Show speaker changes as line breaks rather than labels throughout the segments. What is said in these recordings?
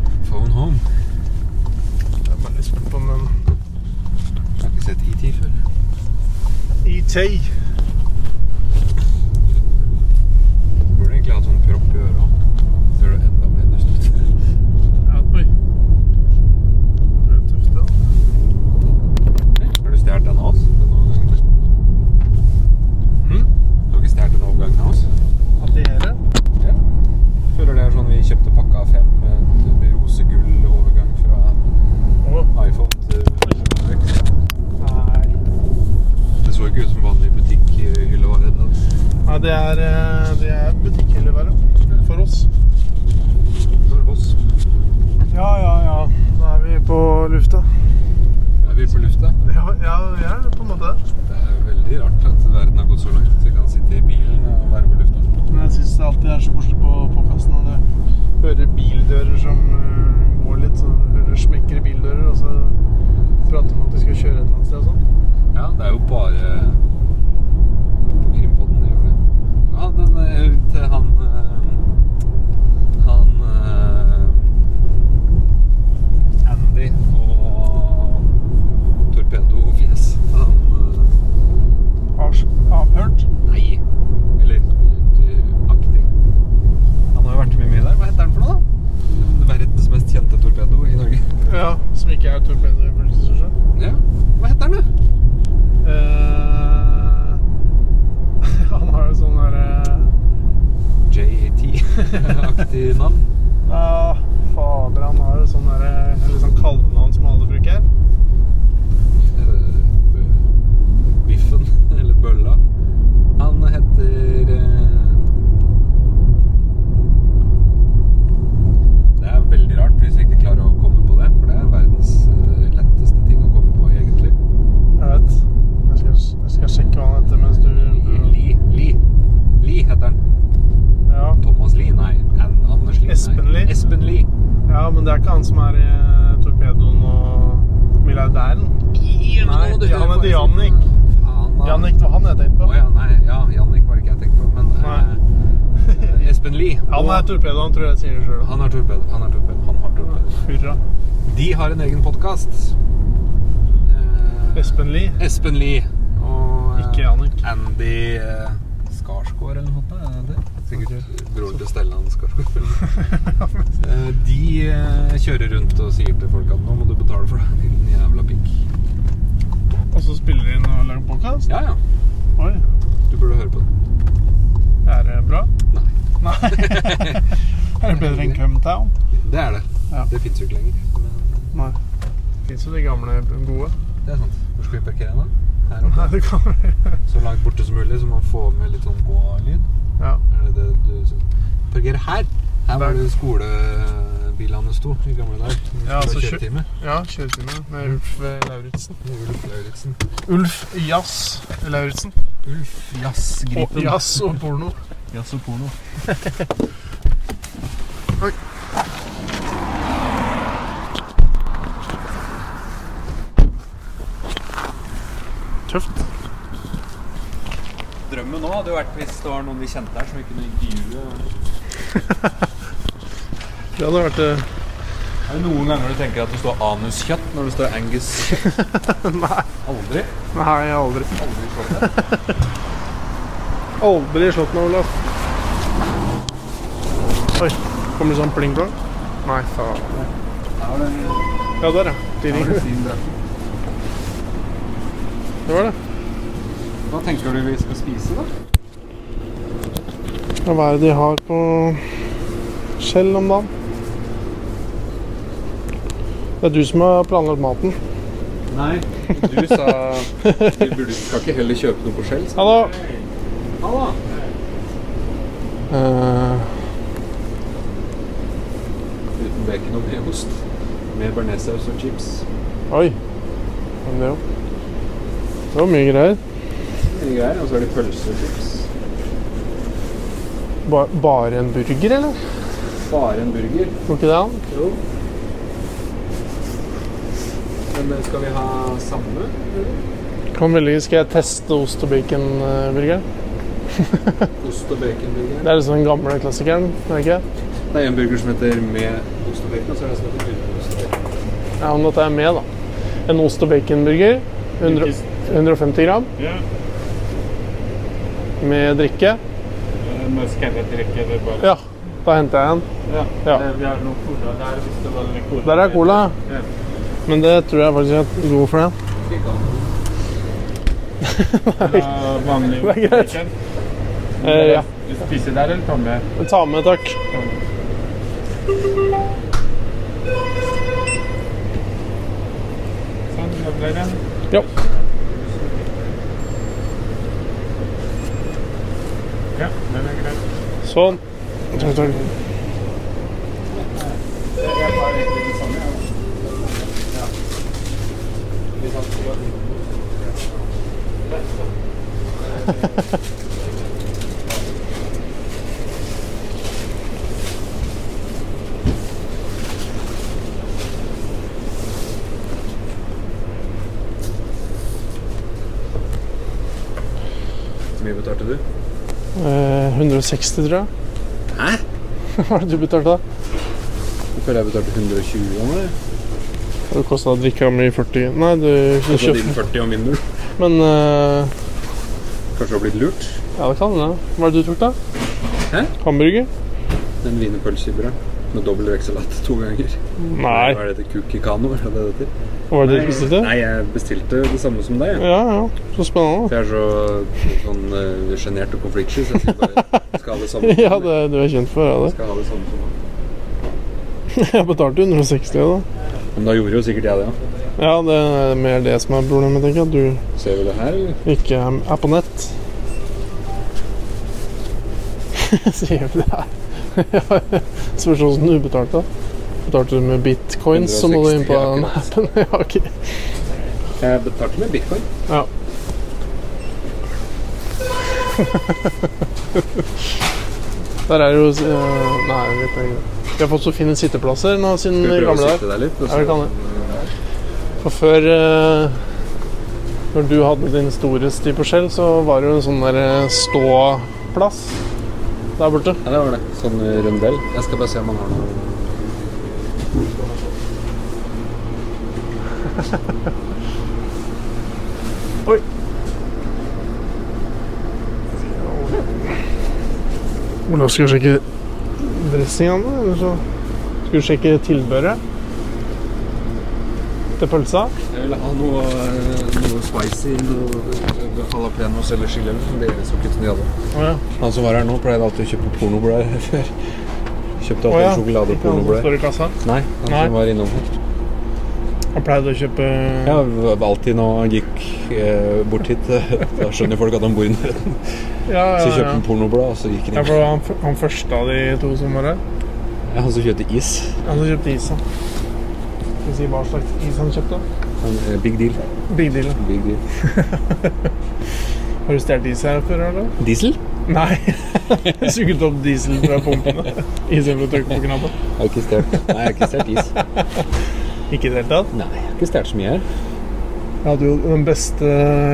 home.
Jeg er veldig spent på om den
Jeg har ikke sett ET før.
ET.
Burde egentlig hatt sånn propp i øra. Ser du enda mer dust ut.
Oi. Det er tøft, da.
Har du stjålet den av oss? Den overgangen?
Mm.
Du har ikke stjålet den overgangen av oss?
Alliere.
Ja. Føler det er sånn vi kjøpte pakka av fem med, med rosegull overgang fra
Å,
iPhone til Vex.
nei.
Det så ikke ut som vanlig butikkhyllevare. da.
Nei, det er, eh, det er butikkhyllevare for oss.
Det var Voss.
Ja, ja, ja. Da er vi på lufta.
Er vi på lufta?
Ja, ja, vi er det på en måte.
Det er jo veldig rart at verden har gått så langt. Vi kan sitte i bilen og være på lufta.
Men jeg syns det alltid er så koselig på podkasten når du hører bildører som øh, går litt, så hører det smekker i bildører, og så prater man om at de skal kjøre et eller annet sted og sånn.
Ja, det er jo bare på Krimpodden det gjør det. Ja, den er til han eh, Han eh, Andy og Torpedofjes. Han eh,
Avs- Avhørt?
Nei. Eller eh, aktig. Han har jo vært med mye der. Hva heter han for noe, da? Verdens mest kjente torpedo i Norge.
Ja. Som ikke er torpedo i politiet,
Ja. Hva heter han, da?
uh, Han har jo sånn derre
JAT-aktig navn.
Ja, fader, han har jo sånn derre Eller sånn kallenavn som alle bruker.
Eh, b- Biffen. Eller Bølla. Han heter eh, Det er veldig rart hvis vi ikke klarer å komme på det, for det er verdens eh, letteste ting å komme på, egentlig.
Jeg vet. Jeg skal, jeg skal sjekke hva han heter mens du
Li, Li. Li heter han.
Ja.
Thomas Lie, nei. An Anders Lie, nei.
Espen Lie.
Espen Lie.
Ja, men det er ikke han som er i eh, torpedoen og milliardæren.
Nei,
Nei, han heter Jannik.
Faen, da.
Jannik, det var han jeg tenkte
Å
på.
ja, nei. Ja, Jannik var det ikke jeg tenkte på, men eh, eh, Espen Lie.
Han er
Og-
torpedoen, tror jeg jeg sier det sjøl.
Han er torpedo. Han er torpedo. Han har torpedo.
Hurra.
De har en egen podkast.
Espen Lie.
Espen Lie. Og eh,
Ikke Jannik.
Andy eh, Skarsgård eller noe sånt. er det det? Sikkert bror til Stellan Skarsgård. Eh, De eh, kjører rundt og sier til folk at nå må du betale for deg, din jævla pikk.
og så spiller de inn og lager podkast?
Ja, ja.
Oi.
Du burde høre på det.
Er det bra?
Nei.
Nei. er det bedre enn Cumtown?
Det er det.
Ja.
Det fins jo ikke lenger. Men
Nei. Fins jo de gamle gode.
det er sant. Hvor skal vi parkere den, da? Her oppe.
Nei, det kan være
Så langt borte som mulig, så man får med litt sånn gå-lyd.
Ja.
Er det det du syns? Parkere her! Her var
Der.
det skolebilene sto i gamle dager.
Ja, altså, kjø-
kjøretime.
ja kjøretime med Ulf eh, Lauritzen.
Ulf Lauritzen.
Ulf Jazz Lauritzen.
Ulf
Og
Jazzgripen.
Jazz og porno.
Jazz og porno.
Tøft.
Drømmen nå hadde jo vært hvis det var noen vi kjente her som vi kunne intervjue.
Det hadde vært eh, det.
Er det noen ganger du tenker at det står anuskjøtt når det står Angus?
Nei.
Aldri.
Nei, aldri.
Aldri slått det.
Aldri slått meg, Olaf. Oi. Kommer det sånn pling-plong? Nei, faen.
eh,
Ja, der, ja. De ringer. Det var det.
Hva tenker du vi skal spise, da?
Ja, Hva er det de har på Skjell om dagen? Det er du som har planlagt maten.
Nei. Du sa vi burde, skal ikke heller kjøpe noe på Shell. sa
Hallo.
du. Ja da.
Eh,
Uten bacon og med ost. Med bearnéssaus og chips.
oi. Men det, er jo. det var mye greier.
Mye greier. Og så er det pølse og chips.
Ba bare en burger, eller?
Bare en burger.
Går ikke det an?
Jo. Men eh, skal vi ha samme?
Kan velge, skal jeg teste ost og eh, bacon-burger?
Ost og baconburger?
Det er liksom den gamle klassikeren, er det ikke?
Det er en burger som heter med ost og bacon, og så er det en som heter uten ost og bacon.
Ja, men dette er med, da. En ost- og baconburger. 100 150 gram
Ja,
med drikke.
eh, med skannet-drikke eller bare
Ja, da henter jeg en.
Ja.
Ja.
Eh, Vi har noe cola der hvis det var litt cola.
Der er cola.
Ja.
Men det tror jeg faktisk at jeg går for den.
Ikke annet.
Eller vanlig
Det er greit.
bacon.
Eh, ja.
Du spiser der eller tar med?
Ta med, takk.
Sånn, da ble det.
Jo.
Ja, den er greit.
Sånn. Takk, takk.
Jeg tar egentlig det samme. ja.
Hvor mye betalte du?
Eh, 160, tror jeg.
Hæ?
Hva var det du betalte? da?
Jeg føler jeg betalte 120 om det.
Det kosta drikka mi 40 Nei, du, du
Så din
kjøpte
40 om vinduer.
Men eh,
Kanskje du har blitt lurt?
Ja, det kan hende. Hva er det du tok, da?
Hæ?
Hamburger?
Den wienerpølse i brød med dobbel vekselat to ganger.
Nei.
Hva er dette? Kukikano? Er det det heter?
Hva var det du bestilte?
Nei, jeg bestilte det samme som deg. jeg.
Ja, ja. Så spennende.
Jeg er så sånn eh, sjenert og konfliktsky, så jeg sier bare skal ha det samme.
Ja, det du er kjent for, ja det.
Skal ha det samme som meg.
Jeg betalte 160, da.
Men da gjorde jo sikkert jeg det, ja.
Ja, det er mer det som er problemet, tenker jeg. At
Ser vi det her, eller?
du ikke um, er er på nett. Sier vi det her? Ja, Spørs hvordan du betalte. da. Betalte du med bitcoins, så må du inn på
160,
den appen. Ja, ok.
Jeg betalte med bitcoin.
Ja. Der er jo eh, Nei, vi vet ikke. Vi har fått så fine sitteplasser nå siden
Skal vi prøve å
gamle dager.
sitte der litt? og
Ja, vi
se
kan det.
om, eh,
For før eh, Når du hadde din storhetstid på Skjell, så var det jo en sånn der eh, ståplass der borte.
Ja, det var det. Sånn eh, rundell. Jeg skal bare se om han har noe.
Oi! Olav skal sjekke dressingene, eller så Skal du sjekke tilbøret til pølsa?
Jeg vil ha noe, eh, noe spicy, noe jalapeños eller chili. eller noe. Det er så kuttene de hadde.
Å ja.
Han som var her nå, pleide alltid å kjøpe pornoblær før. Kjøpte alltid
Å ja.
sjokolade og
Ikke han som
pornoblær.
står i kassa.
Nei, han
Nei.
som var innom her.
Han pleide å kjøpe
Ja, v- alltid når han gikk eh, bort hit, eh, da skjønner folk at han bor i nærheten.
ja,
Så
ja,
kjøpte
ja.
han pornoblad, og så gikk
Ja, for det
han inn.
var han, f- han første av de to som var her.
Ja, han som kjøpte is.
Han som kjøpte is, da. Skal vi si hva slags is han kjøpte?
Han, eh, big deal.
Big deal.
Big deal.
Har du stjålet is her før, eller?
Diesel?
Nei. Jeg Suget opp diesel fra pumpene istedenfor å trykke på knappen.
Har ikke stjålet. Nei, jeg har ikke stjålet is.
Ikke i det hele tatt.
Nei, jeg har ikke stjålet så mye her.
Jeg hadde jo den beste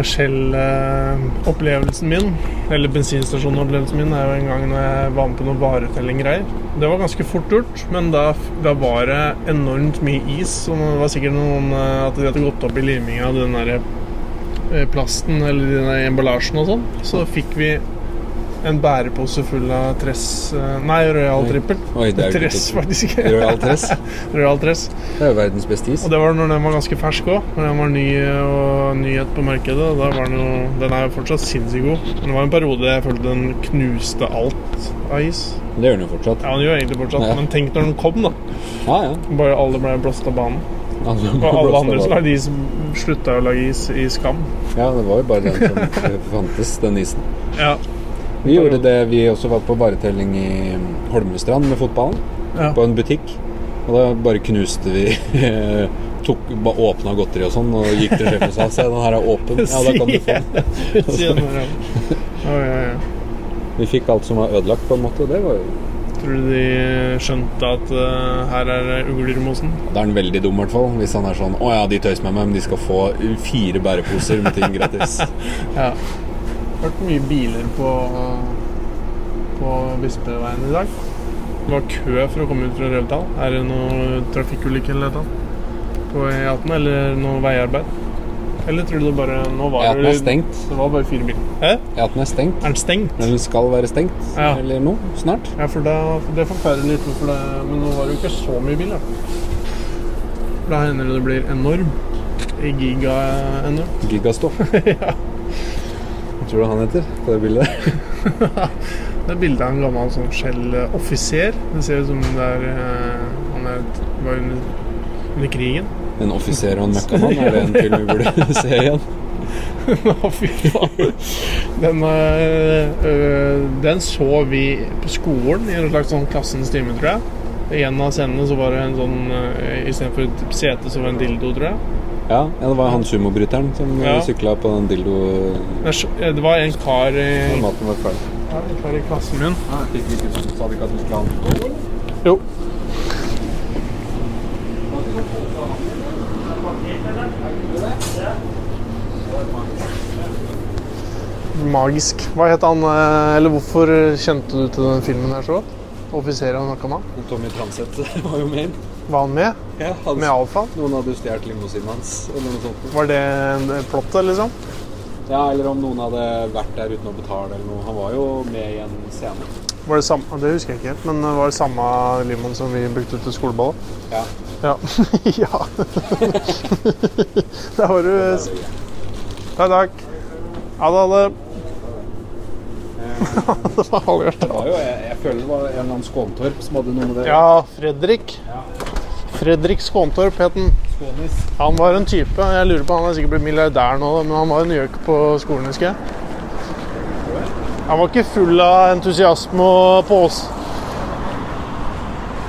Shell-opplevelsen min, eller bensinstasjonopplevelsen min, er jo en gang når jeg var med på noen varetellinggreier. Det var ganske fort gjort, men da, da var det enormt mye is. Og det var sikkert noen eh, at de hadde gått opp i liminga av den der eh, plasten eller den der emballasjen og sånn. Så fikk vi en bærepose full av Tress eh, Nei, Royal
Oi.
Trippel.
Oi, det er jo
Tress,
ikke
faktisk.
Royal Tress.
Royal Tress.
Det er jo verdens beste is.
Og det var når den var ganske fersk òg. Når den var ny og nyhet på markedet. og Da var den, jo, den er jo fortsatt sinnssykt god. Men det var en periode jeg følte den knuste alt av is.
Det gjør den jo fortsatt.
Ja, den gjør egentlig fortsatt,
Ja.
men tenk når den kom, da.
Ja, ja.
Bare alle ble blåst av banen.
Altså,
Og alle andre som
blåste av.
lagde is, slutta å lage is i skam.
Ja, det var jo bare den som eh, fantes, den isen.
Ja.
Vi gjorde det, vi også var på varetelling i Holmestrand med fotballen.
Ja.
På en butikk. Og da bare knuste vi eh, Tok, ba- åpna godteri og sånn, og gikk til sjefen og sa Se, den her er åpen. Ja, da kan du få den.
Siden der, ja. Oi, oi, oi.
Vi fikk alt som var ødelagt, på en måte. og Det var jo
Tror du de skjønte at eh, her er det ugler i mosen?
Da er han veldig dum, i hvert fall. Hvis han er sånn Å ja, de tøyser med meg, men de skal få fire bæreposer med ting gratis.
Ja. Hørt mye biler på, på Bispeveien i dag. Det var kø for å komme ut fra Revetal. Er det noe trafikkulykke eller noe på E18, eller noe veiarbeid? Eller tror du det bare Nå var
E18
det
er stengt.
Det var bare fire biler. Hæ?
E18 er stengt.
Er den stengt?
Men den skal være stengt
Ja.
eller noe snart.
Ja, for da, for det forferder litt, for det, men nå var det jo ikke så mye biler. da. For da hender det det blir enormt. Giga-enormt.
Gigastoff. Hva tror du han heter på det bildet? der?
Det er bilde av en gammel sånn Shell-offiser. Det ser ut som om det er eh, Han er, var under, under krigen.
En offiser og en møkkamann? Er det en film vi burde se igjen?
Å, fy faen. Den, eh, øh, den så vi på skolen i en slags sånn klassens time, tror jeg. I en av scenene så var det en sånn øh, Istedenfor et sete, så var det en dildo, tror jeg.
Ja, ja det var han sumobryteren som
Ja.
ja. sykla på den dildo...
Men jeg skj- eh, Det var en kar i,
når Maten var ferdig.
ja, en kar i klassen min
Ah, Fikk vi ikke sa du ikke at du skulle ha den på?
Jo. Magisk. Hva het han eh, Eller hvorfor kjente du til den filmen her så godt? Offiseren han snakka med?
Tommy Transet var jo med inn.
Var han med?
Ja, han-
Med Alfaen?
Noen hadde jo stjålet limousinen hans. Eller noe sånt.
Var det en- en plottet, liksom?
Ja, Eller om noen hadde vært der uten å betale eller noe. Han var jo med i en scene.
Var det, samme, det husker jeg ikke helt, men det var det samme limoen som vi brukte til skoleballet?
Ja.
Ja. ja. Der var du eh,
det er greit.
Takk, takk. Ha det, ha det. Det var halvhjert.
Det var jo, jeg, jeg føler det var en eller annen Skåntorp som hadde noe med det.
Ja, Fredrik. Fredrik Skåntorp het han.
Skånis.
Han var en type Jeg lurer på, han er sikkert blitt milliardær nå, men han var en gjøk på skolen, husker jeg. Han var ikke full av entusiasme og pås...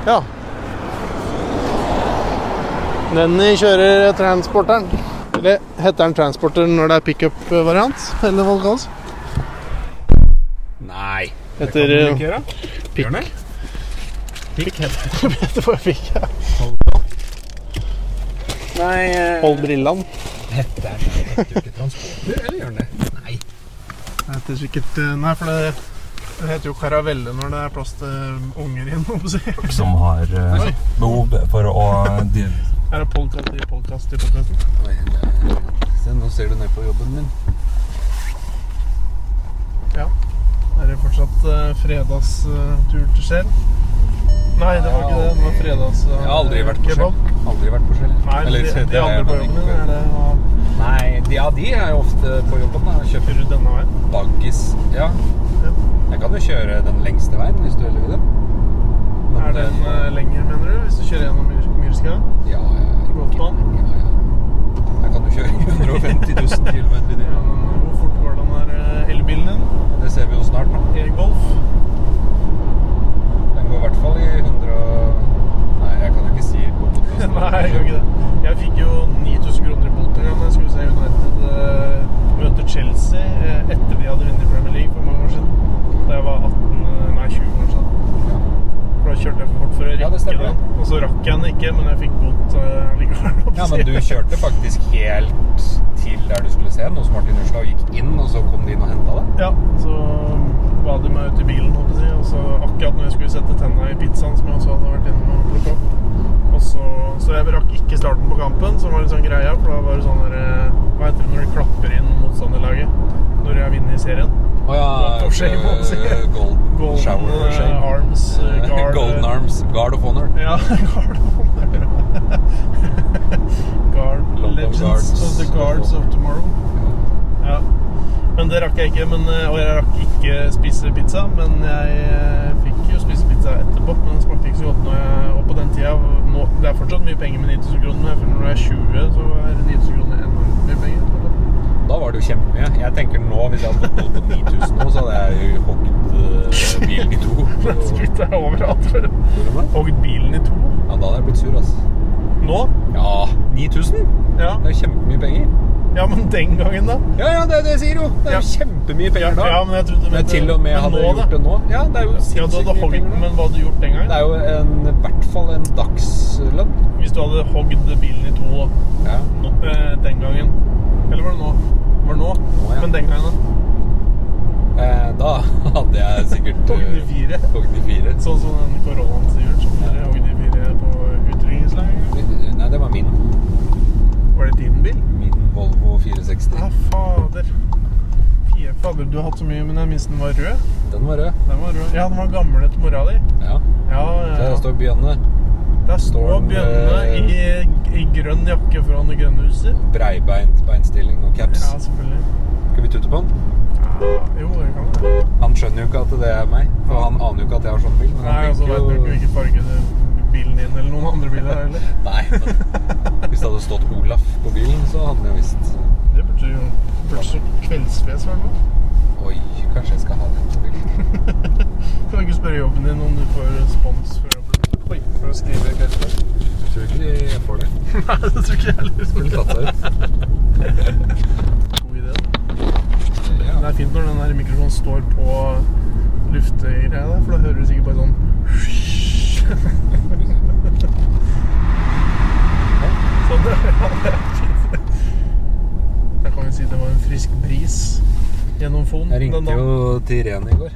Ja. Nenny kjører transporteren. Eller heter den transporter når det er pickup-variant? Eller hva det kalles?
Nei.
Etter eh,
gjøre.
pikk.
eh. Pikk heter
Det var pikk, ja.
Nei. eh.
Hold brillene.
Hette er det heter jo ikke transporter, eller gjør den det? Nei.
Det heter sikkert eh, Nei, for det, det heter jo karavelle når det er plass til unger igjen, må jeg si.
som har eh,
Oi.
behov for å de,
Er det podcast i podcast i podcasten?
Oi, det- Se, nå ser du ned på jobben min.
Er det fortsatt eh, fredagstur til Skjell? Nei, det var ikke det. Det var fredags... eh,
Jeg har aldri vært på
kebab.
skjell. Aldri vært på skjell.
Nei,
Eller,
de,
det
de
har jeg
andre på
nok
jobben
ikke
din,
før.
er det hva
Nei, de, ja, de er jo ofte på jobben. da. Kjøper
kjører denne veien?
baggis. Ja.
Ja.
Jeg kan jo kjøre den lengste veien hvis du heller vil det. Men,
Er den
eh,
eh, lenger, mener du? Hvis du kjører gjennom Myr Myrska?
Ja, ja. ja.
Golfbanen?
Ja, ja. Jeg kan jo kjøre 150 000 km i timen.
Gjennom- Hvor fort går den der eh, elbilen din?
Det ser vi jo snart nå.
E-Golf?
Den går i hvert fall i 100 og... Nei, jeg kan jo ikke si på podcasten.
Nei, jeg gjør ikke det. Jeg fikk jo 9000 kroner i bot en gang da jeg skulle se United eh, møte Chelsea eh, etter de hadde vunnet Premier League for mange år siden. Da jeg var 18, eh, nei 20 år siden.
Ja.
For da kjørte jeg for fort for å
Ja,
rekke
det stemmer.
Og så rakk jeg den ikke, men jeg fikk bot eh, likevel.
Ja, men du kjørte faktisk helt til der du skulle se den, hos Martin Urstad, og gikk inn, og så kom de inn og hentet deg.
Ja, så ba de meg ut i bilen, holdt jeg på å si. Og så akkurat når jeg skulle sette tenna i pizzaen som jeg også hadde vært innom og plukket opp. Og så, så jeg rakk ikke starten på kampen, som var litt sånn greia. For da var det sånn der eh, Hva heter det når du klapper inn motstanderlaget når jeg har vunnet i serien?
Å ja,
Drop of shame, må man si.
eh, golden,
Golden
shower
eh,
shame.
arms, eh, guard
Golden Arms, Guard of Honor.
Ja, guard of honor. guard
London
Legends
Guards
of the Guards of Tomorrow. Ja. Men det rakk jeg ikke. Men, eh, og jeg rakk ikke spise pizza. Men jeg eh, fikk jo spise pizza etterpå. Men den smakte ikke så godt. Når jeg, og på den tida nå, Det er fortsatt mye penger med 9000 kroner, men jeg føler når jeg er 20, så er 9000 kroner enormt mye penger.
Da var det jo kjempemye. Jeg tenker nå, hvis jeg hadde fått bot på 9000 nå, så hadde jeg jo hogget eh, bilen i to. Og-
Skutt er overalt. for- Hogd bilen i to.
Ja, da hadde jeg blitt sur, ass.
Nå?
Ja, 9000?
Ja.
Det er jo kjempemye penger.
ja, men den gangen, da?
Ja, ja, det er det jeg sier jo. Det er jo kjempemye penger da.
Ja, men jeg trodde du
Men
mente-
til og med
men
hadde
nå,
gjort
da?
det nå. Ja, det er jo
Ja, du
sinnssykt
hadde
mye
hogd,
penger da.
men hva hadde du gjort den gangen?
Det er jo en, i hvert fall en dagslønn.
Hvis du hadde hogd bilen i to da,
Ja.
nå, eh, den gangen Eller var det nå? Var det nå?
Nå, ja.
Men den gangen, da?
Eh, da hadde jeg sikkert eh,
Hogd i fire.
Hogd i fire.
Sånn som den koronaen sier. Sånn der, og de fire på utrydningsleiren.
Nei, det var min.
Var det din bil?
Min Volvo 460.
Ja, fader. Fie, fader, du har hatt så mye, men jeg minst den var rød.
Den var rød.
Den var rød. Ja, den var gammel etter mora di.
Ja.
Ja, ja,
Der
ja.
står Bjønne.
Der står
står den, eh,
Bjønne i, i grønn jakke fra Det grønne huset.
Breibeint beinstilling og caps.
Ja, selvfølgelig.
Skal vi tutte på han?
Ja, jo, det kan det.
Han skjønner jo ikke at det er meg. For han aner jo ikke at jeg har sånn bil. Men
Nei,
han
altså,
tenker
vet du ikke
jo
hvilken farge det- bilen din eller noen andre biler er heller?
Nei, men hvis det hadde stått Olaf på bilen, så hadde han jo visst
Det betyr jo plutselig kveldsfjes, i hvert fall.
Oi, kanskje jeg skal ha den på bilen.
Kan du ikke spørre jobben din om du får respons for jobben? Oi, for å skrive krefter?
Jeg tror ikke jeg får det.
Nei, det tror ikke jeg heller.
Skulle tatt seg ut.
God idé. da.
Ja.
Det er fint når den her mikrofonen står på luftegreia der, for da hører du sikkert bare sånn Sånn, ja, det er fint. Da kan vi si det var en frisk bris gjennom Fon.
Jeg ringte
den dagen.
jo til Ren i går.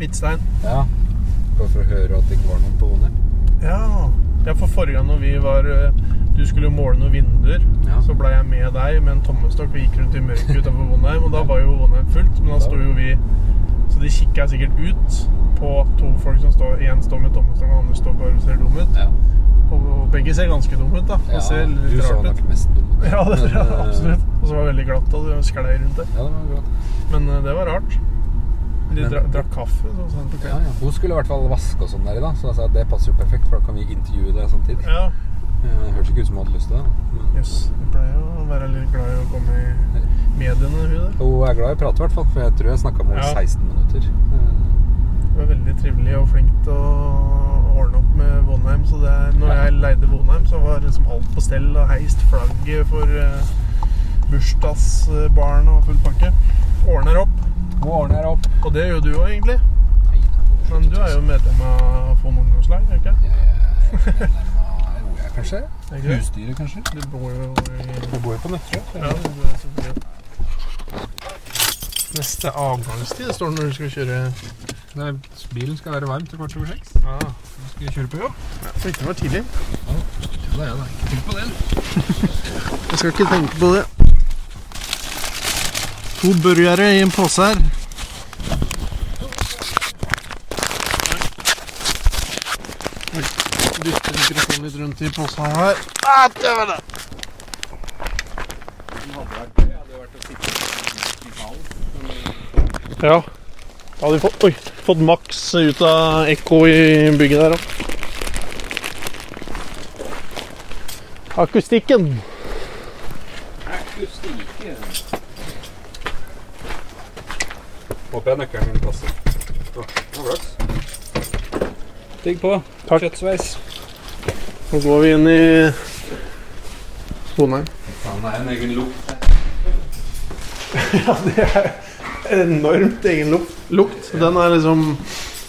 Hvitstein.
Ja. Bare for å høre at det ikke var noen på One.
Ja. ja, for forrige gang når vi var eh, Du skulle jo måle noen vinduer.
Ja.
Så blei jeg med deg med en tommestokk og gikk rundt i mørket utenfor Vonheim. Og da var jo Vonheim fullt, men da sto jo vi Så de kikka sikkert ut på to folk som står Én står med tommestokk, og den andre står bare og ser dum ut.
Ja.
Og, og begge ser ganske dumme ut, da. Og
Ja,
ser
du
litt
så
rart
nok
ut.
mest dum ut.
Ja, det
Men,
tror jeg
eh,
absolutt. Og så var det veldig glatt, da. Det sklei rundt der.
Ja, det var bra.
Men eh, det var rart. De
Men-
dra, drakk kaffe og sånn på
Ja,
kvelden.
ja. Hun skulle i hvert fall vaske og sånn der i dag, så jeg sa at det passer jo perfekt, for da kan vi intervjue deg samtidig.
Ja.
Eh, Hørtes ikke ut som hun hadde lyst til det. men-
Jøss. Hun pleier jo å være litt glad i å komme i mediene, hun der.
Hun er glad i å prate, i hvert fall, for jeg tror jeg snakka med henne
Ja.
i 16 minutter. Eh,
Hun er veldig trivelig og flink til å ordne opp med Vonheim. Så det er, når jeg leide Vonheim, så var liksom alt på stell og heist flagget for eh, bursdagsbarn og full pakke. Ordner opp.
Hun ordner opp.
Og det gjør du òg, egentlig. Men du er jo medlem av Fond ungdomslag, er du ikke?
Jeg er medlem av- Jo, jeg er kanskje.
Er ikke det?
Husdyret, kanskje.
Du bor jo i
Hun bor jo på Nøtterøy.
Ja, du er selvfølgelig Neste avgangstid står det når du skal kjøre
Bilen skal være varm til kvart over seks.
Ja,
Ah, Skal vi kjøre på jobb?
Så ikke det var tidlig.
Ja, da, ja, da. Ikke tenk på det.
Jeg skal ikke tenke på det. To burgere i en pose her. Oi, Dytter mikrofonen litt rundt i posen her. Ah, dæven, da. Ja. Da hadde vi fått, oi, fått maks ut av ekko i bygget der òg. Akustikken.
Håper jeg nøkkelen min passer.
Digg på.
Takk.
Kjøttsveis.
Nå går vi inn i Vonheim.
Han er en egen lukt.
Ja, det er enormt egen lukt. lukt. Den er liksom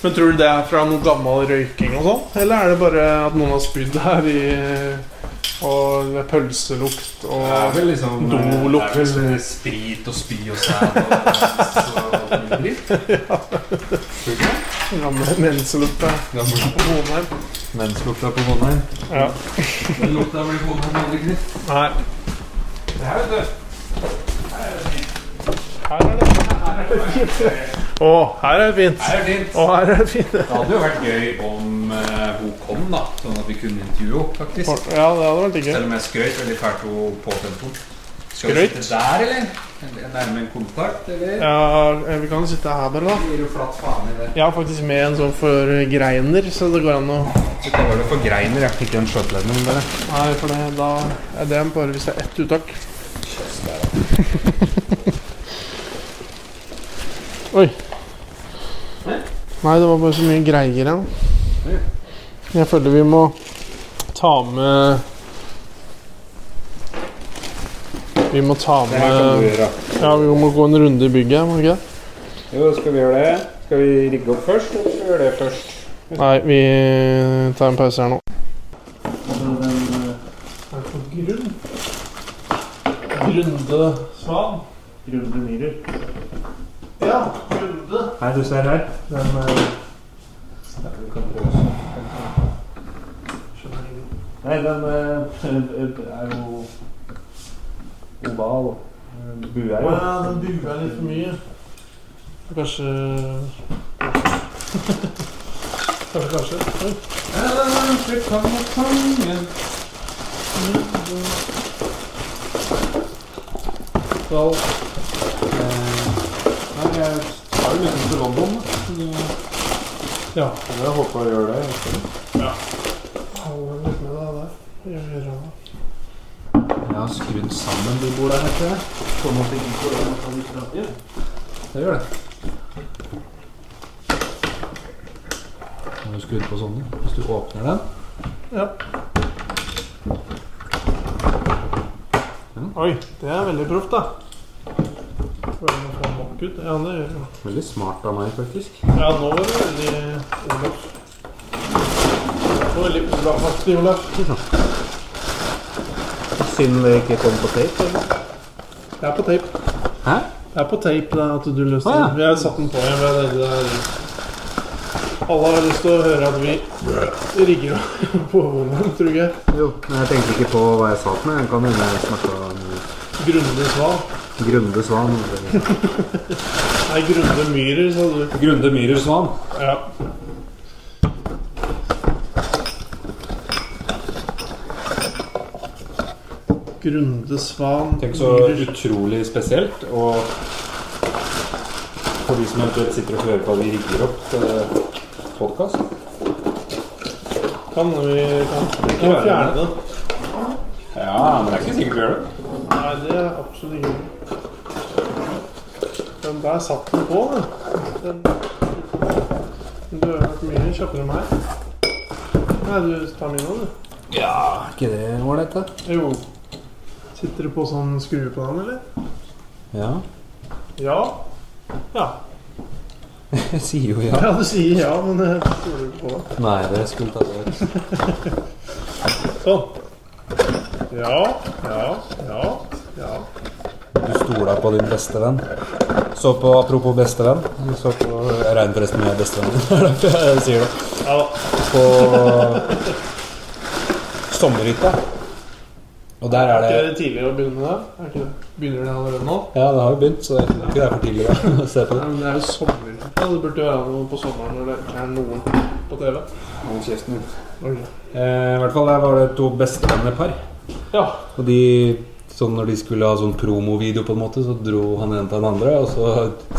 Men tror du det er fra noe gammel røyking og sånn? Eller er det bare at noen har spydd her i Og det er pølselukt og
vel liksom
Dolukt.
det er vel sånn sprit og spy og sæd og og dritt. Tror du ikke det?
gamle menselukt her
Det er bra.
på Vonheim.
Menslukta på Vonheim.
Ja.
Den lukta blir Vonheim aldri knytt.
Nei.
Her, vet du.
Her er det fint. Å, her er det fint.
Her er fint.
Å, her er det fint.
Det hadde jo vært gøy om eh, hun kom, da. Sånn at vi kunne intervjue henne, faktisk.
Ja, det hadde vært digg.
Selv om jeg skrøt veldig fælt henne på telefonen. Skal vi
Skrøyt?
sitte der, eller? Eller Nærme en kontakt, eller?
Ja, eh, vi kan sitte her bare, da.
Det Gir jo flatt faen i det.
Jeg har faktisk med en sånn forgreiner, så det går an å
Så kaller det for greiner, jeg fikk en skjøteledning bare.
Nei, for det, da er det bare hvis det er ett uttak. Oi. Nei, det var bare så mye greier igjen. Jeg føler vi må ta med Vi må ta
Det her kan du
med
gjøre.
Ja, vi må gå en runde i bygget, må vi ikke det?
Jo, skal vi gjøre det? Skal vi rigge opp først, eller skal vi gjøre det først?
Nei, vi tar en pause her nå. er på grunn. Grunde svan. Grunde myrer. Ja, runde.
Nei, du ser her.
Den eh,
Nei, den
eh,
er jo oval. Bue
Å ja, den buer litt for mye. Kanskje Kanskje, kanskje. Oi. Skal
Nei, jeg tar jo liksom til London. da. Så det-
Ja.
Jeg håper jeg gjør det.
Holder litt med deg der. Gjør det bra.
Jeg har skrudd sammen de bordene her, tror jeg. Sånn at det ikke går an å ta litt fra- Ja, Det gjør det. Nå har du skrudd på sånne. Hvis du åpner den
Ja. Oi, det er veldig proft, da. Går det an å få den opp ut? Ja, det gjør det.
Veldig smart av meg, faktisk.
Ja, nå var det veldig Olaf. Det var veldig Olaf-aktig, Olaf.
Synd det ikke kom på tape.
Det er på tape.
Hæ?
Det er på tape da, at du løste
Å, ja.
den. Vi har satt den på igjen. men Det er... Alle har lyst til å høre at vi rigger på vognen, tror jeg.
Jo, men jeg tenkte ikke på hva jeg sa til meg. Jeg kan hende jeg snakka om
Grunde Sval.
Grunde Svan.
Nei, Grunde Myhrer, sa du.
Grunde Myhrer Svan.
Ja. Grunde Svan
Tenk så utrolig spesielt. Og for de som eventuelt sitter og hører på at vi rigger opp eh, podkast.
Kan vi kan, vi kan
være
fjerne det?
Ja, men det er ikke sikkert vi gjør det.
Nei, det er absolutt ikke Den der satt den på, den. den. Men Du har vært mye kjappere enn meg. Nei, du tar min nå, du.
Ja, er ikke det ålreit, da?
Jo. Sitter du på sånn skrue på den, eller?
Ja.
Ja. Ja.
Jeg sier jo ja.
Ja, du sier ja, men jeg stoler ikke på det.
Nei, det skulle ta det.
Sånn. Ja, ja, ja, ja.
Du stola på din bestevenn. Så på Apropos bestevenn. du Så på, jeg regner forresten med bestevennen din. Det er derfor jeg sier det.
Ja,
På sommerhytta. Og der
Er
er det
ikke det tidlig å begynne med det? Er ikke det? Begynner det allerede nå?
Ja, det har jo begynt, så jeg tror ikke det er for tidlig å se på
Nei,
det.
men det er jo sommer. Ja, det burde jo være noe på sommeren når det ikke er noen på TV.
Hold kjeften din.
Ok.
Eh, I hvert fall der var det to bestevennerpar.
Ja.
Og de, sånn når de skulle ha sånn promovideo, på en måte, så dro han ene til den andre, og så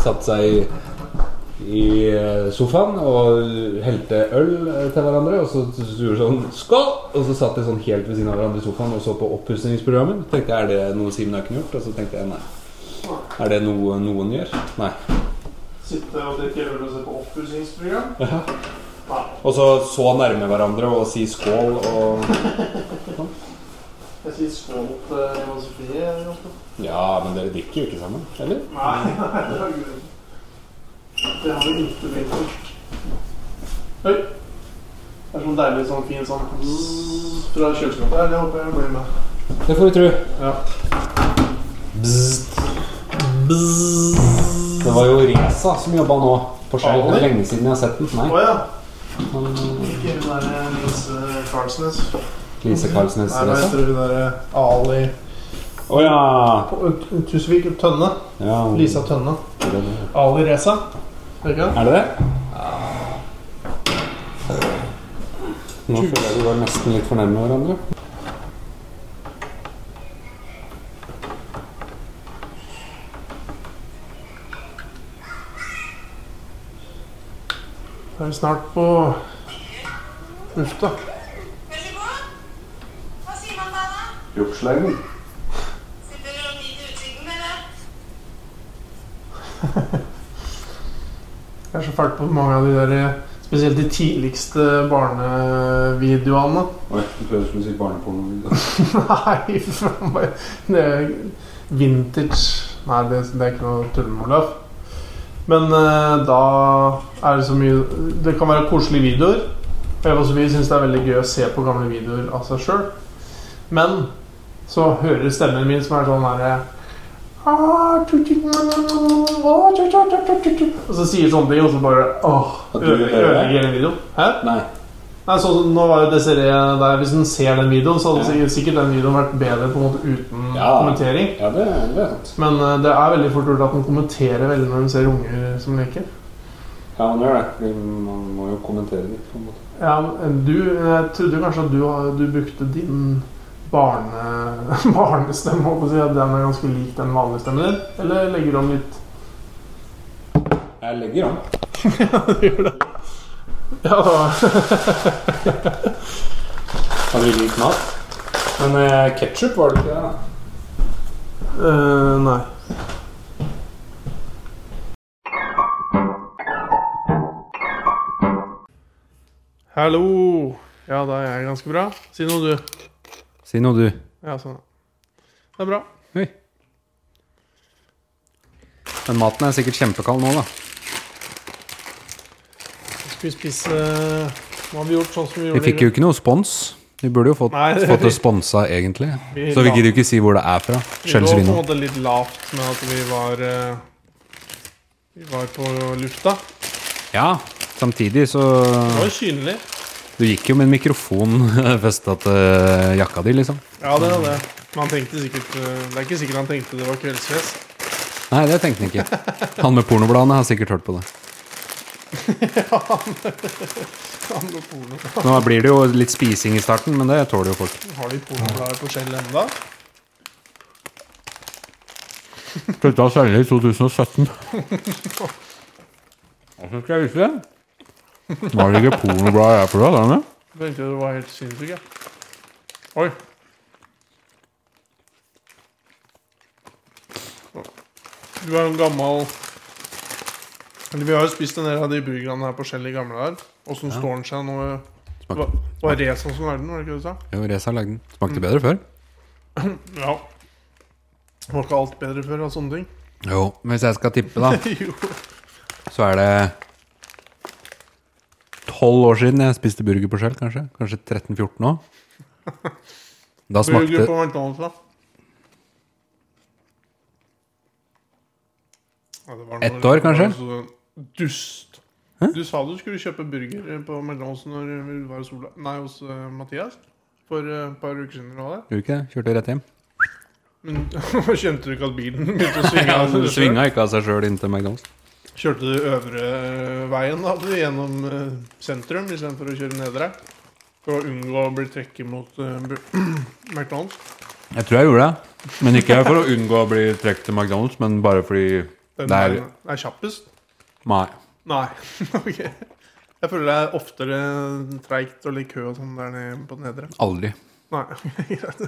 satte seg i, i eh, sofaen og helte øl eh, til hverandre. Og så gjorde de sånn Skål! Og så satt de sånn helt ved siden av hverandre i sofaen og så på oppussingsprogrammet. Så tenkte jeg, er det noe Simen Øken har gjort? Og så tenkte jeg nei. Er det noe noen gjør? Nei.
Sitte og drikke øl og se på oppussingsprogram.
Og så så nærme hverandre og si skål og
Jeg sier skål til Johan Sofie. eller noe.
Ja, men dere drikker jo ikke sammen, eller?
Nei, nei, det har ikke Det har vi ikke blitt for. Oi. Det er sånn deilig sånn fin sånn zzz fra kjøleskapet. her. Det håper jeg blir med.
Det får vi tro.
Ja.
Det var jo Reza som jobba nå på Skei. Det er lenge siden jeg har sett den.
Å
Nei.
ja.
Han, eh,
Ikke hun derre Lise Karlsnes.
Lise Karlsnes
Nei, hva
Reza.
heter hun derre Ali
Å ja!
Tusvik Tønne.
ja han-
Lisa Tønne.
det er det.
Ali Reza. Er det ikke det?
Er det det? Nå føler jeg vi var nesten litt for nærme hverandre.
Da er vi snart på lufta.
Veldig bra. Hva sier man da, da?
Hjortslangen.
Sitter dere og nyter utsikten, eller?
Jeg er så fælt på mange av de der eh, Spesielt de tidligste barnevideoene.
Oi, du prøvde å skulle si barneporno.
Nei, faen meg. det er vintage Nei, det, det er ikke noe tull med Olaf. Men eh, da er det så mye Det kan være koselige videoer. Og Eva Sofie syns det er veldig gøy å se på gamle videoer av seg sjøl. Men så hører stemmen min som er sånn herre «Ah, tut, tut, mm, mm, ah, tut, tut, tut, tut, tut», Og så sier sånne ting, og så bare åh,
At du
øde-
hører det?
Ødelegger den videoen. Hæ?
Nei.
Nei, så nå var jo Desiree der Hvis hun ser den videoen, så hadde sikkert- sikkert den videoen vært bedre på en måte uten
Ja.
kommentering.
Ja, det er det er sant.
Men eh, det er veldig fort gjort at den kommenterer veldig når hun ser unger som leker.
Ja, man gjør det. fordi Man må jo kommentere litt, på en måte.
Ja, men du, jeg trodde kanskje at du, har- du brukte din barne, barnestemme, holdt på å si, at den er ganske lik den vanlige stemmen din? Eller legger du om litt?
Jeg legger an.
Ja, da.
Har du likt mat? Men eh, ketchup var det ikke det? da?
Eh, nei. Hallo! Ja, da er jeg ganske bra. Si noe, du.
Si noe, du.
Ja, sånn. Det er bra.
Den maten er sikkert kjempekald nå, da.
Skal vi spise Nå har vi gjort sånn som vi
Vi
gjorde
fikk jo ikke noe spons. Vi burde jo fått,
Nei, det-
fått det sponsa, egentlig.
Vi-
Så vi gidder jo ikke si hvor det er fra.
Vi lå på en
Skjellsvino.
måte litt lavt med at vi var eh, Vi var på lufta.
Ja, samtidig så
Det var jo synlig.
Du gikk jo med en mikrofon festa til jakka di, liksom.
Ja, det var det. Men han tenkte sikkert eh, Det er ikke sikkert han tenkte det var kveldsfest.
Nei, det tenkte han ikke. Han med pornobladene har sikkert hørt på det.
Han lå porno.
Nå blir det jo litt spising i starten, men det tåler jo folk.
Har de pornoblader på skjell ennå?
Slutta å selge i 2017. Hvordan skal jeg vise det? Var det ikke pornobladet jeg forlot? er det?
Tenkte det var helt sinnssykt, jeg. Oi. Du er jo en gammel Eller Vi har jo spist en del av de burgerne her på Shell i gamle dager. Åssen står den seg nå?
Smakte.
Hva- Var det sånn som verden, var det ikke det du sa?
Jo, Reza lagde den. Smakte bedre før.
Ja. Var ikke alt bedre før av sånne ting?
Jo, men hvis jeg skal tippe, da,
jo.
så er det Tolv år siden jeg spiste burger på Shell, kanskje. Kanskje 13-14 òg. Da
Burger
smakte
på McDonald's, da. Ja, det var noe-
Ett år, kanskje?
det var så Dust. Du sa du skulle kjøpe burger eh, på McDonald's når du var hos Ola- Nei, hos eh, Mathias for eh, et par uker siden. eller hva det er.
Gjorde du ikke det? Kjørte rett hjem.
Men kjente du ikke at bilen begynte å svinge?
Ja,
av seg
du
selv?
svinga ikke av seg sjøl inn til McDonald's.
Kjørte du øvre eh, veien da, du, gjennom eh, sentrum istedenfor å kjøre nedre? For å unngå å bli trekket mot eh, bu- McDonald's?
Jeg tror jeg gjorde det. Men ikke for å unngå å bli trukket til McDonald's, men bare fordi
Den
Det er-
veien er kjappest?
Nei.
Nei. ok. Jeg føler det er oftere treigt og litt kø og sånn der nede på nedre.
Aldri.
Nei, greit.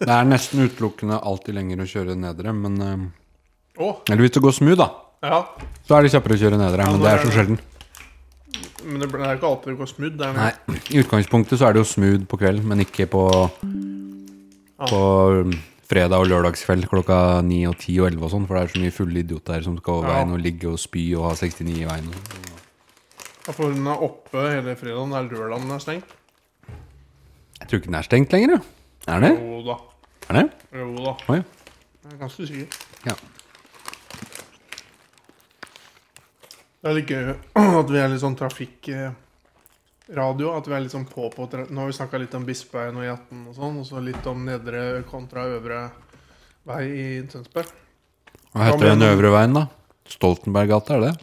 Det er nesten utelukkende alltid lenger å kjøre nedre, men eh,
Å,
Eller hvis det går smooth, da.
ja.
Så er det kjappere å kjøre nedre, men det er så sjelden.
Men det er ikke alltid det går smooth der
Nei,
nede.
I utgangspunktet så er det jo smooth på kveld, men ikke på På um, fredag og lørdagskveld klokka ni og ti og elleve og sånn, for det er så mye fulle idioter som skal over
Ja.
veien og ligge og spy og sånn. ha 69 i veien.
Ja, For den er oppe hele fredagen. Det er lørdagen den er stengt.
Jeg tror ikke den er stengt lenger, jo. Er den det?
Jo da.
Er den det?
Jo da.
Oi.
Jeg er ganske sikker.
Ja.
Det er litt gøy at vi er litt sånn trafikkradio. At vi er litt sånn på på tra- Nå har vi snakka litt om Bispeveien og E18 og sånn, og så litt om nedre kontra øvre vei i Tønsberg.
Hva heter
men-
den øvre veien, da? Stoltenberggata, er det det?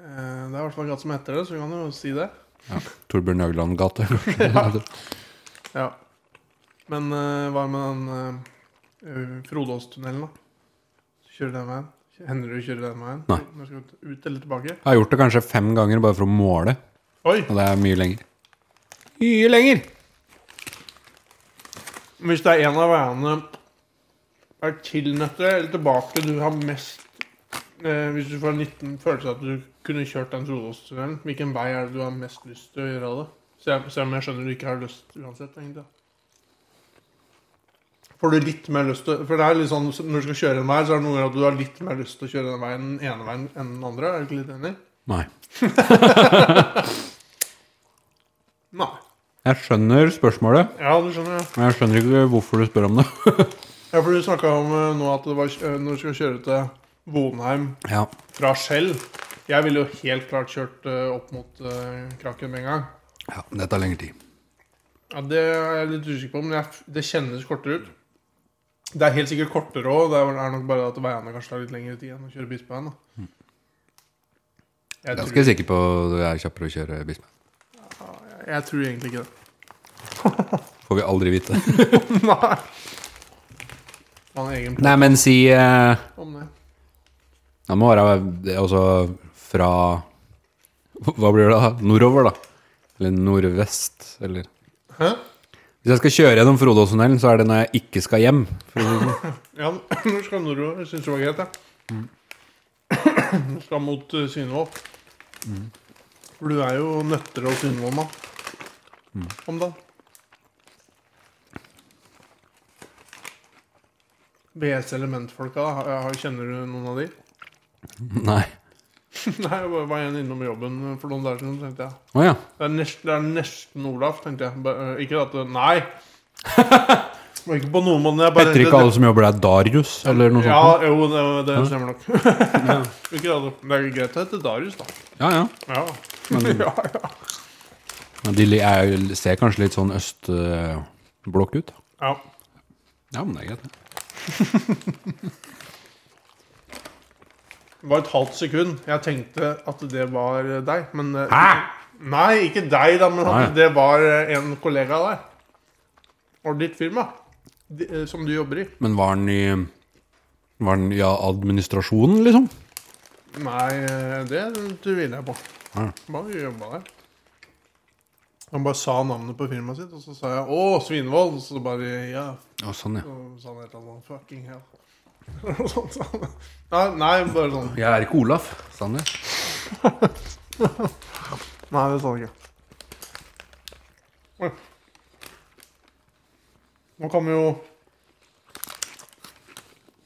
Eh, Det er i hvert fall gata som heter det, så vi kan jo si det.
Torbjørn Jagland gate, kanskje?
Ja. Men eh, hva med den uh, Frodåstunnelen, da? Kjører den veien? Hender det du kjører den veien?
Nei.
Når skal du ut eller tilbake?
Jeg har gjort det kanskje fem ganger bare for å måle,
Oi!
og det er mye lenger. Mye lenger!
Hvis det er en av veiene er tilnøtte eller tilbake du har mest eh, Hvis du får en liten følelse av at du kunne kjørt den Frodåstunnelen, hvilken vei er det du har mest lyst til å gjøre av det? Selv selv om jeg skjønner du ikke har lyst uansett, egentlig. Får du litt mer lyst til For det er litt sånn så når du skal kjøre en vei, så er det noen ganger at du har litt mer lyst til å kjøre den veien den ene veien enn den andre. Er du ikke litt enig?
Nei.
Nei.
Jeg skjønner spørsmålet,
Ja, du skjønner. ja.
men jeg skjønner ikke hvorfor du spør om det.
Ja, for du snakka om eh, nå at det var eh, når du skal kjøre til Vonheim
Ja.
fra Skjell. Jeg ville jo helt klart kjørt eh, opp mot eh, Kraken med en gang.
ja. Det tar lengre tid.
Ja, Det er jeg litt usikker på, men jeg, det kjennes kortere ut. Det er helt sikkert kortere òg. Det er nok bare at veiene kanskje tar litt lengre tid enn å kjøre Bispeveien. da. Jeg
Jeg er
tror,
ganske sikker på at det er kjappere å kjøre Bismarck.
jeg tror egentlig ikke det.
Får vi aldri vite.
Nei. Man har egen
Nei, men si eh,
plan om det.
Det må være det, altså fra Hva blir det da? Nordover, da? Eller nordvest, eller
Hæ?
Hvis jeg skal kjøre gjennom Frodåstunnelen, så er det når jeg ikke skal hjem. For å si det sånn.
Ja, nå skal nordover. Jeg syns det var greit, jeg. Nå
Mm.
skal mot eh, Synnvoll. For du er jo Nøtterøy og Synnvoll, da.
Mm.
Om dagen. BS Elementfolka, da. har- har- Kjenner du noen av de?
Nei.
Nei, jeg var- var en innom jobben for noen dager siden, tenkte jeg.
Å ja.
Det er nesten, det er nesten Olaf, tenkte jeg. Ba- eh, Ikke at det- Nei! Det var Ikke på noen måte. jeg bare-
Heter ikke alle som jobber der, Darius? Eller noe sånt?
ja, jo, det, det stemmer nok. Ikke det, da. det er jo greit å hete Darius, da.
Ja, ja.
Ja. ja, ja.
Men de li- er, ser kanskje litt sånn østblokk ut.
ja.
Ja, men det er greit. det.
Det var et halvt sekund. Jeg tenkte at det var eh, deg, men Hæ? Nei, ikke deg, da, men at
Nei.
det var eh, en kollega av deg. Og ditt firma. De, eh, som du jobber i.
Men var den i Var den i ja, administrasjonen, liksom?
Nei, eh, det tviler jeg på.
Ja.
Bare jobba der. Han bare sa navnet på firmaet sitt, og så sa jeg 'Å, Svinvold'. Og så bare 'Ja,
Ja, sånn, ja.
Og sa han helt annet Fucking hell. Og sånt, sa han. Nei, nei, bare sånn.
Jeg er ikke Olaf. Sånn, ja.
Nei, det sa han ikke. Oi. Nå kan vi jo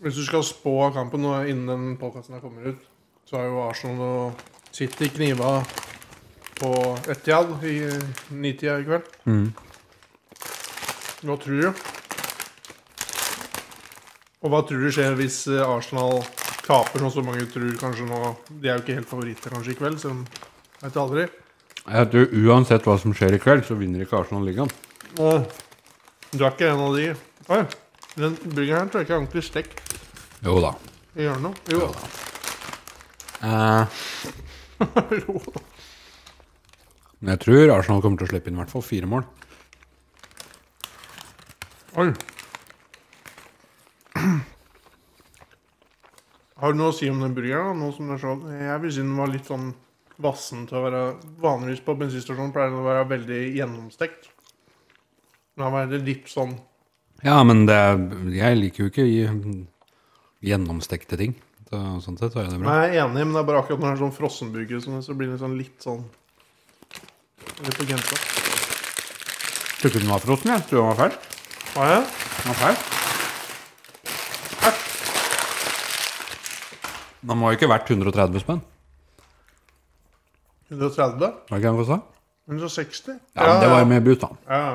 Hvis du skal spå kampen nå, innen den podkasten her kommer ut, så er jo Arsenal og City kniva på Etiad i nitida i kveld. Hva tror du? Og hva tror du skjer hvis eh, Arsenal taper, sånn som mange tror kanskje nå? De er jo ikke helt favoritter kanskje i kveld, så jeg vet aldri.
Jeg tror Uansett hva som skjer i kveld, så vinner ikke Arsenal ligaen.
Åh, Eh, Du er ikke en av de Oi, den burgeren her tror jeg ikke er ordentlig stekt
Jo da.
i hjørnet. Jo.
Eh,
jo.
men jeg tror Arsenal kommer til å slippe inn i hvert fall fire mål.
Oi. Har du noe å si om den burgeren? da, Nå som det er sånn Jeg vil si den var litt sånn vassen til å være Vanligvis på bensinstasjonen pleier den å være veldig gjennomstekt. Den har vært litt sånn
Ja, men det er, jeg liker jo ikke i- gjennomstekte ting. Så, sånn sett så er det bra.
Nei, jeg er enig, men det er bare akkurat når det er sånn frossenburger som så blir det sånn litt sånn Litt på grensa.
Tror ikke den var frossen, jeg. Tror den var fersk.
Har jeg?
Den var fersk. Den var jo ikke verdt 130 spenn.
130?
Var det ikke det han sa?
160?
Ja, men det var jo med brus, da.
Ja, ja.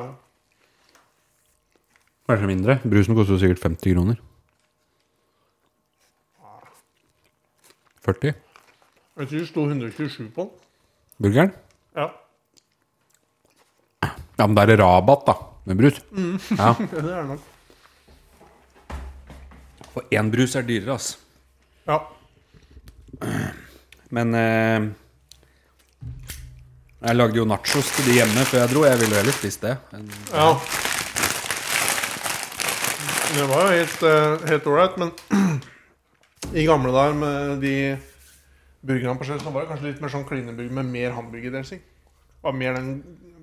Kanskje mindre. Brusen koster jo sikkert 50 kroner. 40?
Jeg tror det sto 127 på den.
Burgeren?
Ja.
Ja, men da er det rabatt, da. Med brus. Ja.
Det er det nok.
For én brus er dyrere, ass.
Ja.
Men eh, Jeg lagde jo nachos til de hjemme før jeg dro. Jeg ville jo heller spist det. enn-
ja. Det var jo helt, eh, helt ålreit, men i gamle dager med de burgerne på Shell, så var det kanskje litt mer sånn klineburger med mer hamburgerdressing. Var mer Den,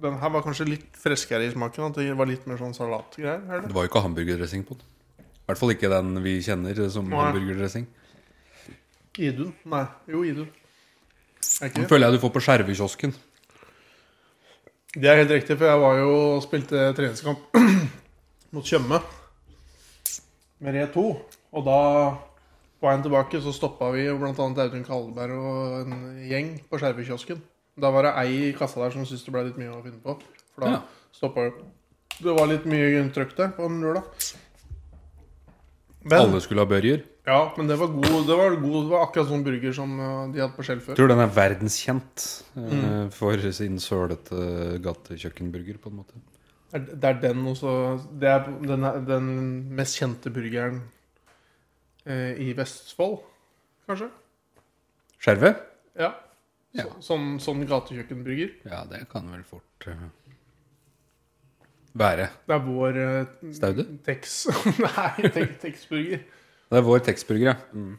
den her var kanskje litt freskere i smaken. At det var litt mer sånn salatgreier. eller?
Det var jo ikke hamburgerdressing på den. I hvert fall ikke den vi kjenner som
Nei.
hamburgerdressing.
Idun? Nei. Jo, Idun. Er ikke
Den
det?
føler jeg du får på skjervekiosken.
Det er helt riktig, for jeg var jo og spilte treningskamp mot Tjøme med Re 2. Og da på veien tilbake så stoppa vi bl.a. Audun Kalleberg og en gjeng på Skjervøykiosken. Da var det ei i kassa der som syntes det ble litt mye å finne på. For da
Ja.
stoppa jo Det var litt mye trøkk der på en lørdag. Men,
Alle skulle ha burger.
ja, men det var god. Det var, god, det var akkurat sånn burger som eh, de hadde på Skjell før.
Tror den er verdenskjent eh,
Mm.
for sin sølete gatekjøkkenburger, på en måte.
Er Det det er den også Det er den, er den mest kjente burgeren eh, i Vestfold, kanskje?
Skjerve?
Ja.
Ja.
Så, sånn, sånn gatekjøkkenburger.
Ja, det kan vel fort eh, være.
Det er vår eh,
Staude?
Tex Nei, Tex- Texburger.
Det er vår Texburger, ja. Mm.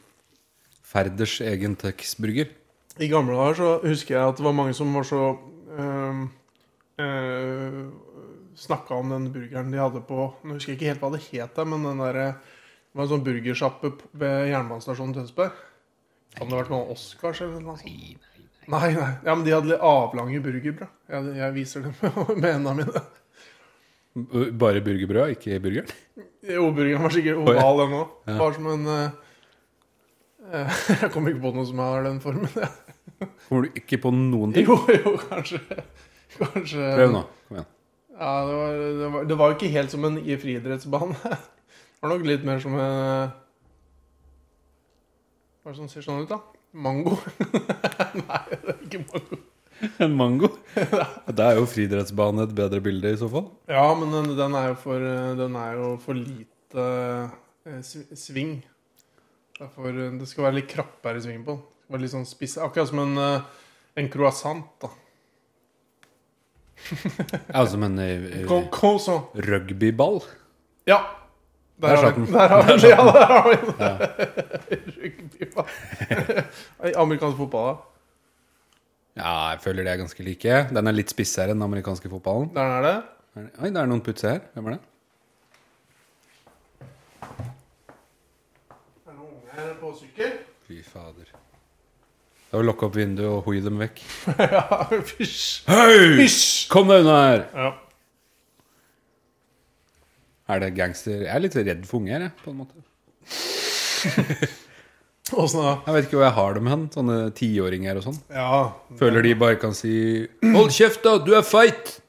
Ferders egen Texburger.
I gamle dager så husker jeg at det var mange som var så øh, øh, Snakka om den burgeren de hadde på Nå husker jeg ikke helt hva det het, der, men den derre det var en sånn burgersjappe p- ved jernbanestasjonen Tønsberg. Kan det ha vært noe Oscars eller noe sånt?
Nei,
Nei, nei. Ja, men de hadde litt avlange burgerbrød. Jeg, jeg viser dem med hendene mine.
B- Bare burgerbrød, ikke burgeren?
Jo, burgeren var sikkert
Å, ja.
oval, den òg.
Ja.
Bare som en øh, øh, Jeg kommer ikke på noe som har den formen. jeg.
Kommer du ikke på noen ting?
Jo, jo, kanskje. Kanskje
Prøv nå. Kom igjen.
Ja, det var, det, var, det var ikke helt som en i friidrettsbane. Det var nok litt mer som en eh, Hva er det som ser sånn ut, da? Mango? Nei, det er ikke mango.
En mango? Da er jo friidrettsbane et bedre bilde, i så fall.
Ja, men den, den, er, jo for, eh, den er jo for lite eh, sv- sving. Det, er for, eh, det skal være litt krappere sving på den. Det skal være Litt sånn spiss. Akkurat som en, eh, en croissant. da
Ja, som en eh, eh,
Co- Croissant.
rugbyball.
Ja. Der,
Der
har
satt
vi
den.
den. Der har vi den. Ja, der har vi den. Rugbyball. I Amerikansk fotball, da.
Ja, jeg føler det er ganske like. Den er litt spissere enn den amerikanske fotballen.
Der er det.
Er det- Oi, det er noen putser her. Hvem er det?
Er det noen unger på sykkel?
Fy fader. Det er å lukke opp vinduet og hoi dem vekk.
ja, fysj.
Hei!
Fysj!
Kom deg unna her!
Ja.
Er det gangster Jeg er litt redd for unger, jeg, på en måte.
Åssen da?
Jeg vet ikke hvor jeg har dem hen, sånne tiåringer og sånn.
Ja.
Føler de bare kan si 'Hold kjeft, da! Du er feit!'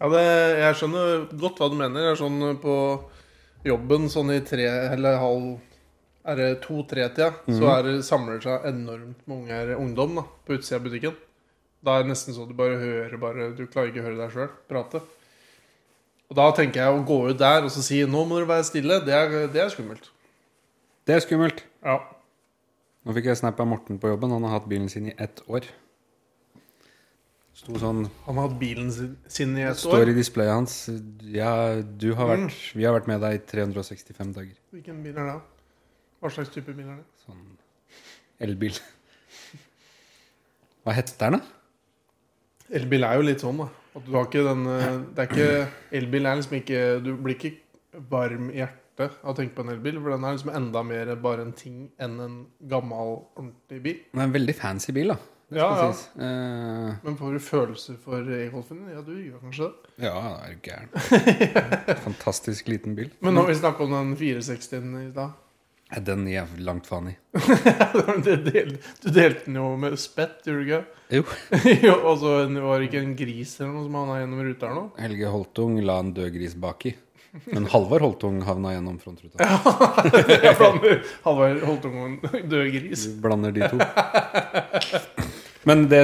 ja det, jeg skjønner godt hva du mener. Jeg er sånn eh, på jobben sånn i tre eller halv Er det to-tre-tida, så er det, samler det seg enormt med unger, ungdom da, på utsida av butikken. Da er det nesten så du bare hører bare, Du klarer ikke å høre deg sjøl prate. Og da tenker jeg å gå ut der og så si 'nå må dere være stille', det er, det er skummelt.
Det er skummelt.
Ja.
Nå fikk jeg snap av Morten på jobben. Han har hatt bilen sin i ett år. Sto sånn
Han har hatt bilen sin, sin i et
Står
år. Mm.
i displayet hans Ja, du har vært Vi har vært med deg i 365 dager.
Hvilken bil er det? Hva slags type bil er det?
Sånn elbil. Hva heter den, da?
Elbil er jo litt sånn, da. At du har ikke den eh, Det er ikke Elbil er liksom ikke Du blir ikke varm i hjertet av å tenke på en elbil, for den er liksom enda mer bare en ting enn en gammel, ordentlig bil.
Det er en veldig fancy bil, da. Det
Ja,
skal
ja.
sies. Eh,
Men får du følelser for e-golfen? din? Ja, du gjør kanskje det.
ja, det er du gæren. Fantastisk liten bil.
Men når vi snakker om den 460-en i stad
Eh, Den gir jeg langt faen i.
det del- Du delte den jo med spett, gjorde
Jo.
du ikke? Jo, Og så var det ikke en gris eller noe som havna gjennom ruta her nå?
Helge Holtung la en død gris baki. Men Halvard Holtung havna gjennom frontruta.
Jeg blander Halvard Holtung og en død gris.
Du blander de to. Men det,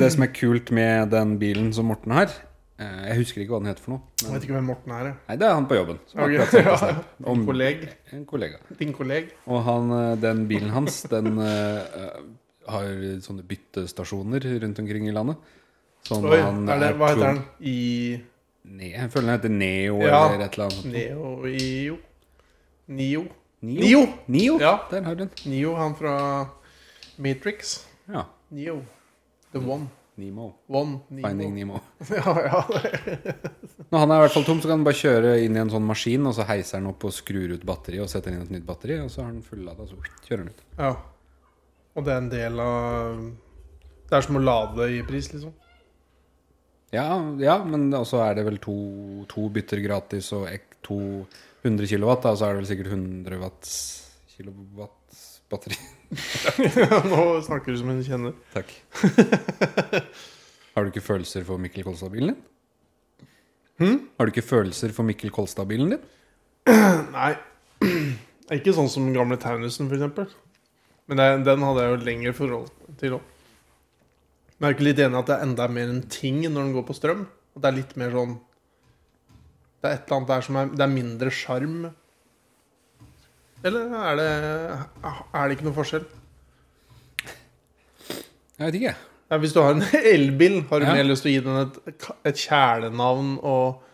det som er kult med den bilen som Morten har eh, Jeg husker ikke hva den heter for noe.
Jeg vet ikke hvem Morten er, jeg.
Nei, det er han på jobben. Som
Ok,
akkurat sendte
ja.
oss her. Om-
Kolleg.
En kollega.
Din kolleg.
Og han, eh, den bilen hans, den eh, har sånne byttestasjoner rundt omkring i landet. Som
Oi,
han
er det,
er
hva
tvung-
heter han? I
Ne jeg føler den heter Neo
Ja.
eller et eller annet.
Neo Io? Nio?
Neo?
Nio!
Neo?
Ja.
Der har du den.
Nio, han fra Matrix.
Ja.
Nio. The One.
Nemo.
One. Nio.
Finding Nemo.
Ja, ja.
Når han er i hvert fall tom, så kan han bare kjøre inn i en sånn maskin, og så heiser han opp og skrur ut batteriet og setter inn et nytt batteri, og så har han fullada, så kjører han ut.
ja. Og det er en del av Det er som å lade i pris, liksom.
Ja, ja men også er det vel to, to bytter gratis og ek, to 100 kilowatt, da, så er det vel sikkert 100 watts kilowatt batteri.
Nå snakker du som en kjenner.
Takk. Har du ikke følelser for Mikkel Kolstad-bilen din? Har du ikke følelser for Mikkel Kolstad-bilen din?
Nei. Det er Ikke sånn som gamle Taunussen, f.eks. Men det, den hadde jeg jo lengre forhold til òg. Men jeg er ikke litt enig i at det er enda mer en ting når den går på strøm. At det er litt mer sånn Det er et eller annet der som er Det er mindre sjarm. Eller er det Er det ikke noe forskjell?
Jeg vet ikke. jeg.
Ja, hvis du har en elbil, har du
Ja.
mer lyst til å gi den et, et kjælenavn og,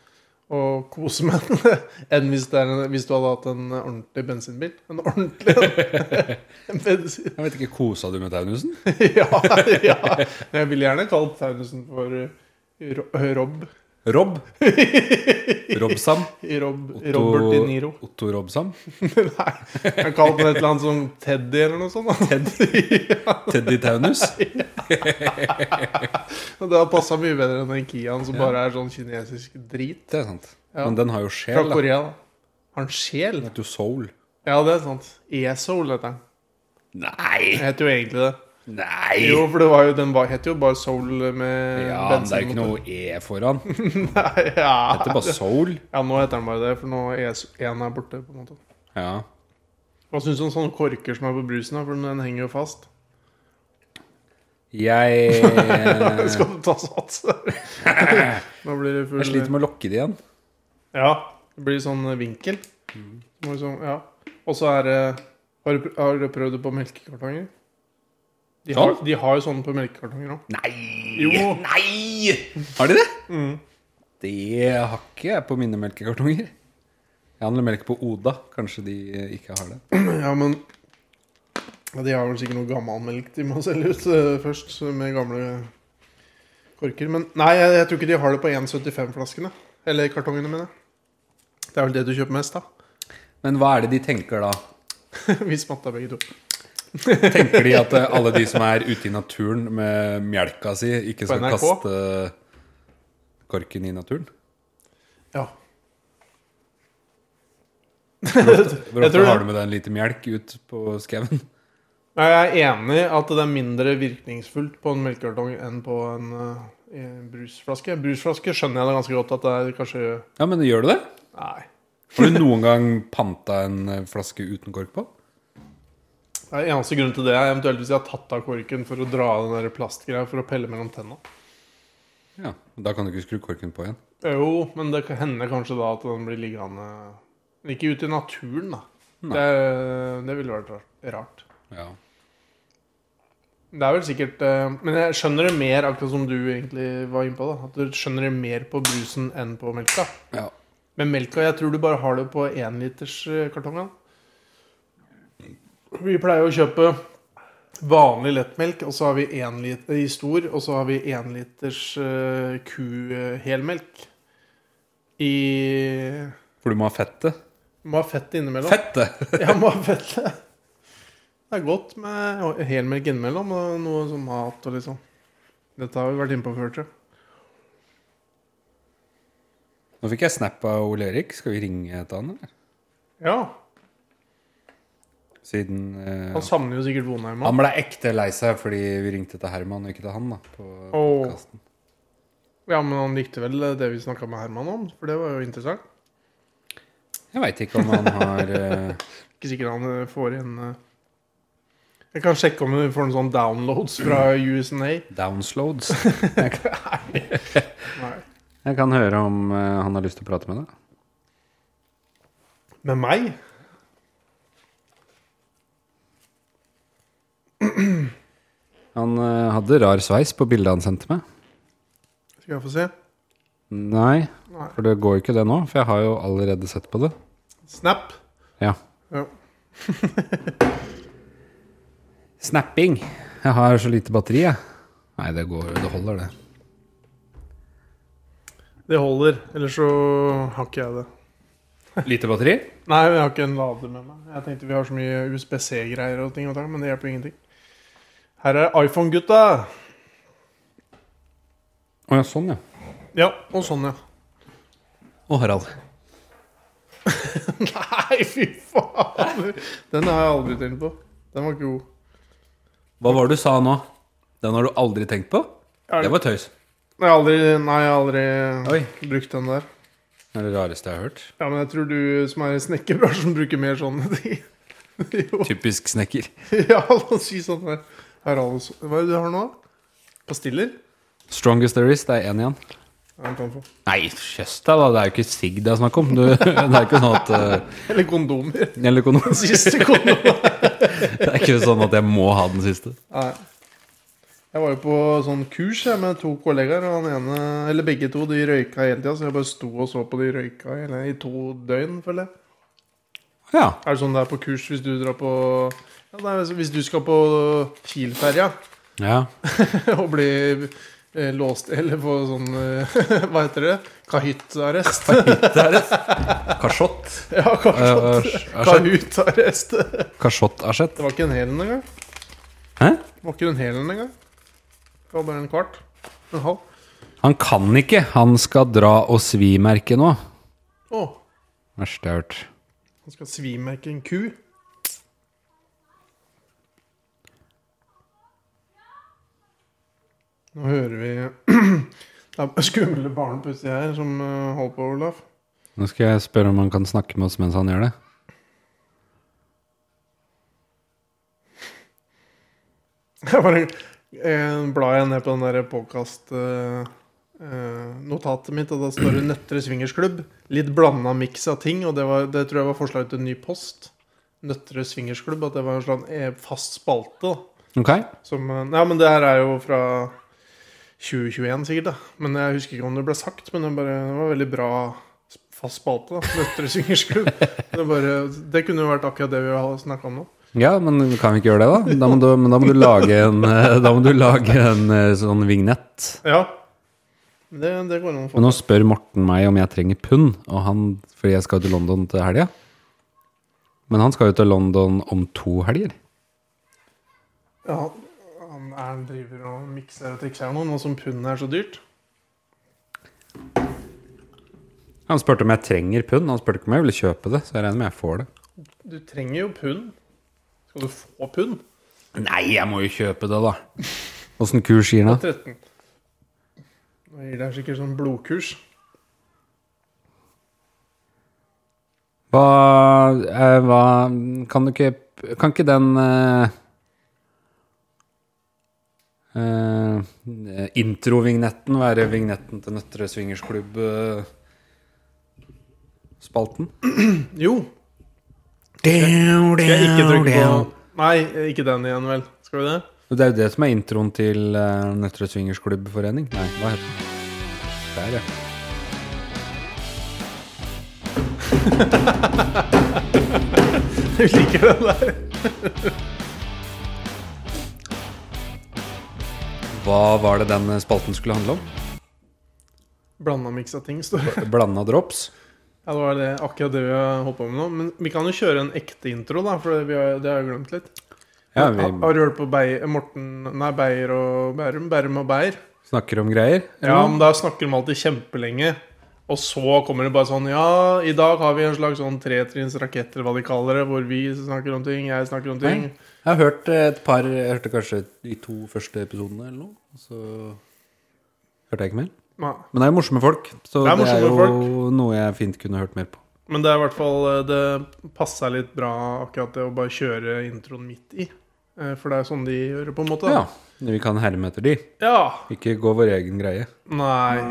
og kose med den, enn hvis, det er en, hvis du hadde hatt en ordentlig bensinbil? En ordentlig en. en bensin...
Jeg vet ikke, Kosa du med Taunussen?
ja, ja. Men Jeg ville gjerne kalt Taunussen for eh, Ro- Rob.
Rob? Robsam?
Rob
Otto-
Robert De Niro.
Otto Robsam?
Nei, jeg kalte den et eller annet som Teddy eller noe sånt. Teddy? ja,
Teddy Taunus?
og Det har passa mye bedre enn den Kiaen som bare er sånn kinesisk drit.
Det er sant.
Ja.
Men den har jo
Fra
sjel. da.
Korea, da. Har han sjel?
Den heter jo Soul.
Ja, det er sant. E-Soul heter den.
Nei!
Jeg heter jo egentlig det.
Nei!
Jo, for det var jo, den var, het jo bare Soul med
Ja, men det er jo ikke
bensinmotor.
noe E foran. Det
Nei, ja.
heter bare Soul.
ja, nå heter den bare det, for nå er E1 er borte. på en måte
Ja.
Hva syns du om sånne korker som er på brusen? da? For den henger jo fast.
Jeg eh,
Skal du ta sats? nå blir det full
Jeg sliter med å lokke det igjen.
Ja. Det blir sånn vinkel.
Mm.
Må liksom, ja. Og så er det Har du, har du prøvd det på melkekartonger? De har,
Sånn?
de har jo sånne på melkekartonger òg.
Nei!
Jo.
Nei! Har de det?
Mm.
Det har ikke jeg på mine melkekartonger. Jeg handler melk på Oda. Kanskje de eh, ikke har det.
Ja, men ja, De har vel sikkert noe gammel melk de må selge ut eh, først, så med gamle korker. Men nei, jeg, jeg tror ikke de har det på 1,75-flaskene. Eller kartongene mine. Det er vel det du kjøper mest, da.
Men hva er det de tenker da?
Vi smatta begge to.
Tenker de at eh, alle de som er ute i naturen med mjelka si, ikke skal
NRK?
kaste korken i naturen?
Ja.
Hvor
Jeg tror
ofte
det.
har du med deg en liter mjelk ut på skauen?
Nei, Jeg er enig i at det er mindre virkningsfullt på en melkekartong enn på en, eh, en brusflaske. Brusflaske skjønner jeg det ganske godt at det er kanskje
Ja, men gjør du det?
Nei.
Har du noen gang panta en eh, flaske uten kork på?
Det er eneste grunnen til det er eventuelt hvis jeg har tatt av korken for å dra av den der plastgreia for å pelle mellom tenna.
Ja, Da kan du ikke skru korken på igjen.
Jo, men det kan- hender kanskje da at den blir liggende Men Ikke ute i naturen, da.
Nei.
Det, det ville vært ra- rart.
Ja.
Det er vel sikkert eh, Men jeg skjønner det mer, akkurat som du egentlig var inne på. da At du skjønner det mer på brusen enn på melka.
Ja.
Men melka jeg tror du bare har det på énliterskartongene. Vi pleier å kjøpe vanlig lettmelk, og så har vi en liter i stor, og så har vi énliters uh, kuhelmelk i
For du må ha fettet.
Må ha fett innimellom.
Fettet!
Ja, må ha fett. Det er godt med helmelk innimellom og noe som mat og litt sånn. Dette har vi vært inne på før, tror jeg.
Nå fikk jeg snap av Ole Erik. Skal vi ringe et annet? eller?
Ja,
Siden eh,
han savner jo sikkert Vonheim
Han
òg.
ble ekte lei seg fordi vi ringte til Herman og ikke til han. da På
Åh.
podcasten.
Ja, men han likte vel det vi snakka med Herman om, for det var jo interessant.
Jeg veit ikke om han har eh,
Ikke sikkert han eh, får igjen eh. Jeg kan sjekke om vi får noen sånne downloads fra USNA.
downsloads.
Nei.
Jeg kan høre om eh, han har lyst til å prate med deg.
Med meg?
Han eh, hadde rar sveis på bildet han sendte meg.
Skal jeg få se.
Nei,
Nei.
for det går jo ikke det nå. For jeg har jo allerede sett på det.
Snap.
Ja.
Ja.
Snapping. Jeg har så lite batteri, jeg. Nei, det går Det holder, det.
Det holder. Ellers så har ikke jeg det.
Lite batteri?
Nei, jeg har ikke en lader med meg. Jeg tenkte vi har så mye USBC-greier og ting og tang, men det hjelper jo ingenting. Her er iPhone-gutta.
Å ja, sånn, ja.
Ja, og sånn, ja.
Og Harald.
Nei, fy faen! Den har jeg aldri tenkt på. Den var ikke god.
Hva var det du sa nå? Den har du aldri tenkt på?
Er det-
Det var tøys.
Jeg har aldri, nei, jeg har aldri
Oi.
brukt den der.
Det er det rareste jeg har hørt.
Ja, men jeg tror du som er i snekkerbransjen, bruker mer sånne ting. jo.
Typisk snekker.
Ja, la oss si sånn her. her er altså- Hva er det du har nå? Pastiller?
Strongest there is, det er én igjen.
Ja, du kan få.
Nei, jøss deg, da. Det er jo ikke sigg det er snakk om. Du, det er ikke sånn at eh,
Eller kondomer.
Eller kondom.
Siste kondom.
Det er ikke sånn at jeg må ha den siste.
Nei. Jeg var jo på sånn kurs jeg, med to kollegaer, og han ene, eller begge to, de røyka hele tida. Så jeg bare sto og så på de røyka hele, i to døgn, føler jeg.
Ja.
Er det sånn det er på kurs hvis du drar på ja, nei, altså, Hvis du skal på Kielferja
ja.
og blir eh, låst Eller få sånn eh, Hva heter det? Kahyttarrest?
Kasjott.
ja, kanskje.
Kasjott-asjett.
Kahutarrest. Det var ikke en hel en engang.
Hæ?
Det var ikke en hel en engang. Det var bare en kvart. En halv.
Han kan ikke. Han skal dra og svi-merke nå.
Å,
Verste jeg har hørt.
han skal svimerke en ku. Nå hører vi Det er skumle barn plutselig her som eh, holder på, Olaf.
Nå skal jeg spørre om han kan snakke med oss mens han gjør det.
Jeg bare eh, blar jeg ned på den der podcast eh, eh, notatet mitt, og da står det 'Nøttere swingersklubb'. Litt blanda miks av ting, og det, var, det tror jeg var forslag til en ny post. Nøttere swingersklubb. At det var en slags eh, fast spalte. da,
Ok?
Som eh, Ja, men det her er jo fra 2021, sikkert. da Men jeg husker ikke om det ble sagt, men det, bare, det var veldig bra fast spalte. da Nøttere swingersklubb. Det, bare, det kunne jo vært akkurat det vi har snakka om nå.
Ja, men kan vi ikke gjøre det, da? Da må du, men da må du lage en, eh, da må du lage en eh, sånn vignett.
Ja. Det, det går an å få
Men nå spør Morten meg om jeg trenger pund, og han, fordi jeg skal til London til helga. Men han skal jo til London om to helger.
Ja, han er, driver og mikser og trikser noe, nå som pundet er så dyrt.
Han spurte om jeg trenger pund, han spurte ikke om jeg ville kjøpe det, så jeg regner med jeg får det.
Du trenger jo pund. Skal du få pund?
Nei, jeg må jo kjøpe det, da. Åssen kurs gir den? da?
13. Nå gir det sikkert sånn blodkurs.
Hva, eh, hva Kan du ikke Kan ikke den eh, eh, Introvignetten være vignetten til Nøtterøy eh, swingersklubb-spalten?
Jo. Skal jeg ikke trykke på Nei, ikke den igjen, vel. Skal vi det?
Det er jo det som er introen til uh, Nøtterøy Swingersklubbforening. Nei, hva heter det? Der, ja.
Vi liker den der.
Hva var det den spalten skulle handle om?
Blanda miksa ting, står det.
Blanda drops?
Ja, det var det, akkurat det vi har holdt på med nå. Men vi kan jo kjøre en ekte intro, da, for vi har, det har jeg glemt litt.
Ja, vi
Har, har du hørt på Bei, Morten Nei, Beyer og Bærum? Bærum og Beyer?
snakker om greier.
Ja, men da snakker de alltid kjempelenge. Og så kommer det bare sånn Ja, i dag har vi en slags sånn tretrinns rakett, eller hva de kaller det, hvor vi snakker om ting, jeg snakker om ting.
Nei. Jeg har hørt eh, et par Jeg hørte kanskje de to første episodene eller noe. og Så hørte jeg ikke mer.
Nei.
Men det er jo morsomme folk,
Det
så det
er
er,
morsomme
jo
folk.
noe jeg fint kunne hørt mer på.
Men det er i hvert fall eh, Det passer litt bra akkurat det å bare kjøre introen midt i. Eh, For det er sånn de gjør det, på en måte.
Ja, Vi kan herme etter de,
ja.
ikke gå vår egen greie.
Nei.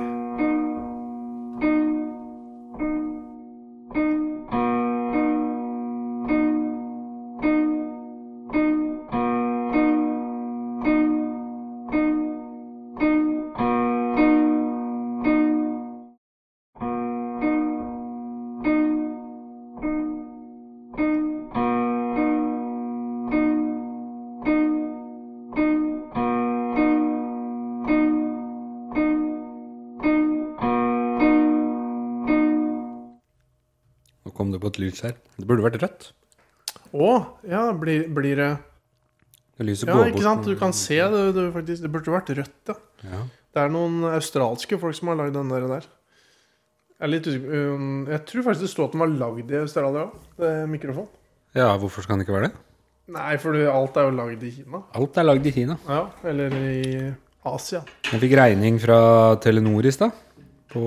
Nå kom det på et lys her. Det burde vært rødt.
Å, ja, blir, blir det
Det lyset
Ja,
går
ikke
bort
sant?
nå.
Du kan se det, du, faktisk. Det burde vært rødt, ja.
Ja.
Det er noen australske folk som har lagd den der. der. Jeg, er litt usikker. um, jeg tror faktisk det sto at den var lagd i Australia òg. Mikrofon.
ja, hvorfor skal den ikke være det?
Nei, for du- alt er jo lagd i Kina.
Alt er lagd i Kina.
Ja, eller i Asia.
Jeg fikk regning fra Telenor i stad. På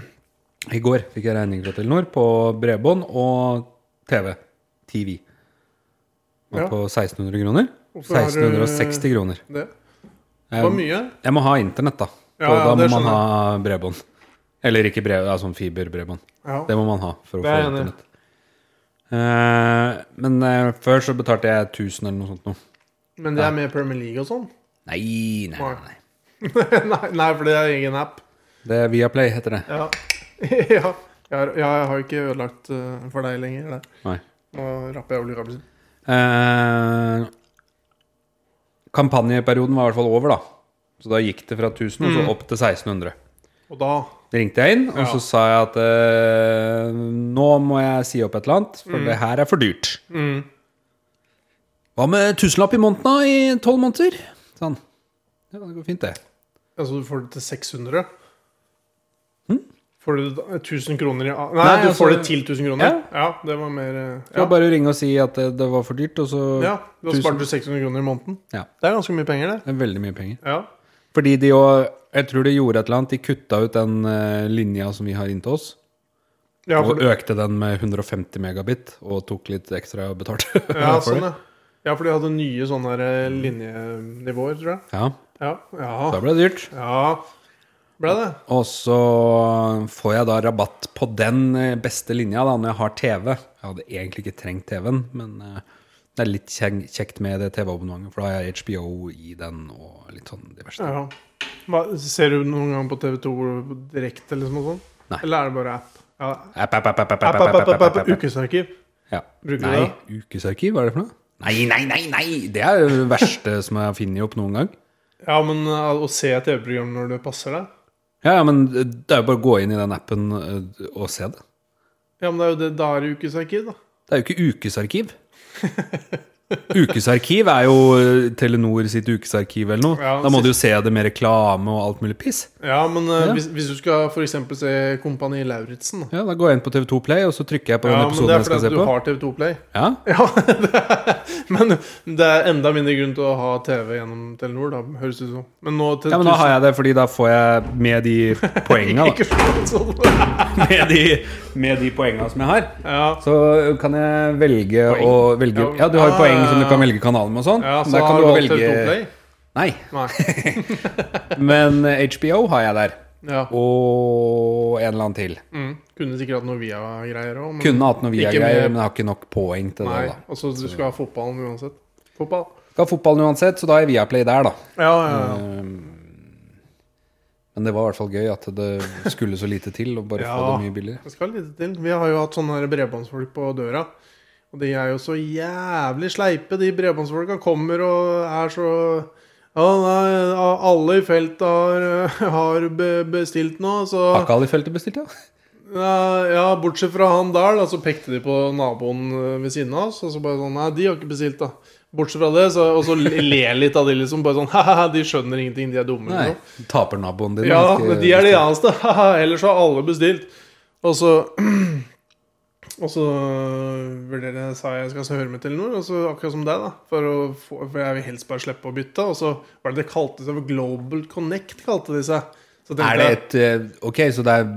I går fikk jeg regning fra Telenor på bredbånd og TV. TV. Var
Ja.
på 1600 kroner.
Hvorfor har du-
1660 kroner.
Det
Jeg,
var mye.
jeg må ha internett, da.
Ja,
og
ja,
da
det
må man
skjønner
ha bredbånd. Eller ikke bred, altså fiberbredbånd.
Ja.
Det må man ha for å
Det
få
er jeg enig i.
internett. Eh, men eh, før så betalte jeg 1000 eller noe sånt noe.
Men det er med Premier League og sånn?
Nei, nei,
Nei.
nei. nei.
nei, nei, for det er egen app.
Det er Viaplay heter det.
Ja. ja. Jeg har, ja, jeg har ikke ødelagt eh, for deg lenger. Det.
Nei.
Nå rapper jeg oljekabelen.
Eh, kampanjeperioden var i hvert fall over, da. Så da gikk det fra 1000 og så opp til 1600.
Og da
Da ringte jeg inn, og
Mm. Ja.
så sa jeg at eh, nå må jeg si opp et eller annet, for det her er for dyrt.
Mm.
Hva med tusenlapp i måneden da, i tolv måneder? Sånn. Ja, det går fint, det.
Altså, du får det til 600? Får du da- 1000 kroner i a- Nei,
Hm? Nei,
du
altså-
får det til 1000 kroner?
Ja.
Ja, det var mer eh,
Det var
Ja,
bare å ringe og si at eh, det, det var for dyrt, og så
ja da
tusen-
sparte du 600 kroner i måneden.
Ja.
Det er ganske mye penger, det.
Det er veldig mye penger.
Ja.
Fordi de jo Jeg tror de gjorde et eller annet. De kutta ut den eh, linja som vi har inntil oss.
Ja, for,
og økte den med 150 megabit og tok litt ekstra betalt.
ja,
for
sånn,
det.
ja. ja, for de hadde nye sånne her, eh, linjenivåer, tror jeg.
ja,
Ja.
da
Ja.
ble det dyrt.
ja. Ble det?
Og så får jeg da rabatt på den eh, beste linja da, når jeg har TV. Jeg hadde egentlig ikke trengt TV-en, men eh, det er litt kjeng- kjekt med det TV-abonnementet, for da har jeg HBO i den og litt sånn diverse.
Ja. Hva, ser du noen gang på TV2 direkte, liksom? Og sånn?
Nei.
Eller er det bare app? Ja.
App, app, app, app, app,
App,
app, app, app, app, app, app.
Ukesarkiv.
Ja.
Bruker du
Nei, ukesarkiv, hva er det for noe? Nei, nei, nei, nei! Det er jo det verste som jeg finner opp noen gang.
Ja, men eh, å se et TV-program når det passer deg
Ja, ja, men det er jo bare å gå inn i den appen eh, og se det.
Ja, men det er jo det da er det ukesarkiv, da.
Det er jo ikke ukesarkiv. Ukesarkiv er jo eh, Telenor sitt ukesarkiv eller noe.
Ja,
da må du jo se det med reklame og alt mulig piss.
Ja, men eh,
Ja.
Hvis, hvis du skal for eksempel se Kompani Lauritzen, da.
Ja, Da går jeg inn på TV2 Play, og så trykker jeg på
Ja,
den
men
episoden
det er
jeg skal
fordi
se
at du
på.
har TV2 Play.
Ja,
Ja, det er, men det er enda mindre grunn til å ha TV gjennom Telenor, da, høres det ut som. Men nå til
ja, men da har jeg det, fordi da får jeg med de poenga, da.
Ikke sånn.
Med de, med de poenga som jeg har.
Ja,
Så kan jeg velge å velge
Ja,
Ja, du har
ja,
jo poeng
ja,
som du
ja.
kan velge kanal med og sånn.
ja så
men der kan
har
du
du
også
valgt TV2
velge
Play?
Nei,
Nei.
men eh, HBO har jeg der.
Ja.
Og en eller annen til.
Mm. Kunne sikkert hatt noe Via-greier òg.
Kunne hatt noe
Ikke
Via-greier,
med-
men jeg har ikke nok poeng til
Nei,
det. da
altså du skal ha fotballen uansett. Fotball.
Skal ha fotballen uansett, så da er Viaplay der, da. Um,
Ja, ja, ja.
Eh. Men det var i hvert fall gøy at det skulle så lite til, og bare få
Ja.
det mye billigere.
Det skal litt til. Vi har jo hatt sånne her bredbåndsfolk på døra. Og de er jo så jævlig sleipe, de bredbåndsfolka. Kommer og er så ja, nei, a- alle i feltet har, eh, har be- bestilt noe, så
Har ikke alle i feltet bestilt, ja?
Ja, ja, bortsett fra han der, da, så pekte de på naboen eh, ved siden av oss. Og så bare sånn Nei, de har ikke bestilt, da. Bortsett fra det, så, og så le le litt av de, liksom. Bare sånn Ha-ha, de skjønner ingenting, de er dumme.
Nei.
Liksom.
Tapernaboen din.
Ja,
har ikke
men de er de
bestilt.
eneste. Ha-ha, ellers har alle bestilt. Og så Og så vurderer jeg, sa jeg skal høre med Telenor, og så akkurat som deg, da. For, å få, for jeg vil helst bare slippe å bytte. Og så var det det kalte seg for Global Connect, kalte de seg. Så tenkte
Er det
jeg-
et eh, Ok, så det er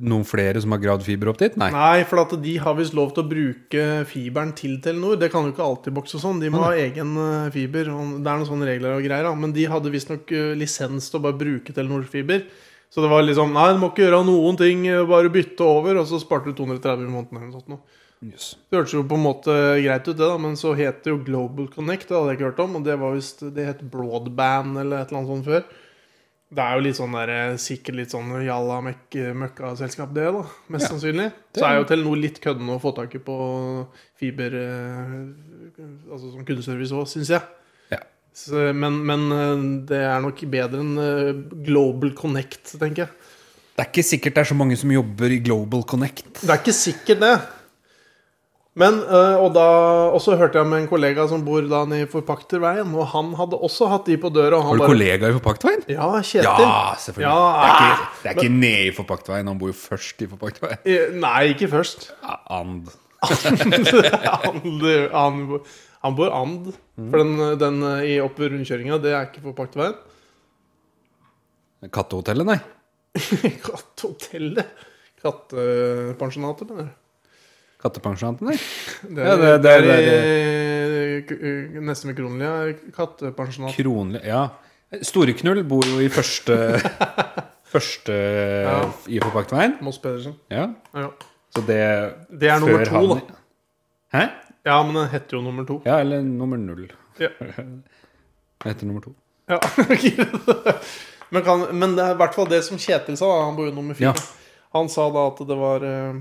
noen flere som har gravd fiber opp dit? Nei.
Nei, for at de har visst lov til å bruke fiberen til Telenor. Det kan jo ikke alltid bokse og sånn. De må ha egen eh, fiber. og Det er noen sånne regler og greier, da. Men de hadde visstnok eh, lisens til å bare bruke Telenor-fiber. Så det var liksom Nei, du må ikke gjøre noen ting, eh, bare bytte over. Og så sparte du 230 i måneden eller noe sånt. nå.
Yes.
Det hørtes jo på en måte greit ut, det, da, men så het det jo Global Connect. Det hadde jeg ikke hørt om, og det var visst Det het Broadband eller et eller annet sånt før. Det er jo litt sånn der, eh, sikkert litt sånn jalla møkk- møkka-selskap, det, da. Mest sannsynlig. Så er jo Telenor litt køddende å få tak i på fiber eh, Altså som kundeservice òg, syns jeg.
Ja.
Så, men, men eh, det er nok bedre enn eh, Global Connect, tenker jeg.
Det er ikke sikkert det er så mange som jobber i Global Connect.
Det er ikke sikkert det. Men, eh, og da, og så hørte jeg med en kollega som bor da nede i Forpakterveien, og han hadde også hatt de på døra. Og han
Har du
bare,
kollegaer i Forpaktveien?
ja, Kjetil.
Ja, selvfølgelig.
Ja,
det er ikke, det er ikke nede i Forpaktveien. Han bor jo først i Forpaktveien.
Eh, Nei, ikke først.
Ja, and.
han, han, han bor and. For den, den eh, i oppe ved rundkjøringa, det er ikke Forpakterveien.
Kattehotellet, nei.
Kattehotellet. Kattepensjonatet, mener jeg.
Kattepensjonatet, eller?
Det
Ja,
er,
det-
det
det
er,
er-
i- k- k- nesten ved Kronlia. er Kattepensjonat.
Kronli Ja. Storeknull bor jo i første Første i Forpaktveien.
Moss Pedersen.
Ja.
Ja, ja.
Så det
Det er nummer
før
to,
han-
da.
Hæ?
Ja, men den heter jo nummer to.
Ja, eller nummer null.
Ja.
Etter nummer to.
Ja, men, kan, men det er i hvert fall det som Kjetil sa, da, han bor jo nummer fire.
Ja.
Han sa da at det var eh,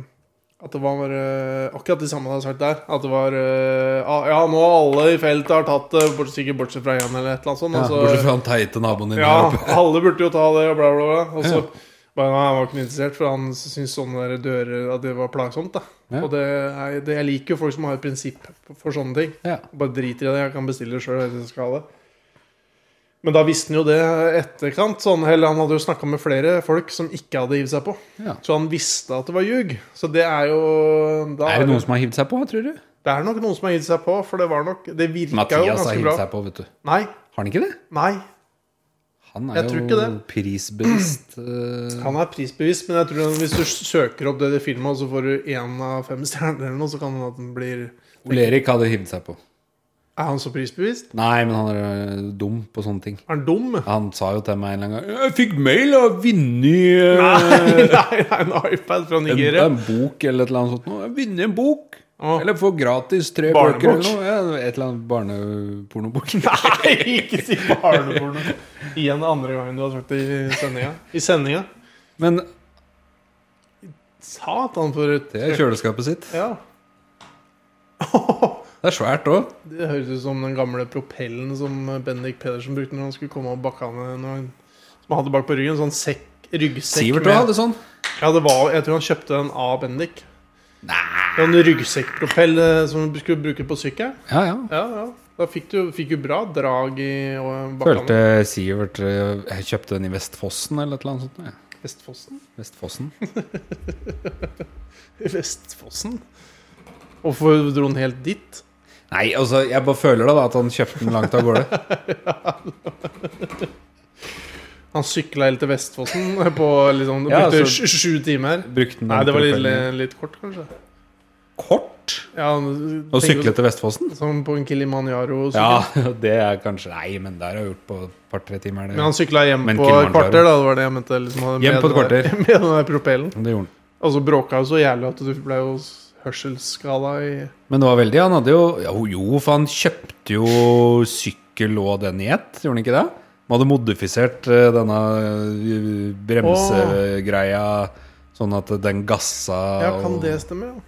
At det var eh, akkurat det samme han hadde sagt der. At det var eh, ah, Ja, nå alle i feltet har tatt det, bort- sikkert bortsett fra én eller et eller annet sånt.
Ja,
og så-
bortsett fra han teite naboen din der oppe.
ja, alle burde jo ta det, og bla, bla, bla. Og så
Ja.
bare, nei, han var ikke noe interessert, for han syntes sånne der dører at det var plagsomt. da
Ja.
Og det, er, det, jeg liker jo folk som har et prinsipp for sånne ting.
Ja.
Bare driter i det, jeg kan bestille sjøl. Men da visste han jo det etterkant. Sånn, eller han hadde jo snakka med flere folk som ikke hadde hivd seg på.
Ja.
Så han visste at det var ljug. Så det er jo da,
Er det noen som har hivd seg på, tror du?
det er nok noen som har hivd seg på, for det var nok Det virka jo
Mathias har
ganske
hivd
bra.
seg på, vet du.
Nei,
Har han ikke det?
nei.
Han
Jeg
er
tror
jo
ikke det.
prisbevisst. eh,
Han er prisbevisst, men jeg tror at hvis du søker opp det filmet, og så får du én av fem stjerner eller noe, så kan det hende at den blir
Ole Erik hadde hivd seg på.
Er han så prisbevisst?
Nei, men han er eh, dum på sånne ting.
Er han dum?
Han sa jo til meg en eller annen gang 'Jeg fikk mail av Vinni eh,
Nei, nei, nei, en iPad fra
en,
Nigeria.
en bok eller et eller annet sånt noe. Jeg vinner en bok!
Åh.
Eller får gratis tre
Barnebok.
bøker eller noe. Ja, et eller annet barnepornobok.
Nei, ikke si barneporno! Igjen andre gangen du har sagt det i sendinga. I sendinga.
Men
Satan, for et
det er kjøleskapet sitt.
Ja.
Det er svært òg.
Det høres ut som den gamle propellen som Bendik Pedersen brukte når han skulle komme og bakke han eh, når han, Som han hadde bak på ryggen. Sånn sekk, ryggsekk
Sivert òg hadde sånn.
Ja, det var, jeg tror han kjøpte den av Bendik. Nei En ryggsekkpropell eh, som du skulle bruke på sykkel.
Ja, ja.
Ja, ja. Da fikk du, fikk du bra drag i og
Følte
bakkene.
Sivert eh, Jeg kjøpte den i Vestfossen eller et eller annet sånt. noe, Ja.
Vestfossen?
Vestfossen.
Vestfossen? Hvorfor dro han helt dit?
Nei, altså, jeg bare føler det da at han kjøpte den langt av gårde.
Han sykla helt til Vestfossen på liksom Det
Ja,
brukte
altså-
sj- sju timer.
Brukte den
Nei, det var litt, eh,
propellen
litt kort, kanskje.
i- kort.
Ja,
Og
tenker
sykle til Vestfossen?
du- Som på en Kilimanjaro.
Ja, det er kanskje Nei, men der har jeg gjort på et par-tre timer. Det.
Men han sykla hjem
Men
på et
Kilimanjaro.
kvarter, da. Det var det jeg mente. Liksom, med
Hjem på
den
et
der- Med den der propellen.
det gjorde han.
Og så bråka jo så jævlig at du ble jo hørselsskada i
Men det var veldig Han hadde jo Jo, jo for han kjøpte jo sykkel og den i ett, gjorde han ikke det? Han hadde modifisert eh, denne eh, bremsegreia sånn at den gassa
Ja, kan
og-
det stemme? Ja,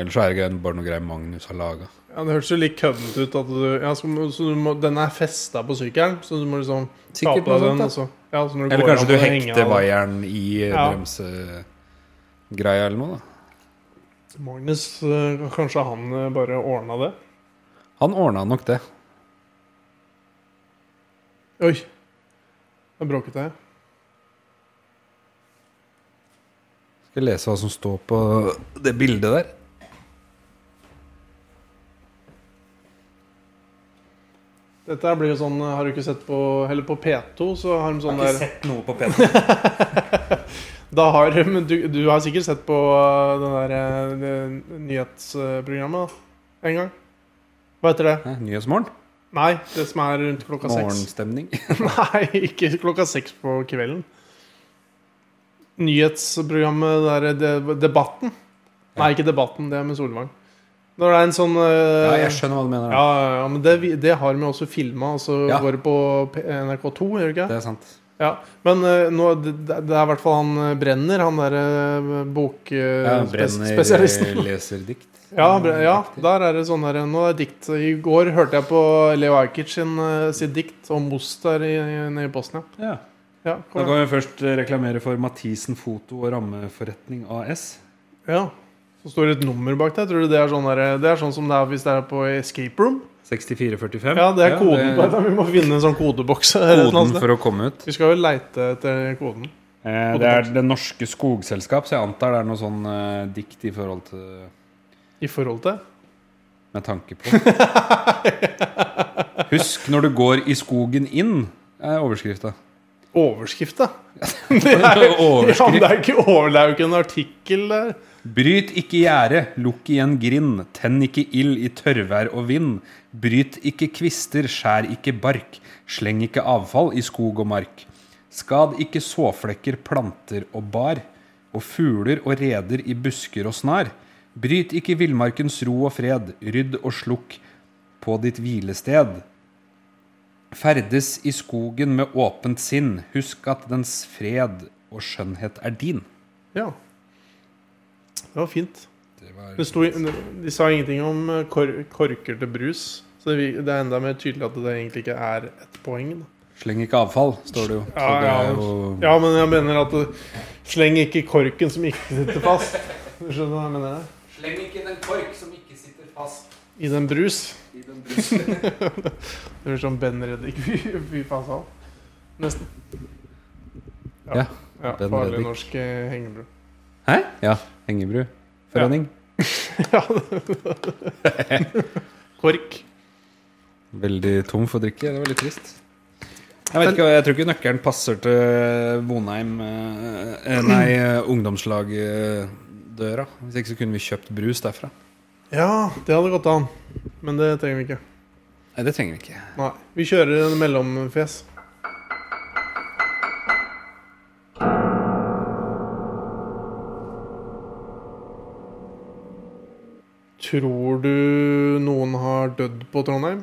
Ellers så er det ikke bare noe greier Magnus har laga.
ja Det hørtes jo litt køddent ut. At du, ja, så, må- så du må, den er festa på sykkelen, så du må liksom ta
Sikkert
på
noe
deg den.
sånt,
og så- Ja, så når
Eller
går
kanskje
av,
du
må henge
hekter
av.
vaieren i eh,
Ja.
bremsegreia eller noe, da.
Magnus, eh, kanskje han eh, bare ordna det?
Han ordna nok det.
Oi. Da bråket jeg.
Skal lese hva som står på det bildet der.
Dette her blir jo sånn eh, Har du ikke sett på Eller på P2 så har de sånn der
sett noe på P2.
Da har, men du, du har sikkert sett på uh, den der, uh, det nyhetsprogrammet da, en gang. Hva heter det?
Nyhetsmorgen.
Nei, det som er rundt klokka seks.
Morgenstemning.
Nei, ikke klokka seks på kvelden. Nyhetsprogrammet der eh, de, Debatten. Nei, ikke Debatten, det er med Solvang. Når det er en sånn uh,
Ja, jeg skjønner hva du mener.
ja, ja, ja, men det, vi- det har vi også filma, og så
Ja.
går det på P- NRK2, gjør det ikke?
Det er sant.
Ja, men eh, nå, det, det er i hvert fall han eh, Brenner, han eh, derre
Ja, brenner,
bokspesialisten.
leser dikt.
ja, bre- ja, der er det sånn der Nå er det dikt. I går hørte jeg på Leo Ajkic sin, eh, sitt dikt om ost der i, nede i Bosnia.
Ja.
Ja,
Da
kom igjen.
kan vi først eh, reklamere for Mathisen Foto og Rammeforretning AS.
ja. Så står det et nummer bak der. Tror du det er sånn, der, det er sånn som det er hvis det er på Escape Room?
6445.
Ja, det er koden
det-
på det. Vi må finne en sånn kodeboks. eller et eller annet
Koden
sted.
for å komme ut.
Vi skal jo leite etter koden.
Eh, det er Det Norske Skogselskap, så jeg antar det er noe sånn eh, dikt i forhold til
I forhold til
Med tanke på. Husk når du går i skogen inn, er overskrifta.
overskrift, da. Det er, ja, men det er ikke over, det er jo ikke en artikkel der.
Bryt ikke gjerde, lukk igjen grind, tenn ikke ild i tørrvær og vind. Bryt ikke kvister, skjær ikke bark, sleng ikke avfall i skog og mark. Skad ikke såflekker, planter og bar, og fugler og reder i busker og snar. Bryt ikke villmarkens ro og fred, rydd og slukk på ditt hvilested. Ferdes i skogen med åpent sinn, husk at dens fred og skjønnhet er din.
Ja. Det var fint.
Det var
Det sto, i- de sa ingenting om eh, kor korker til brus. Så det vi- det er enda mer tydelig at det egentlig ikke er ett poeng. Da.
Sleng ikke avfall, står det jo. Så
Ja,
det
ja.
er jo
ja, men jeg mener at det- Sleng ikke korken som ikke sitter fast. Du skjønner hva jeg mener?
Sleng ikke den kork som ikke sitter fast
I den brus.
i den brusen.
Det blir som Ben Reddik. Fy faen sa han. Nesten.
Ja,
ja
Ben
farlig
Reddick.
norsk eh, hengebru.
Hæ? Ja. Hengebru. Forening.
Ja, det- Kork.
Veldig tom for drikke. Det var litt trist. Jeg vet ikke, jeg tror ikke nøkkelen passer til Vonheim eh, eh, Nei, eh, ungdomslagdøra. Hvis ikke så kunne vi kjøpt brus derfra.
Ja, det hadde gått an. Men det trenger vi ikke.
Nei, det trenger vi ikke.
Nei. Vi kjører en mellomfjes. Tror du noen har dødd på Trondheim?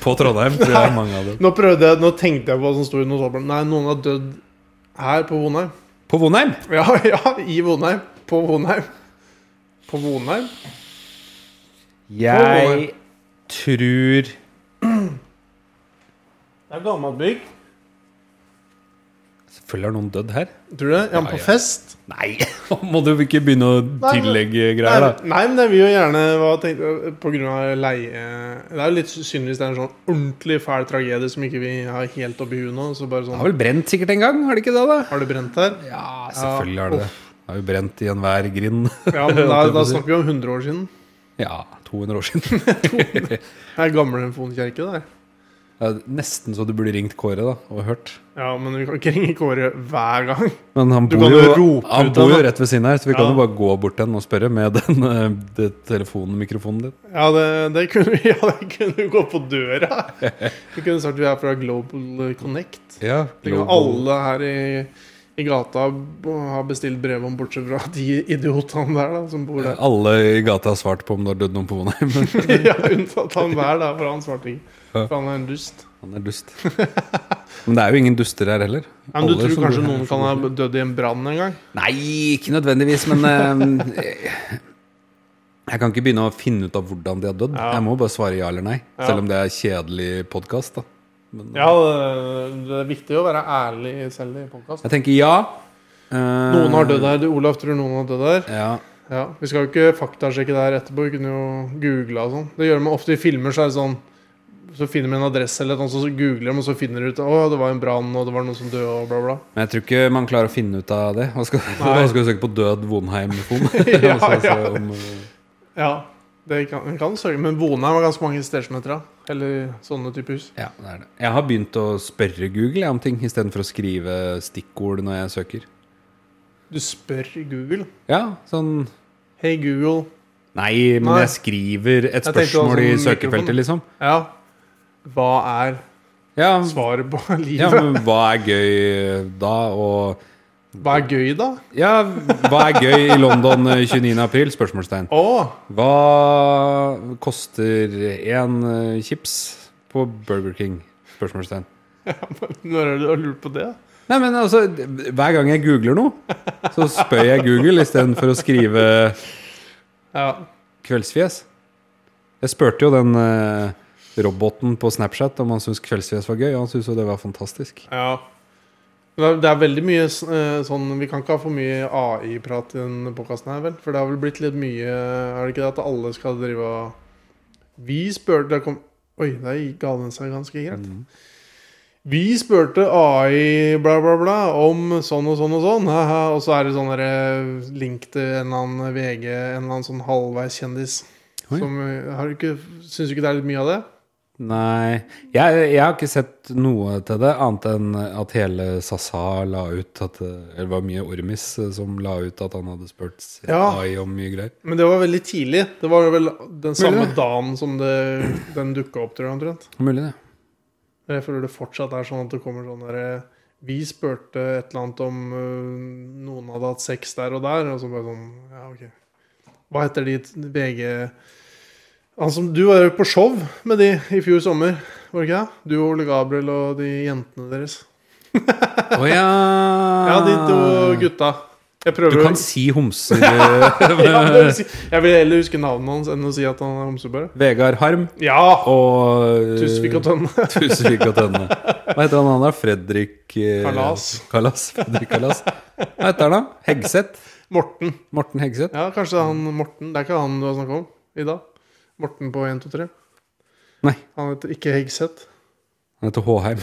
På Trondheim tror jeg mange av dem.
Nå prøvde jeg, nå tenkte jeg på hva som sto i notatbladet. Nei, noen har dødd her på Vonheim.
På Vonheim?
Ja, ja, i Vonheim. På Vonheim. På Vonheim?
Jeg tror
Det er gammelt bygg.
Selvfølgelig har noen dødd her.
Tror du det? Ja, men på
ja.
fest?
Nei, må du ikke begynne å
men-
tillegge
Nei,
greier, da.
nei, men det vil jo gjerne hva tenkte, På grunn av leie Det er jo litt synd hvis det er en sånn ordentlig fæl tragedie som ikke vi har helt oppi huet nå. Så bare
Det
sånn
har vel brent sikkert en gang, har det ikke det, da?
Har det brent her?
Ja, selvfølgelig har det det. Det har jo brent i enhver grind.
Ja, men da, da snakker vi om 100 år siden.
Ja, 200 år siden.
Det er gamlefonkirke der.
Det er nesten så du burde ringt Kåre da, og hørt.
Ja, men vi kan ikke ringe Kåre hver gang.
Men han
Du
bor,
kan jo
jo,
rope
han
ut
bor
den,
jo
da.
rett ved siden her, så vi
Ja.
kan jo bare gå bort til han og spørre med den eh, det telefonmikrofonen din.
Ja, det, det kunne vi. Ja, det kunne vi gå på døra. Vi kunne sagt vi er fra Global Connect.
Ja,
Det kan alle her i, i gata b- ha bestilt brev om, bortsett fra de idiotene der da, som bor der.
Alle i gata har svart på om det har dødd noen på Vonheim.
Ja, unntatt han der, da, for han svarte ikke.
Ja.
For han er en dust.
Han er dust. Men det er jo ingen duster her heller.
Ja, men du
Alle som
tror kanskje
bor her
noen
får
kan ha
lov til-
dødd i en brann en gang?
Nei, ikke nødvendigvis, men eh, Jeg kan ikke begynne å finne ut av hvordan de har dødd.
Ja.
Jeg må bare svare ja eller nei.
Ja.
Selv om det er kjedelig podkast, da. Men,
Ja, det, det er viktig å være ærlig selv i podkast.
Jeg tenker ja. Eh,
Noen har dødd her. Du, Olaf tror noen har dødd her.
Ja.
Ja, Vi skal jo ikke faktasjekke det her etterpå. Vi kunne jo googla og sånn. Det gjør man ofte i filmer. Så er det sånn Så finner vi en adresse eller noe, så googler de, og så finner de ut Å, det var en brann, og det var noen som døde, og bla, bla.
Men jeg tror ikke man klarer å finne ut av det. Hva skal,
Nei.
hva skal du søke på død Vonheim-fon?
Ja,
Og så se
ja.
om, eh,
Ja, det kan, vi kan sørge. Men Vonheim har ganske mange stedsmetere. Eller sånne type hus.
ja, det er det. Jeg har begynt å spørre Google jeg, om ting istedenfor å skrive stikkord når jeg søker.
Du spør Google.
Ja, sånn
Hei, Google.
Nei, men
Nei.
jeg skriver et
Jeg tenkte
spørsmål i
også om
søkefeltet, liksom.
Ja. Hva er
Ja,
svaret på
ja,
livet?
men hva er gøy eh, da, og
Hva er gøy, da?
Ja, hva er gøy i London eh, 29. april? Spørsmålstegn.
Å!
Hva koster én eh, chips på Burger King? Spørsmålstegn.
Når er det du har lurt på det?
Nei, men altså, hver gang jeg googler noe, så spør jeg Google istedenfor å skrive
Ja.
kveldsfjes. Jeg spurte jo den eh, roboten på Snapchat om han syntes kveldsfjes var gøy, og han syntes jo det var fantastisk.
ja. Men Det er, det er veldig mye s- eh, sånn Vi kan ikke ha for mye AI-prat i denne podkasten her, vel? For det har vel blitt litt mye Er det ikke det at alle skal drive og Vi spurte det kom, Oi, der ga den seg ganske greit. Vi spurte AI bla, bla, bla om sånn og sånn og sånn. haha, Og så er det sånn derre link til en eller annen VG, en eller annen sånn halvveis kjendis.
Oi.
Som, eh, har du ikke, syns du ikke det er litt mye av det?
Nei, jeg, jeg har ikke sett noe til det, annet enn at hele Sasa la ut at det Eller det var mye Ormis eh, som la ut at han hadde spurt
Ja.
AI om mye greier.
Men det var veldig tidlig. Det var vel den samme
det.
dagen som det, den dukka opp, tror jeg omtrent.
Mulig, det.
Jeg føler det fortsatt er sånn at det kommer sånn derre Vi spurte et eller annet om øh, noen hadde hatt sex der og der, og så bare sånn Ja, ok. Hva heter de t- VG Han som Du var jo på show med de i fjor sommer, var det ikke det? Du og Ole Gabriel og de jentene deres.
Å ja!
Ja, de to gutta. Jeg prøver
Ah. Du
å-
kan si homser, eh, du.
ja, det vil si, Jeg vil heller huske navnet hans enn å si at han er homsebare.
Vegard Harm
Ja!
og eh,
Tusvik og Tønne.
Tusvik og Tønne. Hva heter han andre? Fredrik eh,
Kalas.
Kalas. Fredrik Kalas. Hva heter han da? Hegseth?
Morten.
Morten Hegseth?
Ja, kanskje det er han Morten. Det er ikke han du har snakka om i dag. Morten på 123.
Nei,
Han heter ikke Hegseth.
han heter Håheim.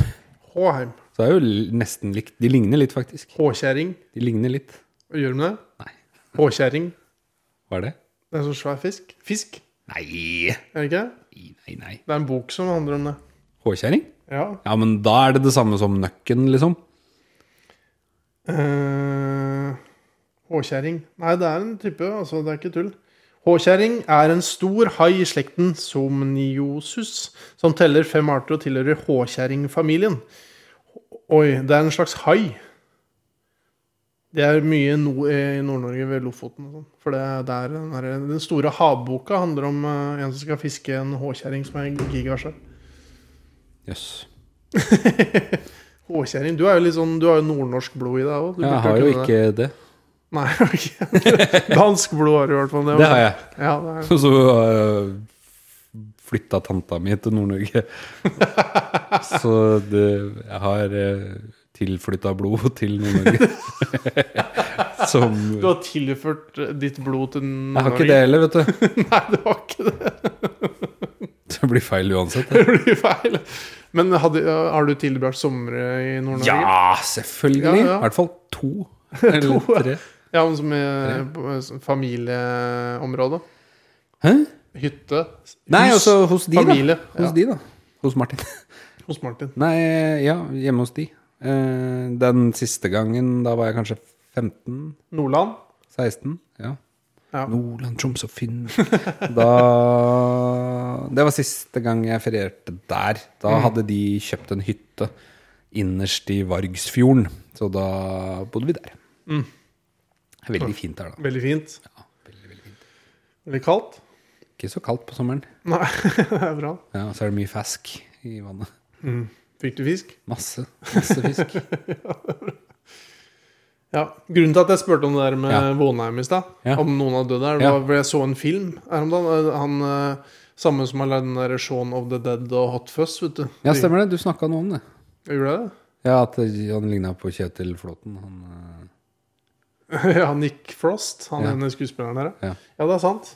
Håheim.
Så det er jo l- nesten likt. De ligner litt, faktisk.
Håkjerring.
De ligner litt.
Gjør de det?
Nei.
Håkjerring.
Hva er det?
Det er en sånn svær fisk. Fisk,
Nei,
er det ikke? det?
nei, nei.
Det er en bok som handler om det.
Håkjerring?
Ja.
Ja, men da er det det samme som nøkken, liksom.
Eh, Håkjerring. Nei, det er en type, altså. Det er ikke tull. Håkjerring er en stor hai i slekten Somniosus, som teller fem arter og tilhører håkjerringfamilien. Oi, det er en slags hai. Det er mye no eh, i Nord-Norge ved Lofoten og sånn. For det er der den, her, den store havboka handler om eh, en som skal fiske en håkjerring som er gigasjø.
Jøss.
Håkjerring. Du er jo litt sånn, du har jo nordnorsk blod i deg òg.
Jeg har jo ikke det.
Nei, ok. Dansk blod har du i hvert fall.
Det har jeg.
Ja, det er.
Og så uh, flytta tanta mi til Nord-Norge. Så det, jeg har uh, tilflytta blod til Nord-Norge. Som
Du har tilført eh, ditt blod til
Jeg har ikke det heller, vet du.
Nei, du har ikke det.
Det blir feil uansett.
Det blir feil. Men hadde, har du tilbrakt somre i Nord-Norge?
Ja, selvfølgelig!
Ja, ja.
I hvert fall to. Eller
To, ja.
tre.
ja men som i på familieområdet?
Hæ?
Hytte? Hus,
Nei, altså hos de, da.
familie.
Hos de, da. Hos Martin.
Ja, hos Martin.
Nei, ja, hjemme hos de. Eh, den siste gangen, da var jeg kanskje 15-16.
Nordland?
Ja.
Ja.
Nordland, Troms og Finnmark. Da Det var siste gang jeg ferierte der. Da hadde de kjøpt en hytte innerst i Vargsfjorden, så da bodde vi der. Det er Veldig fint der, da.
Veldig fint. Ja, veldig, veldig fint. Veldig kaldt?
Ikke så kaldt på sommeren.
Nei, det er bra.
Ja, så er det mye fisk i vannet.
Fikk du fisk?
Masse, masse fisk.
Ja, Grunnen til at jeg spurte om det der med
Ja.
Vonheim i stad,
Ja.
om noen har dødd der,
Ja.
var fordi jeg så en film her om dagen. Han eh, samme som har lagd den der Shaun of the Dead og Hot Fuzz, vet du.
Ja, stemmer det. Du snakka noe om det.
Gjorde jeg det?
Ja, at han ligna på Kjetil Flåten. Han eh,
ja, Nick Frost, han
Ja.
ene skuespilleren der.
Ja.
Ja. ja, det er sant.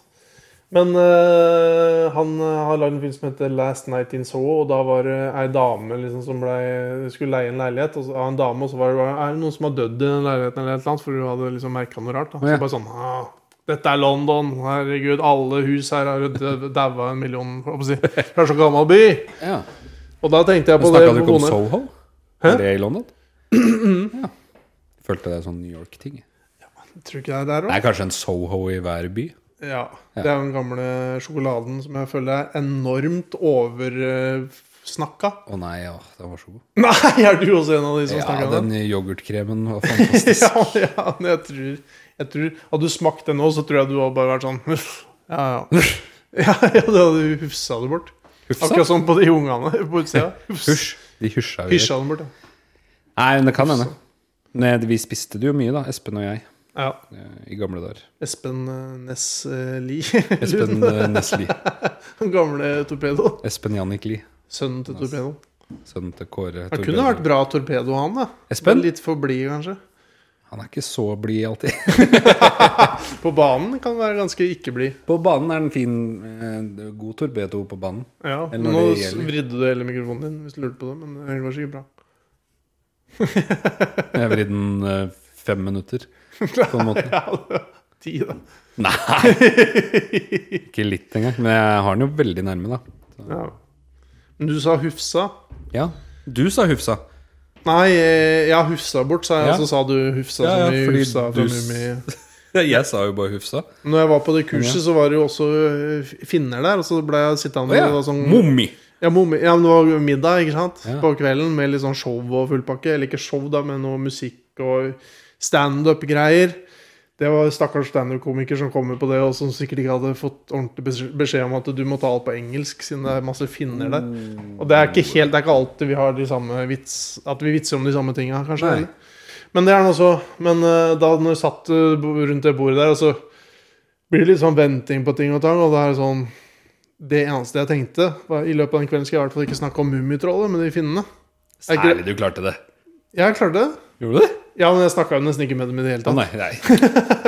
Men eh, han eh, har lagd en film som heter Last Night in Soho, og da var det ei dame liksom, som ble, skulle leie en leilighet og så, av en dame, og så var det bare Er det noen som har dødd i den leiligheten, eller et eller annet? For hun hadde liksom merka noe rart. Da.
Å,
Så
ja.
bare sånn ah, Dette er London. Herregud, alle hus her har jo dø- daua en million hva skal jeg si, Fra så gammel by.
Ja.
Og da tenkte jeg på det.
Snakka du ikke om
Vonheim.
Soho?
Hæ?
Er det i London? ja. Følte det er sånn New York-ting.
Tror du ikke det er der òg?
Det er kanskje en Soho i hver by.
Ja.
Ja.
Det er den gamle sjokoladen som jeg føler er enormt oversnakka.
Å nei, ja, den var så god.
Nei, er du også en av de som
Ja,
snakker om den?
den yoghurtkremen var fantastisk.
ja, ja, men jeg tror, jeg tror Hadde du smakt den nå, så tror jeg du hadde bare vært sånn Uff. Ja, ja. Ja, ja, det hadde du hufsa det bort. Akkurat som på de ungene på utsida. Hufs.
Husj. De husja jo.
Hysja dem bort, ja.
Nei, men det kan hende. Nei, vi spiste det jo mye, da, Espen og jeg,
ja.
eh, i gamle dager.
Espen eh, Næss eh, Lie.
Espen
Lund,
eh, Nesli.
Den gamle torpedoen.
Espen Jannik Lie.
Sønnen til torpedoen.
Sønnen til Kåre
Han
Torgersen.
kunne vært bra torpedo, han. da
Espen?
Men Litt for blid, kanskje.
Han er ikke så blid alltid.
På banen kan han være ganske ikke blid.
På banen er den fin. eh, God torpedo på banen.
Ja,
Eller
nå
når det
s-
gjelder.
vridde du hele mikrofonen din hvis du lurte på det, men det var sikkert bra.
Jeg har vridd den eh, fem minutter, på en måte.
Ja, det var ti, da.
Nei! Ikke litt engang. Men jeg har den jo veldig nærme, da.
Ja. Du sa Hufsa.
Ja, du sa Hufsa.
Nei, eh, ja, Hufsa bort, sa jeg,
Ja.
og så sa du Hufsa
Ja,
som
ja,
i
fordi
Hufsa fra
du s-
Mummi.
Jeg sa jo bare Hufsa.
Når jeg var på det kurset, så var det jo også eh, finner der. Og så ble jeg sittende
Å ja.
og det var sånn,
Mommi.
ja, mom, ja, men det var jo middag ikke sant?
Ja.
på kvelden med litt sånn show og fullpakke. Eller ikke show, da, men noe musikk og standup-greier. Det var stakkars standup-komiker som kommer på det, og som sikkert ikke hadde fått ordentlig bes- beskjed om at du må ta alt på engelsk, siden det er masse finner der.
Mm.
Og det er ikke helt, det er ikke alltid vi har de samme vits At vi vitser om de samme tinga, kanskje.
Nei.
Men det er den også. Men eh, da når du satt eh, bo- rundt det bordet der, og så blir det litt sånn venting på ting og tang, og det er sånn Det eneste jeg tenkte var, I løpet av den kvelden skal jeg i hvert fall ikke snakke om Mummitrollet med de finnene. Er ikke-
Særlig du klarte det.
Jeg klarte det.
Gjorde du det?
Ja, men jeg snakka jo nesten ikke med dem i det hele
Å
tatt.
nei, nei.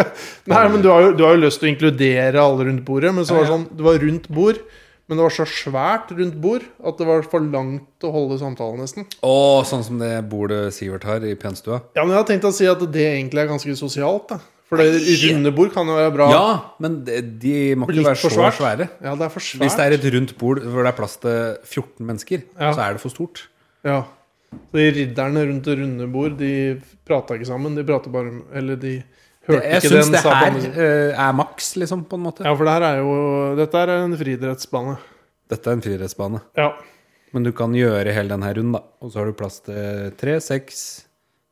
Nei, men du har, jo, du har jo lyst til å inkludere alle rundt bordet, men så var det
Ja,
sånn Det var rundt bord, men det var så svært rundt bord at det var for langt å holde samtalen, nesten.
Å, sånn som det bordet Sivert har i penstua.
Ja, men jeg har tenkt å si at det egentlig er ganske sosialt, da. For det runde bord kan jo være bra.
Ja, men de, de må ikke
Litt
være så
for svært.
svære.
Ja, det er for
Hvis
svært.
det er et rundt bord hvor det er plass til 14 mennesker,
Ja.
så er det for stort.
Ja. Så de ridderne rundt det runde bord, de prata ikke sammen. De prata bare om Eller de hørte
Jeg
ikke
syns
den
det her
sammen.
eh, er maks, liksom, på en måte.
Ja, for det her er jo Dette er en friidrettsbane.
Dette er en friidrettsbane.
Ja.
Men du kan gjøre hele den her rundt, da. Og så har du plass til tre, seks,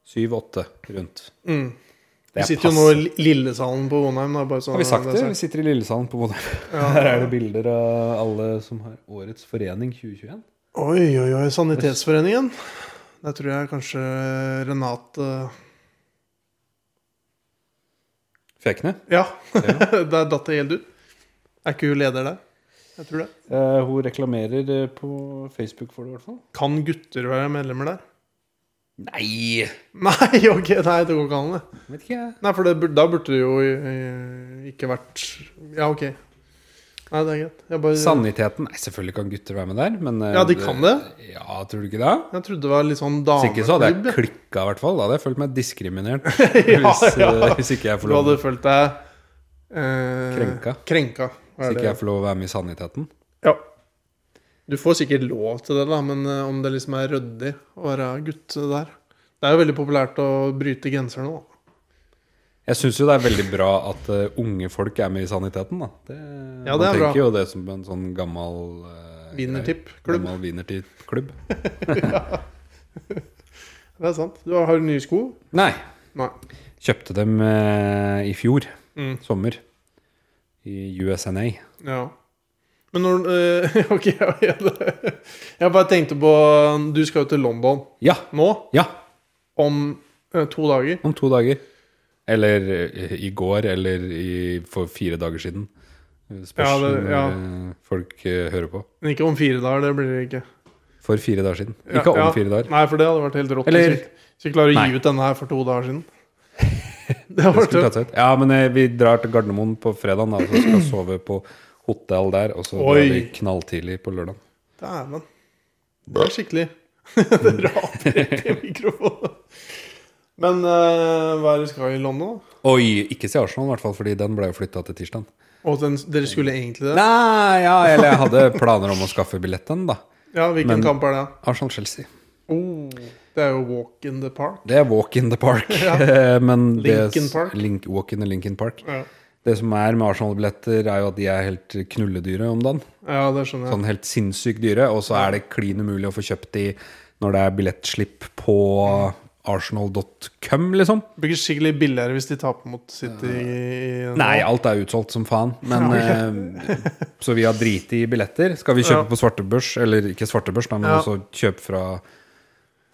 syv, åtte rundt.
Mm.
Det
Vi
er
sitter jo nå
passe.
i Lillesalen på Vonheim. Da, bare sånn,
Har vi sagt
er
det? Vi
sagt.
sitter i Lillesalen på Modern.
Ja.
Her er det bilder av alle som har Årets forening 2021.
Oi, oi, oi. Sanitetsforeningen. Der tror jeg kanskje Renate
Fekne.
Ja, der datt det helt ut. Er ikke hun leder der? Jeg tror det.
Eh, hun reklamerer eh, på Facebook for det, i hvert fall.
Kan gutter være medlemmer der?
Nei!
Nei, ok, nei, det går ikke an. det.
Vet ikke jeg.
Nei, for det, bur- da burde det jo eh, ikke vært Ja, ok. Nei, det er greit. Jeg bare
Saniteten Nei, selvfølgelig kan gutter være med der, men eh,
Ja, de kan det.
Ja, tror du ikke det?
Jeg trodde det var litt sånn
Hvis ikke så hadde
dameklubb.
jeg klikka, i hvert fall. Da hadde jeg følt meg diskriminert.
Ja,
hvis, eh,
ja.
hvis ikke jeg får
Du
lov,
hadde følt deg eh,
Krenka.
krenka. Hva
hvis
er
ikke
det?
jeg får lov å være med i Saniteten.
Ja. Du får sikkert lov til det, da, men eh, om det liksom er ryddig å være gutt der Det er jo veldig populært å bryte genser nå. da.
Jeg syns jo det er veldig bra at eh, unge folk er med i Saniteten, da. Det,
Ja,
man
det er bra.
tenker jo det som en sånn gammal uh,
Wienertipp-klubb.
Gammal wienertipp-klubb.
Det er sant. Du har, har du nye sko?
Nei.
Nei.
Kjøpte dem eh, i fjor
Mm.
sommer. I USNA.
Ja. Men når eh, Ok, ja, ja, det- jeg bare tenkte på Du skal jo til London
Ja!
nå,
Ja!
om eh, to dager.
Om to dager. Eller eh, i går, eller i, for fire dager siden. Spørs
Ja, det-
når
ja.
eh, folk eh, hører på.
Men ikke om fire dager. Det blir det ikke.
For fire dager siden.
Ja,
Ikke om
ja.
fire dager.
Nei, for det hadde vært helt rått.
Eller-
Eller Hvis vi klarer å
Nei.
gi ut denne her for to dager siden. Det hadde
Det
vært
skulle
tøft.
tatt seg ut. Ja, men eh, vi drar til Gardermoen på fredag og så skal sove på hotell der. Og så drar
Oi.
vi knalltidlig på lørdag.
Dæven. Det er skikkelig. det
Mm.
raper ikke i mikrofonen. Men eh, hva er det vi skal i London, da?
Oi! Ikke se Arsenal, i hvert fall, fordi den ble jo flytta til tirsdag.
Og den, dere skulle egentlig det?
Nei, ja, eller jeg hadde planer om å skaffe billett den, da.
Ja, hvilken
Men-
kamp er det?
Arsenal-Chelsea.
Oh, det er jo Walk in the Park.
Det er Walk in the Park. Eh, Men det-
Linkin Park.
Link, walk in the Linkin Park.
Ja,
Det som er med Arsenal-billetter, er jo at de er helt knulledyre om dagen.
ja det skjønner jeg.
Sånn helt sinnssykt dyre. Og så er det klin umulig å få kjøpt de når det er billettslipp på arsenal.com, liksom.
Det blir skikkelig billigere hvis de taper mot City i- i-
Eh. Nei, alt er utsolgt som faen. Men, eh, så vi har driti i billetter. Skal vi kjøpe
Ja.
på svartebørs, eller ikke svartebørs, da, men
Ja.
også kjøpe fra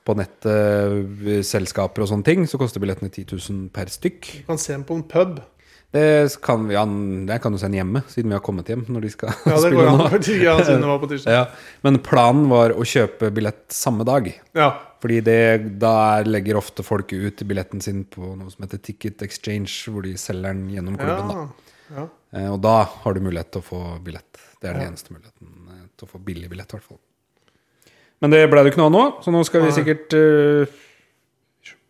på nettet, eh, selskaper og sånne ting, så koster billettene 10 000 per stykk.
Du kan se den på en pub.
Det kan vi, han, jeg kan jo sende hjemme, siden vi har kommet hjem når de skal
Ja, det går
spille
an.
nå.
Ja, siden det var på tirsdag.
Ja. Men planen var å kjøpe billett samme dag.
Ja.
Fordi det, da legger ofte folk ut billetten sin på noe som heter Ticket Exchange, hvor de selger den gjennom klubben.
ja. ja.
Da. Eh, Og da har du mulighet til å få billett. Det er den eneste muligheten eh, til å få billig billett, i hvert fall. Men det ble det ikke noe av nå, så nå skal vi
Nei.
sikkert eh,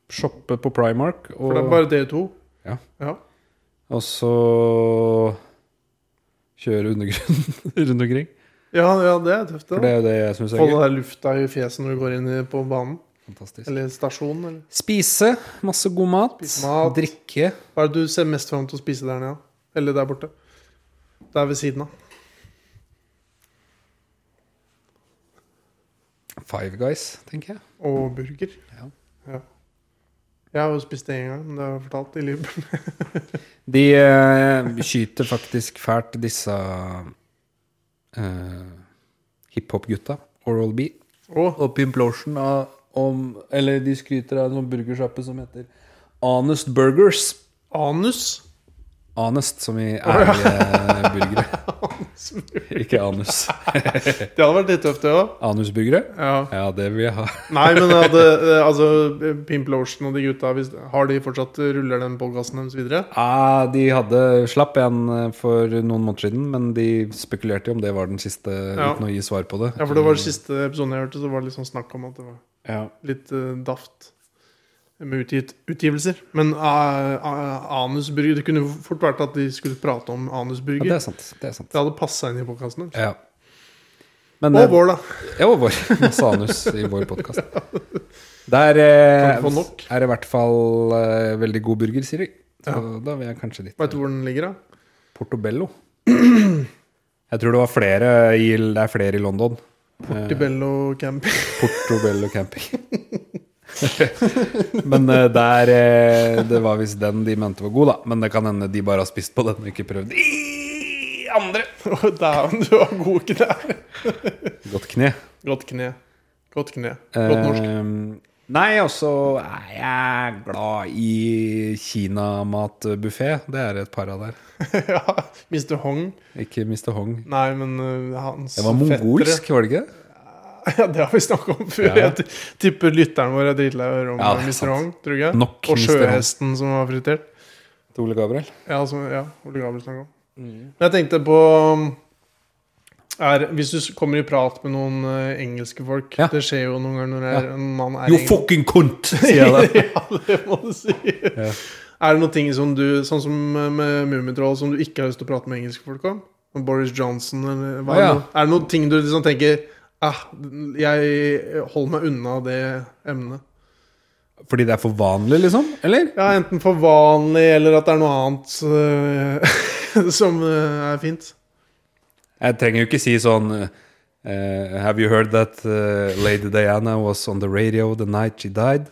shoppe på Primark. Og,
For det er bare dere to?
Ja.
ja.
og så kjøre undergrunnen rundt omkring.
Ja, ja, det er tøft.
For det
det
er jo det jeg syns
da.
er
Få den
gøy.
der lufta i fjeset når du går inn i, på banen.
Fantastisk.
Eller stasjonen. Eller.
Spise masse god mat.
Spise mat.
Drikke.
Hva er det du ser mest fram til å spise der nede? Eller der borte? Der ved siden av.
Five Guys, tenker jeg.
Og burger.
Ja.
Ja. Jeg har jo spist det én gang, men det har jeg fortalt i Liverpool.
De eh, skyter faktisk fælt disse eh, hiphop-gutta. Oral B.
Å,
Og Pimplotion av om Eller de skryter av en sånn burgersjappe som heter Honest Burgers.
anus!
Honest, som i ærlige burgere. Ikke anus.
Det hadde vært litt tøft, det òg.
Anusburgere?
Ja.
Ja, det vil jeg ha.
Nei, men jeg hadde, eh, altså, Pimp Lotion og de gutta hvis, Har de fortsatt eh, ruller den podkasten deres videre?
Ja, de hadde slapp en eh, for noen måneder siden, men de spekulerte jo om det var den siste,
Ja.
uten å gi svar på det.
Ja, for det var siste episoden jeg hørte, så var det litt sånn snakk om at det var
Ja.
litt eh, daft med utgitt, utgivelser. Men uh, anusbrygger Det kunne jo fort vært at de skulle prate om
Ja, det
anusbrygger.
er sant. Det er sant.
det hadde passa inn i podkasten deres.
Ja. Men
Og
det-
vår, da.
Ja, og vår. Masse anus i vår podkast. Der eh,
Kan få nok.
er det i hvert fall eh, veldig god burger, sier de. Så da vil jeg kanskje dit.
Veit du hvor den ligger, da?
Portobello. Jeg tror det var flere i, det er flere i London. Eh,
Portibello camping.
Portobello camping. Men eh, der eh, Det var visst den de mente var god, da. Men det kan hende de bare har spist på den og ikke prøvd i andre.
Dæven, du var god ikke der.
Godt kne.
Godt kne. Godt kne. Godt norsk.
Ehm, Nei, og så er jeg glad i kinamatbuffé. Det er et par av der.
ja. Mr. Hong.
Ikke Mr. Hong.
Nei, men eh, hans
Det var
fettere-
mongolsk, var det ikke det?
Ja, det har vi snakka om før.
Ja.
Jeg t- tipper lytteren vår er dritlei av å høre om
Ja, det er
Mr.
sant.
Hong. Tror du ikke?
Nok
og
Mr. Hong.
sjøhesten som var fritert.
Til Ole Gabriel?
Ja, som, ja Ole Gabriel snakka om.
Mm.
Men jeg tenkte på um, er, Hvis du s- kommer i prat med noen eh, engelske folk
Ja.
Det skjer jo noen ganger når jeg, en mann er
You
engel-
fucking cunt! Sier jeg da.
ja, det må du si. Er det noen ting som du Sånn som med Mummitroll som du ikke har lyst til å prate med engelske folk om? Med Boris Johnson eller hva
Å, ja.
er, det, noe- er det noen ting du liksom tenker ah, Jeg holder meg unna det emnet.
Fordi det er for vanlig, liksom? Eller?
Ja, enten for vanlig, eller at det er noe annet eh, som eh, er fint.
Jeg trenger jo ikke si sånn eh, Have you heard that eh, Lady Diana was on the radio the night she died?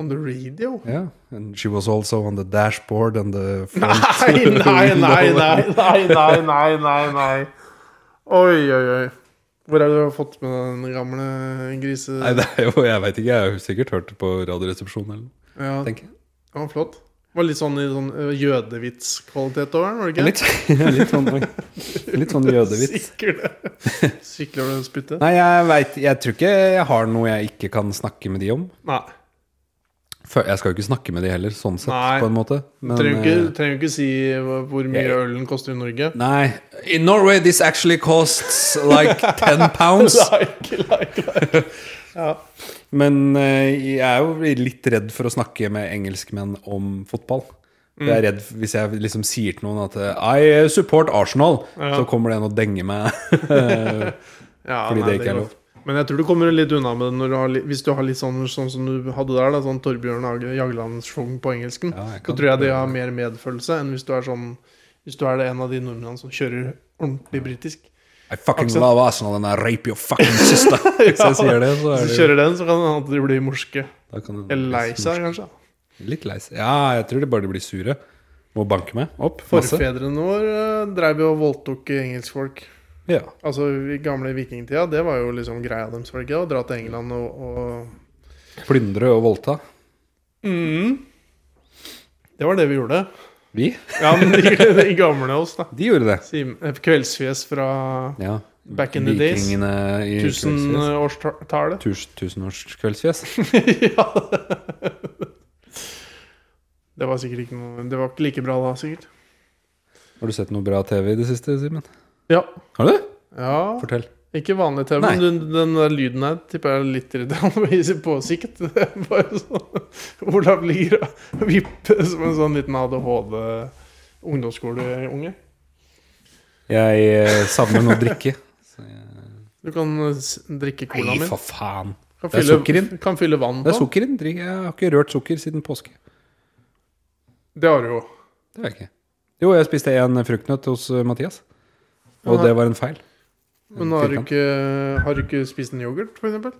On the radio?
Yeah. And Mm, she was also on the dashboard and the front
Nei, nei, nei, nei, nei, nei, nei, nei, nei. Oi, oi, oi. Hvor er det du har fått med den gamle grise...
Nei, det er jo, jeg veit ikke. Jeg har sikkert hørt det på Radioresepsjonen eller noe.
ja,
tenker jeg.
Det var flott. Det var litt sånn, i sånn ø, jødevitskvalitet over den, var det ikke?
Litt, litt sånn, litt sånn jødevits.
Sikler det. Sikler det spyttet?
Nei, jeg vet, jeg tror ikke jeg har noe jeg ikke kan snakke med de om.
Nei.
Fø- Jeg skal jo ikke snakke med de heller, sånn sett,
Nei.
på en måte. Men,
Trenger jo ikke,
eh,
trenger jo ikke si hva- hvor mye
Jeg-
ølen koster i Norge.
Nei. In Norway this actually costs like 10 pounds.
Like, like, like.
Men eh, jeg er jo litt redd for å snakke med engelskmenn om fotball. Jeg
Mm.
er redd f- Hvis jeg liksom sier til noen at eh, I support Arsenal,
Ja.
så kommer det en og denger meg.
Ja,
Fordi det ikke er
går.
lov.
Men jeg tror du kommer litt unna med det når du har, li- hvis du har litt sånn, sånn som du hadde der, da, sånn Torbjørn Hage Jagland-sjong på engelsken.
Ja, jeg
så
kan
tror jeg det har mer medfølelse enn hvis du er sånn Hvis du er det en av de nordmennene som kjører ordentlig britisk.
I fucking
Aksel.
love Arsenal and I rape your fucking sister. Hvis jeg sier det, så er
Hvis du
det jo
kjører den, så kan det hende at de blir morske.
da kan det-
Eller lei seg, kanskje.
Litt lei seg. Ja, jeg tror de bare de blir sure. Må banke meg opp. Masse.
Forfedrene våre eh, drev jo og voldtok engelskfolk.
Ja.
Altså i gamle vikingtida, det var jo liksom greia deres, var det ikke? Å dra til England og, og
Plyndre og voldta. Mm.
Det var det vi gjorde.
Vi?
Ja, men de, de gamle oss, da.
De gjorde det.
Sim- eh, Kveldsfjes fra
Ja.
Back in the days.
Vikingene i kveldsfjes.
tusenårstallet.
Tus- Tusenårskveldsfjes.
ja. Det var sikkert ikke noe Det var ikke like bra da, sikkert.
Har du sett noe bra TV i det siste, Simen?
Ja.
Har du det?
ja.
Fortell.
Ikke vanlig TV, men
Nei.
den, den der lyden her tipper jeg er litt irriterende på sikt. Det er Bare sånn Olav Lier vipper som en sånn liten ADHD-ungdomsskoleunge.
Jeg eh, savner noe å drikke. Så jeg-
Du kan eh, s- drikke colaen
Nei,
min.
for faen.
Kan
det er
fylle-
sukker i den.
Kan fylle vann
Det er
på.
sukker i den. Drikk- Jeg har ikke rørt sukker siden påske.
Det har du jo.
Det har jeg ikke. Jo, jeg spiste en fruktnøtt hos eh, Mathias, og
Ja.
det var en feil.
Men har du
Firkant.
ikke, har du ikke spist en yoghurt, for eksempel?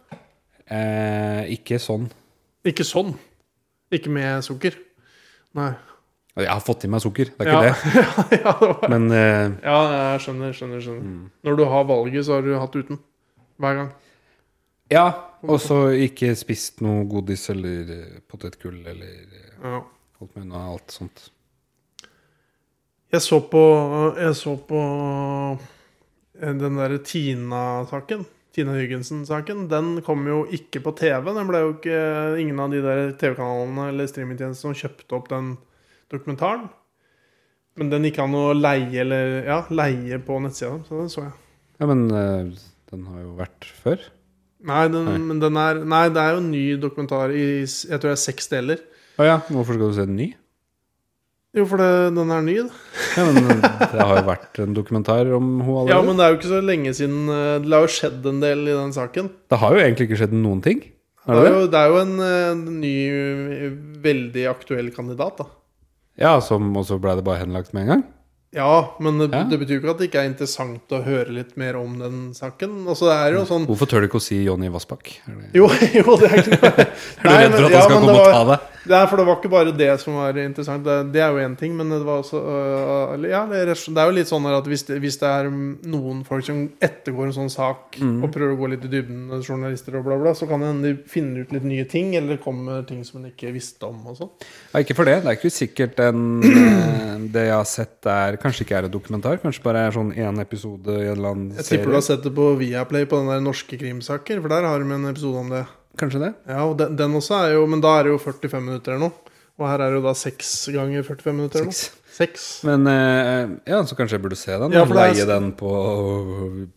Eh, ikke sånn.
Ikke sånn. Ikke med sukker. Nei.
Jeg har fått i meg sukker, det er
ja.
ikke
ja, det var. Mm.
det. Men eh,
ja, jeg skjønner, skjønner, skjønner. Når du har valget, så har du hatt uten. Hver gang.
ja, og så ikke spist noe godis eller eh, potetgull eller eh,
Ja.
holdt meg unna alt sånt.
Jeg så på Jeg så på eh, den derre Tina-saken. Tina Hyggensen-saken. Den kom jo ikke på TV. Den ble jo ikke Ingen av de der TV-kanalene eller streamingtjenestene som kjøpte opp den dokumentaren. Men den gikk an å leie eller Ja, leie på nettsida, så den så jeg.
Ja, men eh, den har jo vært før.
Nei, den,
Nei.
Men den er, nei, det er jo en ny dokumentar i jeg tror det er seks deler.
Å ja, hvorfor skal du se den ny?
Jo, for det, den er ny. da.
Ja, men eh, det har jo vært en dokumentar om hun
Ja,
allerede.
men det er jo ikke så lenge siden eh, Det har jo skjedd en del i den saken.
Det har jo egentlig ikke skjedd noen ting.
Det
Er det
er
det?
jo, det er jo en, eh, ny, eh, veldig aktuell kandidat, da.
Ja, som, og så ble det bare henlagt med en gang?
Ja, men det,
Ja.
det betyr jo ikke at det ikke er interessant å høre litt mer om den saken. Altså, det er jo sånn
Hvorfor tør du ikke å si Jonny Vassbakk? Er det-
Jo, jo, det er ikke noe
Er du redd for at han skal komme og ta deg?
Det er, for det var ikke bare det som var interessant. Det, det er jo én ting, men det var også øh, eller, ja, det, er, rett- det er jo litt sånn her at hvis det, hvis det er mm, noen folk som ettergår en sånn sak
Mm.
og prøver å gå litt i dybden, eh, journalister og bla, bla, så kan det hende de finner ut litt nye ting, eller kommer ting som de ikke visste om og sånn.
Ja, ikke for det. Det er ikke sikkert en, eh, det jeg har sett er Kanskje ikke er en dokumentar, kanskje bare er sånn én episode i en eller annen
Jeg
serie.
tipper du har sett det på Viaplay på den der norske krimsaker, for der har de en episode om det.
Kanskje det?
Ja, og den, den også er jo Men da er det jo 45 minutter eller noe. Og her er det jo da seks ganger 45 minutter eller noe.
Seks.
Seks.
Men eh, ja, så kanskje jeg burde se den?
Ja,
og
for det er-
leie den på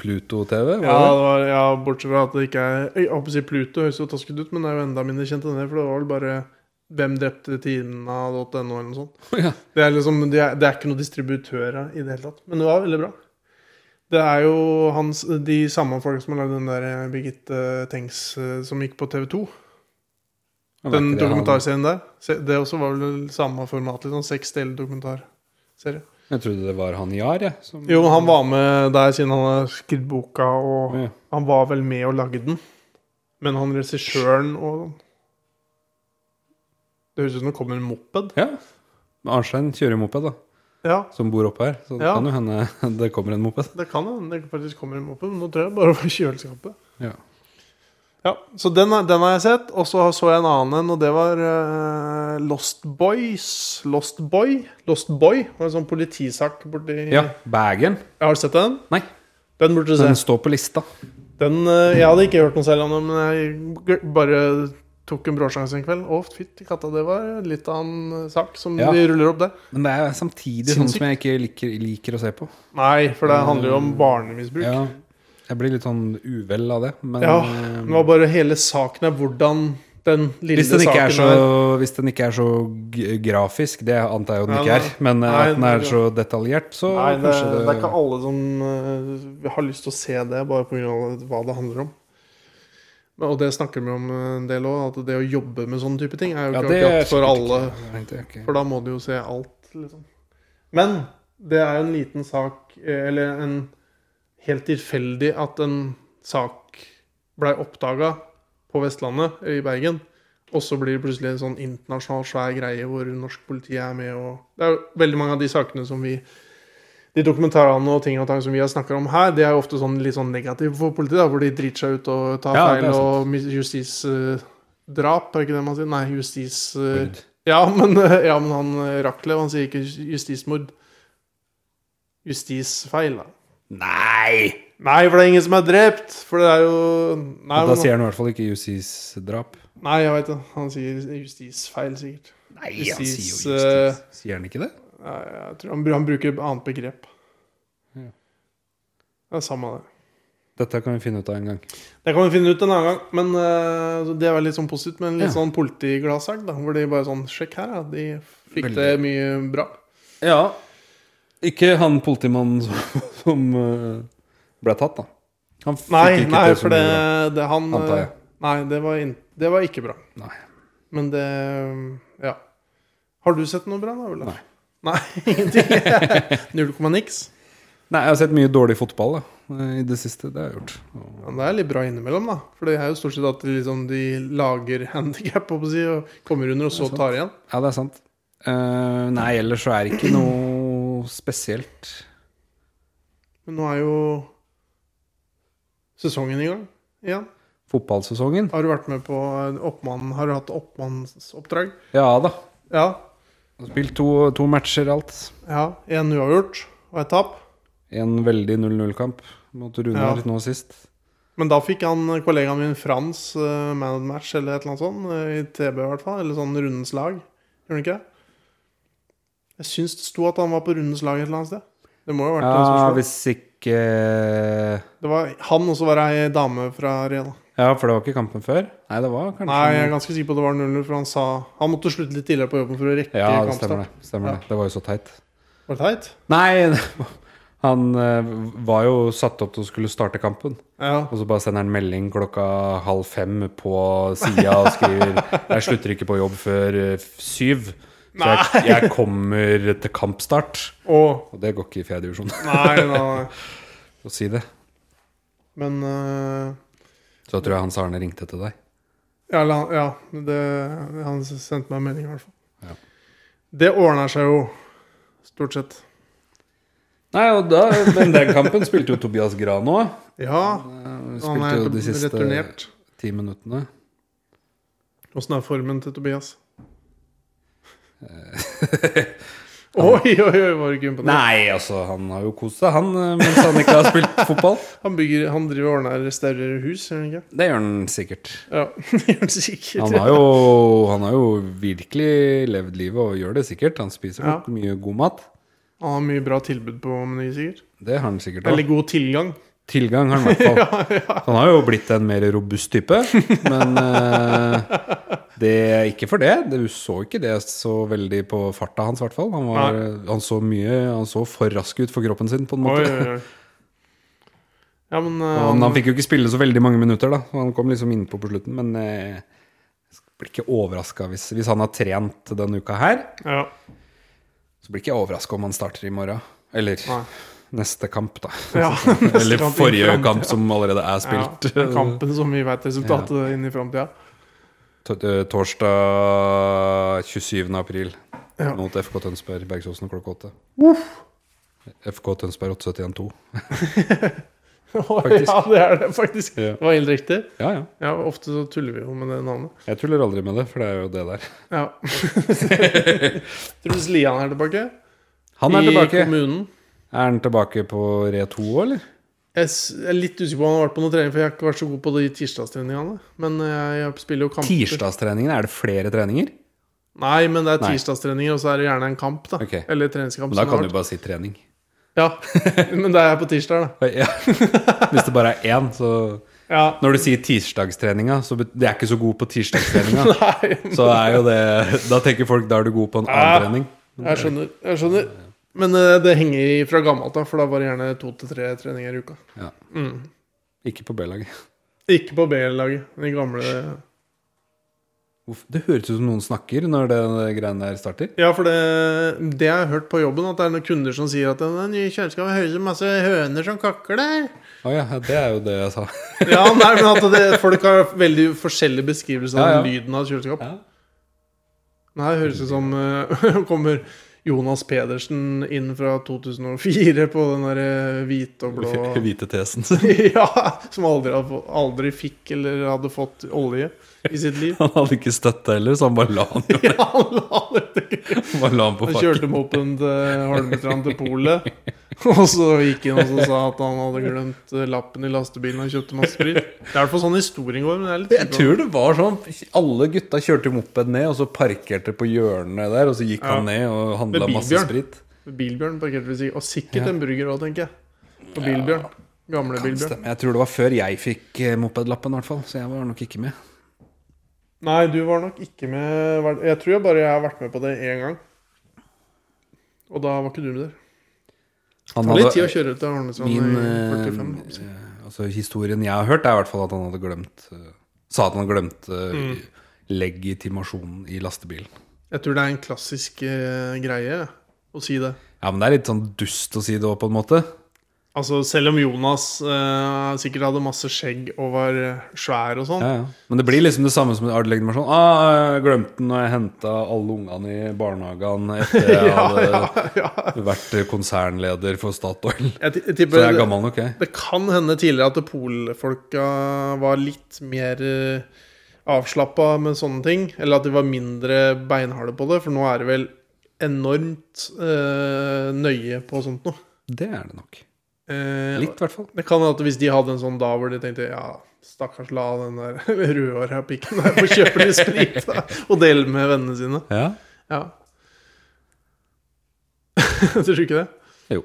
Pluto TV?
Ja,
Ja.
det var, ja, bortsett fra at det ikke er Jeg holdt på å si Pluto høres jo tasket ut, men det er jo enda mindre kjent enn det. For det var vel bare Hvem drepte Tina.no eller noe sånt.
Ja.
Det er liksom Det er, det er ikke noen distributører i det hele tatt. Men det var veldig bra. Det er jo hans, de samme folk som har lagd den der eh, Birgitte Tengs eh, som gikk på TV 2. Den dokumentarserien der. se- Det også var vel samme format. Litt sånn seks deler dokumentarserie.
Jeg trodde det var han Jar, jeg. Som,
Jo, men han var med der siden han har skrevet boka, og
Ja.
han var vel med og lagde den. Men han regissøren og Det høres ut som det kommer en moped.
Ja. Men Arnstein kjører jo moped, da.
Ja,
Som bor oppe her. Så det
Ja.
kan jo hende det kommer en moped.
det kan hende det faktisk kommer en moped. Men nå tror jeg bare det var i kjøleskapet.
Ja.
Ja, Så den, har- den har jeg sett. Og så så jeg en annen en, og det var eh, Lost Boys. Lost Boy? Lost Boy det var en sånn politisak borti
ja. Bagen?
Har du sett den?
Nei.
Den burde du se.
Den står på lista.
Den, eh, jeg hadde ikke hørt noe særlig om den, men jeg gl- bare tok en bråsjanse en kveld. Å, fytti katta, det var litt av en eh, sak som
Ja.
de ruller opp der.
Men det er samtidig sånn som jeg ikke liker, liker å se på.
Nei, for det handler jo om barnemisbruk. Ja,
Eh, Ja, jeg blir litt sånn uvel av det. Men eh,
Det var bare hele saken er hvordan den lille
hvis, den
saken
ikke er så,
er
hvis den ikke er så g- grafisk, det antar jeg jo den
Nei,
ikke er,
nei.
men eh,
Nei,
at den
det-
er så detaljert, så
Nei, det,
kanskje
det er ikke alle som eh, har lyst til å se det, bare pga. hva det handler om. Men- Og det snakker vi om eh, en del òg, at det å jobbe med sånne type ting er jo
Ja,
ikke
det er
akkurat for
sikkert
alle.
Tenkte jeg ikke.
For da må du jo se alt, liksom. Men det er jo en liten sak, eh, eller en helt tilfeldig at en sak blei oppdaga på Vestlandet, i Bergen. Og så blir det plutselig en sånn internasjonal svær greie hvor norsk politi er med og Det er jo veldig mange av de sakene som vi De dokumentarene og ting og tang som vi har snakka om her, det er jo ofte sånn litt sånn negativt for politiet, da, hvor de driter seg ut og tar
Ja, det er
feil og mis- justisdrap, er det ikke det man sier? Nei, justis... eh,
Mord.
ja, men, eh, ja, men han eh, Raklev, han sier ikke ju- justismord. Justisfeil, da.
Nei!
Nei, for det er ingen som er drept! For det er jo Nei,
Og da
men,
sier han i hvert fall ikke justisdrap.
nei jeg veit det. Han sier justisfeil, sikkert.
Nei,
han
han
Justis,
sier
sier jo
jo
justis.
justis. Sier han ikke det?
Nei, jeg tror han, br- han bruker et annet begrep.
Ja.
Det er samme det.
Dette kan vi finne ut av en gang.
Det kan vi finne ut en annen gang. Men eh, så det er vel litt sånn positivt med en litt
Ja.
sånn politigladsak, da. Hvor de bare sånn Sjekk her, ja. De fikk
Veldig.
det mye bra.
Ja. Ikke han politimannen som, som eh, ble tatt, da. Han fikk
Nei,
ikke
nei
til så
for
mye,
det,
da.
det han eh,
Antar jeg.
Nei, det var, inn- det var ikke bra.
Nei.
Men det Ja. Har du sett noe bra, da? Ole?
Nei.
Nei, ingenting. Null komma niks.
Nei, jeg har sett mye dårlig fotball da, i det siste. Det har jeg gjort. Og-
Ja, det er litt bra innimellom, da. For det er jo stort sett at de liksom, de lager handikap si, og kommer under, og så tar igjen.
Ja, det er sant. Eh, nei, ellers så er det ikke noe spesielt.
Men nå er jo sesongen i gang igjen.
Fotballsesongen?
Har du vært med på en oppmann, Har du hatt oppmannsoppdrag?
Ja da.
Ja.
Spilt to, to matcher alt.
ja. En uavgjort og et tap.
En veldig 0-0-kamp mot Runar
Ja.
nå sist.
Men da fikk han eh, kollegaen min Frans eh, man of the match eller et eller annet sånt. eh, I TB i hvert fall. Eller sånn rundens lag. Gjorde han ikke det? Jeg syns det sto at han var på rundens lag et eller annet sted. Det må jo ha vært det som
Ja,
slo.
hvis ikke
Det var han, og så var det ei dame fra Arena.
Ja, for det var ikke kampen før? Nei, det var kanskje
Nei, jeg er ganske sikker på at det var 0-0, for han sa Han måtte slutte litt tidligere på jobben for å rekke
Ja, det stemmer
kampstart.
det. Stemmer
Ja.
det. det var jo så teit.
Var det teit?
Nei, han eh, var jo satt opp til å skulle starte kampen.
Ja.
Og så bare sender han melding klokka halv fem på sida og skriver Jeg slutter ikke på jobb før eh, syv. Så jeg, jeg kommer til kampstart.
Og
Og det går ikke i fjerde divisjon
Nei, nei, nei.
å si det.
Men eh,
Så tror jeg Hans Arne ringte til deg.
Ja, eller han- ja det, han sendte meg en melding, i hvert fall.
Ja.
Det ordner seg jo, stort sett.
Nei, og da, men den kampen spilte jo Tobias Gran òg.
Ja, han
eh, Spilte
er
jo de siste
returnert.
ti minuttene.
Åssen er formen til Tobias? Oi, oi, oi, var du ikke imponert?
Eh. Nei, altså, han har jo kost seg, han, eh, mens han ikke har spilt fotball.
Han, bygger, han driver og ordner restaurerer hus, gjør han ikke?
Det gjør han sikkert.
Ja, gjør han sikkert.
Han har, jo, han har jo virkelig levd livet og gjør det sikkert. Han spiser
Ja.
nok mye god mat.
Han har mye bra tilbud på menyen, sikkert.
Det har han sikkert
Eller
òg.
god tilgang.
Tilgang har han i hvert fall. Han har jo blitt en mer robust type. Men eh, det er ikke for det. Du så ikke det så veldig på farta hans, i hvert fall. Han, var, han så mye Han så for rask ut for kroppen sin, på en
Oi,
måte.
oi, oi. Ja, men eh,
Og Han, han fikk jo ikke spille så veldig mange minutter, da. Han kom liksom innpå på slutten. Men eh, jeg blir ikke overraska hvis, hvis han har trent denne uka her.
ja.
Så blir ikke jeg overraska om han starter i morgen. Eller
Nei.
neste kamp, da.
Ja,
Eller forrige kamp, som allerede er spilt.
Ja, den kampen som vi vet resultatet inn i framtida.
T- eh, Torsdag 27. april
Ja.
mot FK Tønsberg Bergsåsen klokka åtte. FK Tønsberg 871-2. Faktisk.
ja, det er det faktisk.
Ja.
Det var helt riktig.
Ja, ja.
Ja, Ofte så tuller vi jo med det navnet.
Jeg tuller aldri med det, for det er jo det der.
Ja. Truls Lian er tilbake.
Han er
I
tilbake.
kommunen.
Er han tilbake på re 2 òg, eller?
Jeg s- jeg er litt usikker på om han har vært på noen trening, for jeg har ikke vært så god på de tirsdagstreningene. Men jeg jeg spiller jo kamper.
Tirsdagstreningene, er det flere treninger?
Nei, men det er
Nei.
tirsdagstreninger, og så er det gjerne en kamp, da.
Ok.
Eller treningskamp.
Men da
som
kan
det
du bare si trening.
har vært. Ja, men det er på tirsdag, da.
Ja. Hvis det bare er én, så
Ja.
Når du sier tirsdagstreninga, så bet- det er ikke så god på tirsdagstreninga.
Nei,
Så er jo det Da tenker folk da er du god på en annen
Ah.
trening.
Jeg skjønner. jeg skjønner Men eh, det henger i fra gammelt av, for da var det gjerne to til tre treninger i uka.
Ikke på B-laget.
Ikke på B-laget. De gamle
Hvorf- Det høres ut som noen snakker når det det greiene der starter.
Ja, for det, det jeg har hørt på jobben, at det er noen kunder som sier at den nye kjøleskapet høres ut som masse høner som kakler.
Å ja, det er jo det jeg sa.
Ja, nei, men at det, folk har veldig forskjellige beskrivelser av
Ja, ja.
lyden av et kjøleskap.
Ja.
Nei, det høres ut som eh, kommer Jonas Pedersen inn fra 2004 på den der eh, hvite og blå
Hvite tesen.
Ja, som aldri, hadde få- aldri fikk eller hadde fått olje i sitt liv.
Han hadde ikke støtte heller, så han bare la han, jo-
Ja, han la det til.
han bare la han på
Han
fakken.
kjørte mopen til Holmestrand eh, til polet. Og så gikk han og så sa at han hadde glemt eh, lappen i lastebilen og kjøpte masse sprit. Det er i hvert fall sånn historien går. Men det er litt
Jeg tror det var sånn alle gutta kjørte moped ned, og så parkerte på hjørnet der, og så gikk
Ja.
han ned og handla
Med
masse
bilbjørn.
sprit.
Bilbjørn parkerte ved siden Og sikkert en burger òg, tenker jeg. Og Bilbjørn. Gamle Bilbjørn.
Stemmer. Jeg tror det var før jeg fikk eh, mopedlappen, i hvert fall, så jeg var nok ikke med.
Nei, du var nok ikke med var- Jeg tror jeg bare jeg har vært med på det én gang. Og da var ikke du med der.
Han
Det var litt
hadde-
tid å kjøre til Holmestrand
Min
sånn i
eh,
45.
eh, altså Historien jeg har hørt, er i hvert fall at han hadde glemt eh, Sa at han glemte
Mm.
eh, legitimasjonen i lastebilen.
Jeg tror det er en klassisk eh, greie å si det.
Ja, men det er litt sånn dust å si det òg, på en måte.
Altså, selv om Jonas eh, sikkert hadde masse skjegg og var eh, svær og sånn,
Ja, ja. Men det blir liksom det samme som en arvelegitimation. Ah, jeg glemte den når jeg henta alle ungene i barnehagen etter jeg hadde vært konsernleder for Statoil.
jeg, ti- jeg
Så
tipper
jeg er
det,
gammel nok, jeg.
det kan hende tidligere at polfolka var litt mer uh, avslappa med sånne ting. Eller at de var mindre beinharde på det, for nå er det vel enormt eh, nøye på sånt noe.
Det er det nok.
Eh,
Litt, i hvert fall.
Det kan hende at hvis de hadde en sånn da hvor de tenkte ja, stakkars la den der rødhåra pikken der få kjøpe litt sprit da, og dele med vennene sine.
Ja.
Ja. tror du ikke det?
Jo.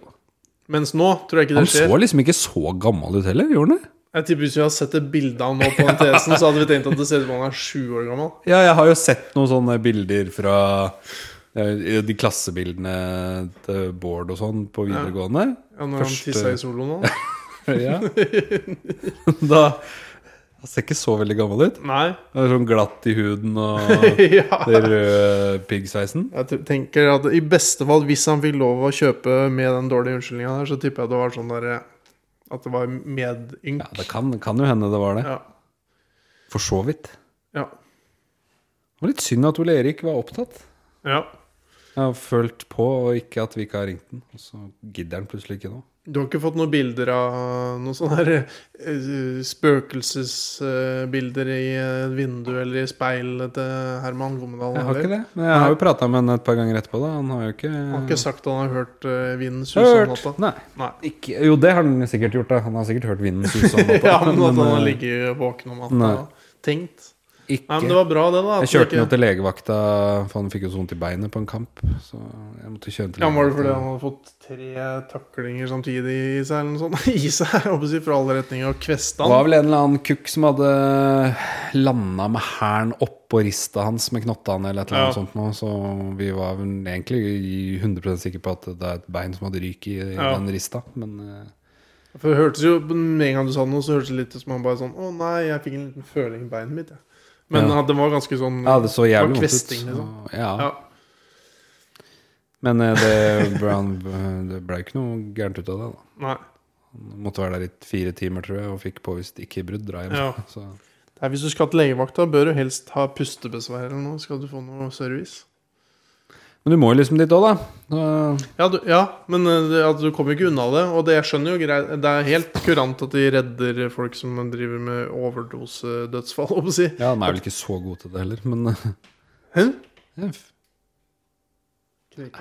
Mens nå tror jeg ikke det
Han
skjer.
så liksom ikke så gammel ut heller, gjorde han det?
Jeg tipper Hvis vi hadde sett et bilde av han nå på den tesen, så hadde vi tenkt at det ser ut som han er sju år gammel.
Ja, jeg har jo sett noen sånne bilder fra eh, de klassebildene til Bård og sånn på videregående.
Ja, når
Første-
han tissa i soloen nå.
Ja. Da Han ser ikke så veldig gammel ut.
Nei.
Han er Sånn glatt i huden og
ja.
den røde piggsveisen.
Jeg t- tenker at i beste fall, hvis han fikk lov å kjøpe med den dårlige unnskyldninga der, så tipper jeg det var sånn der eh, At det var medynk.
Ja, det kan, kan jo hende det var det.
Ja.
For så vidt.
Ja.
Det var litt synd at Ole Erik var opptatt.
ja.
Jeg har følt på, og ikke at vi ikke har ringt den. Og så gidder han plutselig ikke nå.
Du har ikke fått noen bilder av noen sånne her, eh, spøkelsesbilder i et vindu eller i speilet til Herman Gommedal?
Jeg har
eller?
ikke det. Men jeg har jo prata med han et par ganger etterpå. da Han har jo ikke
Han har ikke sagt at han har hørt eh, vinden suse om
hørt.
natta?
Nei.
Nei.
Ikke, jo, det har han sikkert gjort. da Han har sikkert hørt vinden suse om natta.
ja, men at han har
eh,
ligget våken om natta
Nei.
og tenkt.
ikke.
Nei, men det var bra, det, da. at
jeg kjørte
det
han jo
ikke-
til legevakta, for han fikk jo så vondt i beinet på en kamp. Så jeg måtte kjøre han til
ja, men Var det fordi han hadde fått tre taklinger samtidig i seg, eller noe sånt? I seg, jeg håper å si, fra alle retninger, og kvesta
Det var
han?
vel en eller annen kukk som hadde landa med hælen oppå rista hans med knottene eller et eller
Ja.
annet sånt noe, så vi var vel egentlig 100 sikre på at det er et bein som hadde ryk i i
Ja.
den rista, men eh,
For det hørtes jo, Med en gang du sa noe, så hørtes det litt ut som han bare sånn Å nei, jeg fikk en liten føling i beinet mitt, jeg. Men
Ja.
at det var ganske sånn
ja, det så jævlig
Det var
vondt ut.
kvesting, liksom.
så- Ja.
Ja.
Men eh, det ble, han- det ble jo ikke noe gærent ut av det. da
Nei.
Han Måtte være der i fire timer, tror jeg, og fikk påvist ikke brudd. Dra hjem.
Ja.
Så,
Det er hvis du skal til legevakta, bør du helst ha pustebesvær eller noe. Skal du få noe service?
men du må jo liksom dit òg, da. Så-
Ja, du, ja men eh, det, at du kommer ikke unna det. Og det jeg skjønner jo greit Det er helt kurant at de redder folk som driver med overdosedødsfall, holdt jeg på å si.
Ja, han er vel ikke så god til det heller, men eh,
Hæ?
ja, f-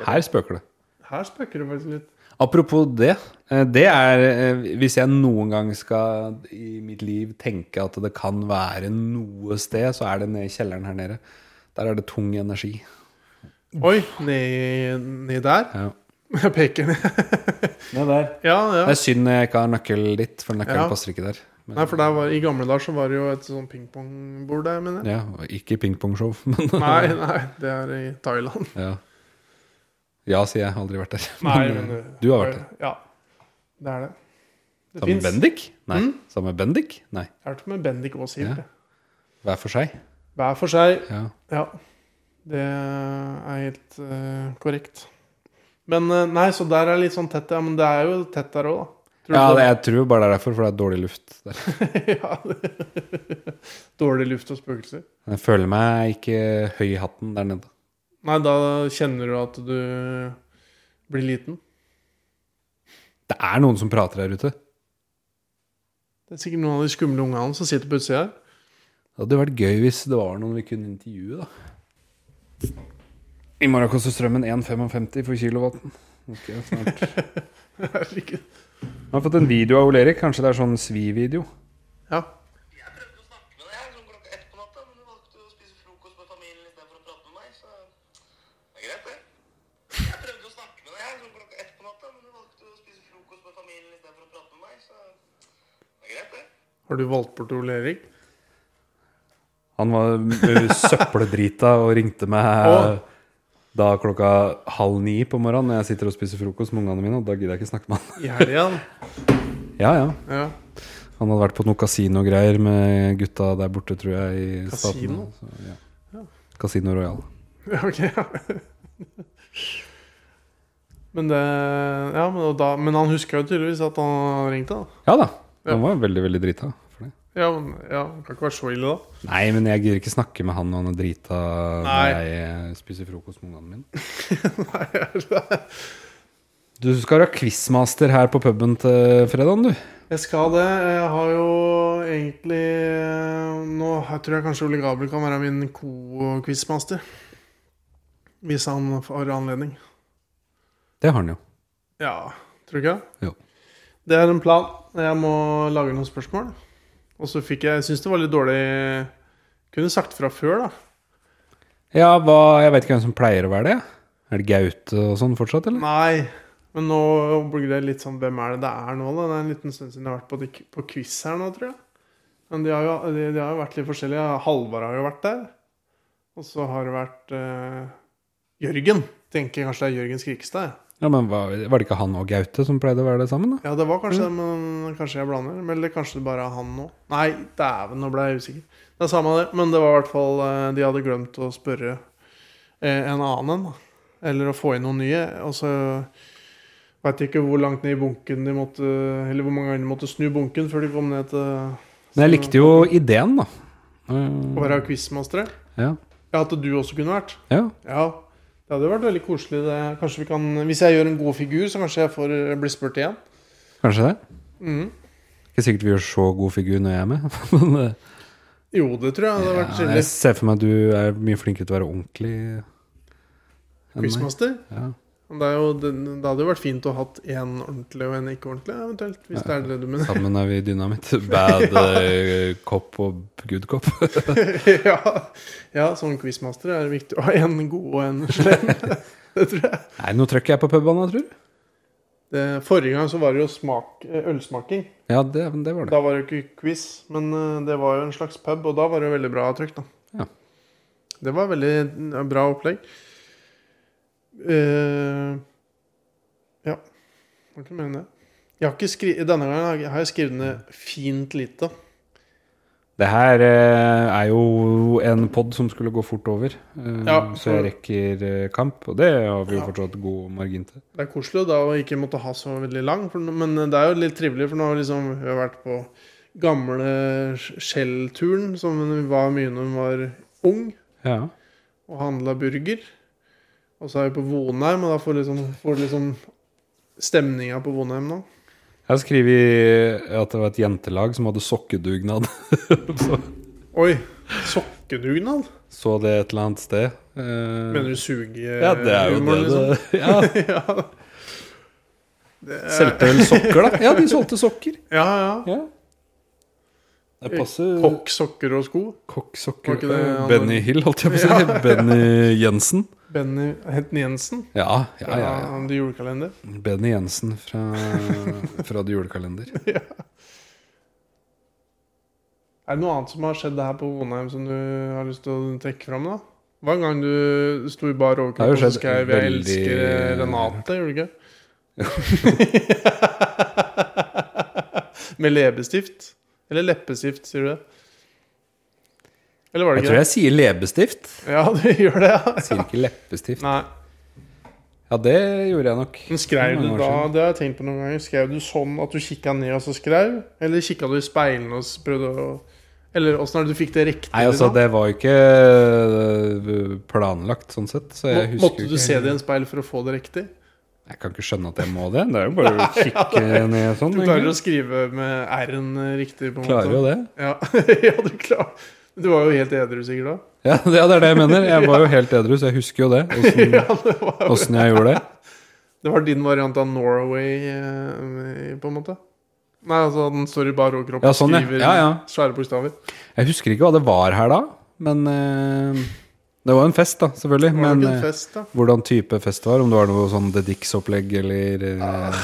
her spøker det.
Her spøker det faktisk litt.
Apropos det. eh, Det er eh, Hvis jeg noen gang skal i mitt liv tenke at det kan være noe sted, så er det nede i kjelleren her nede. Der er det tung energi.
Oi, ned, ned der.
Ja.
Jeg peker ned. Ja,
Det
ja.
er synd jeg ikke har nøkkel dit, for nøkkelen
Ja.
passer ikke der. Men,
Nei, for der var, I gamle dager så var det jo et sånn pingpongbord der, mener jeg.
ja, og ikke pingpongshow, men
Nei, nei, det er i Thailand.
ja. ja, sier jeg. Har Aldri vært der.
Nei,
Men,
men
eh,
du,
du har vært der.
Ja, det er det. Det
eh, Sammen
fins.
med Bendik? Nei.
Mm.
Sammen med Bendik? Nei.
Jeg har vært med Bendik og Siv.
Ja.
jeg.
Hver for seg.
Hver for seg,
Ja.
ja. Det er helt eh, korrekt. Men eh, nei, så der er litt sånn tett, ja. Men det er jo tett der òg, da. Tror du
Ja,
ikke
det, jeg tror bare det er derfor, for det er dårlig luft der.
det? ja. Dårlig luft og spøkelser.
Jeg føler meg ikke høy i hatten der nede.
Nei, da kjenner du at du blir liten.
Det er noen som prater her ute.
Det er sikkert noen av de skumle ungene som sitter på utsida her.
Det hadde vært gøy hvis det var noen vi kunne intervjue, da. I morgen koster strømmen 1,55 for kilowatten. Ok, snart.
Herregud.
Jeg har fått en video av Ole Erik. Kanskje det er sånn svi-video?
Ja.
Jeg prøvde å snakke med deg her sånn klokka ett på natta, men du valgte å spise frokost med familien istedenfor å prate med meg, så det er greit, det. Jeg prøvde å snakke med deg her sånn klokka ett på natta, men du valgte å spise frokost med familien istedenfor å prate med meg, så det er greit, det.
Har du valgt bort Ole Erik?
Han var ø, søppeldrita og ringte meg
Å.
da klokka halv ni på morgenen. Når jeg sitter og spiser frokost med ungene mine, og da gidder jeg ikke snakke med han.
I helga?
Ja, ja.
Ja.
Han hadde vært på noe kasinogreier med gutta der borte, tror jeg. I
Kasino?
Statene, så, ja. Casino Royal.
Ja, ok, ja. Men det Ja, men, og da, men han huska jo tydeligvis at han ringte, da.
Ja da.
Ja.
Han var veldig, veldig drita. for det.
Ja, men, ja det kan ikke være så ille, da.
Nei, men jeg gidder ikke snakke med han når han er drita når
Nei.
jeg spiser frokost med ungene mine.
Nei, jeg-
Du skal være quizmaster her på puben til fredagen, du.
jeg skal det. Jeg har jo egentlig eh, Nå her tror jeg kanskje Ole Gabel kan være min co-quizmaster. Hvis han får anledning.
Det har han jo.
Ja, tror du ikke? det?
Jo.
Det er en plan. Jeg må lage noen spørsmål. Og så fikk jeg Jeg syns det var litt dårlig Kunne sagt fra før, da.
Ja, hva, jeg veit ikke hvem som pleier å være det. Er det Gaute og sånn fortsatt, eller?
Nei, men nå blir det litt sånn Hvem er det det er nå, da? Det er en liten stund siden jeg har vært på, de- på quiz her nå, tror jeg. Men de har jo, de, de har jo vært litt forskjellige. Halvard har jo vært der. Og så har det vært eh, Jørgen. Tenker kanskje det er Jørgen Skrikstad. jeg.
Ja, men var, var det ikke han og Gaute som pleide å være det sammen, da?
Ja, det var kanskje
Mm.
det, men kanskje jeg blander. Men- Eller kanskje det bare er han nå. Nei, dæven, nå ble jeg usikker. Det er samme det, men det var i hvert fall eh, De hadde glemt å spørre eh, en annen en, da. Eller å få inn noen nye. Og så veit jeg ikke hvor langt ned i bunken de måtte Eller hvor mange ganger de måtte snu bunken før de kom ned til
Men jeg likte jo ideen, da. Eh,
Å være quizmastere.
Ja.
Ja, at du også kunne vært.
ja.
Ja. Det hadde vært veldig koselig. Det. Kanskje vi kan, Hvis jeg gjør en god figur, så kanskje jeg får eh, bli spurt igjen.
Kanskje det.
Mhm.
Ikke sikkert vi gjør så god figur når jeg er med. Men eh,
Jo, det tror jeg hadde vært
ja,
chillig.
jeg ser for meg at du er mye flinkere til å være ordentlig. enn meg.
Quizmaster?
Ja.
Det, er jo, det, det hadde jo vært fint å ha hatt én ordentlig og én ikke ordentlig, eventuelt. Hvis det er det du mener.
Sammen er vi dynamitt. Bad eh, cop og good cop.
ja. ja, som quizmaster er det viktig å ha én god og én slem. det tror jeg.
Nei, nå trøkker jeg på puben, da, tror du?
Det, forrige gang så var det jo smak, eh, ølsmaking.
Ja, det, det var det.
Da var det jo ikke quiz, men eh, det var jo en slags pub, og da var det jo veldig bra trykk, da.
Ja.
Det var veldig eh, bra opplegg. Eh, ja. Hva kan jeg mene? Jeg har ikke skri Denne gangen har jeg- har jeg skrevet ned fint lite.
Det her eh, er jo en pod som skulle gå fort over, eh,
Ja,
så
så-
jeg rekker eh, kamp. Og det har vi jo
Ja.
fortsatt god margin til.
Det er koselig da å ikke måtte ha så veldig lang, for, nå- men det er jo litt trivelig, for nå har vi liksom, vi har vært på gamle Shell-turen, som var mye når hun var ung,
Ja.
og handla burger. Og så er vi på Vonheim, og da får liksom, får liksom stemninga på Vonheim nå.
Jeg har skrevet eh, at det var et jentelag som hadde sokkedugnad. så,
Oi! Sokkedugnad?
så det et eller annet sted. Eh,
Mener du suge... liksom?
ja, det er jo det.
humor,
det ja,
eh, ja. Det er-
Solgte vel sokker, da? Ja, de solgte sokker.
Ja, ja.
Ja. Det passer
Kokk, sokker og sko. Var
Kokksokker eh,
ikke det han-
Benny Hill, holdt jeg på å si. Benny Jensen.
Benny het den Jensen.
Ja, ja,
Ja,
ja. ja.
Det julekalender.
Benny Jensen fra, fra The Julekalender.
Er det noe annet som har skjedd her på Vonheim som du har lyst til å trekke fram? da? Det var en gang du sto i bar
Det har
overkropp
jo
og så
skjedd
skrev 'Jeg
veldig-
elsker eh, Renate', gjorde du ikke? Med leppestift? Eller leppestift, sier du det? Eller var det
Jeg
ikke
tror
det?
jeg sier leppestift.
Ja, du gjør det, ja.
Jeg sier ikke leppestift.
Nei.
Ja, det gjorde jeg nok.
Men skrev
Det er
du
mange år
da
siden.
Det har jeg tenkt på noen ganger. Skrev du sånn at du kikka ned og så skrev? Eller kikka du i speilene og s- prøvde å Eller åssen er det du fikk det riktig?
Nei, altså,
liksom?
det var jo ikke øh, planlagt sånn sett, så jeg
Må,
husker
måtte
jo
du
ikke.
se det i en speil for å få det riktig?
Jeg kan ikke skjønne at jeg må det. Det er jo bare å kikke ned sånn.
Du klarer å sånn.
egentlig.
skrive med R-en riktig? på en
Klarer jo
måte
det.
Ja, ja du klarer Du var jo helt edru sikkert da?
Ja, det ja, det er det jeg mener. Jeg var jo helt edru, så jeg husker jo det.
Ja, det, var,
Åssen jeg gjorde det.
det var din variant av Norway, eh, på en måte? Nei, altså den står i bar overkropp
Ja,
og
sånn, ja.
skriver
Ja, ja.
svære bokstaver.
Jeg husker ikke hva det var her da, men øh, Det var en fest, da, selvfølgelig.
Det var
Men
nok en
øh,
fest, da.
hvordan type fest det var? Om det var noe sånn The Dicks-opplegg eller øh,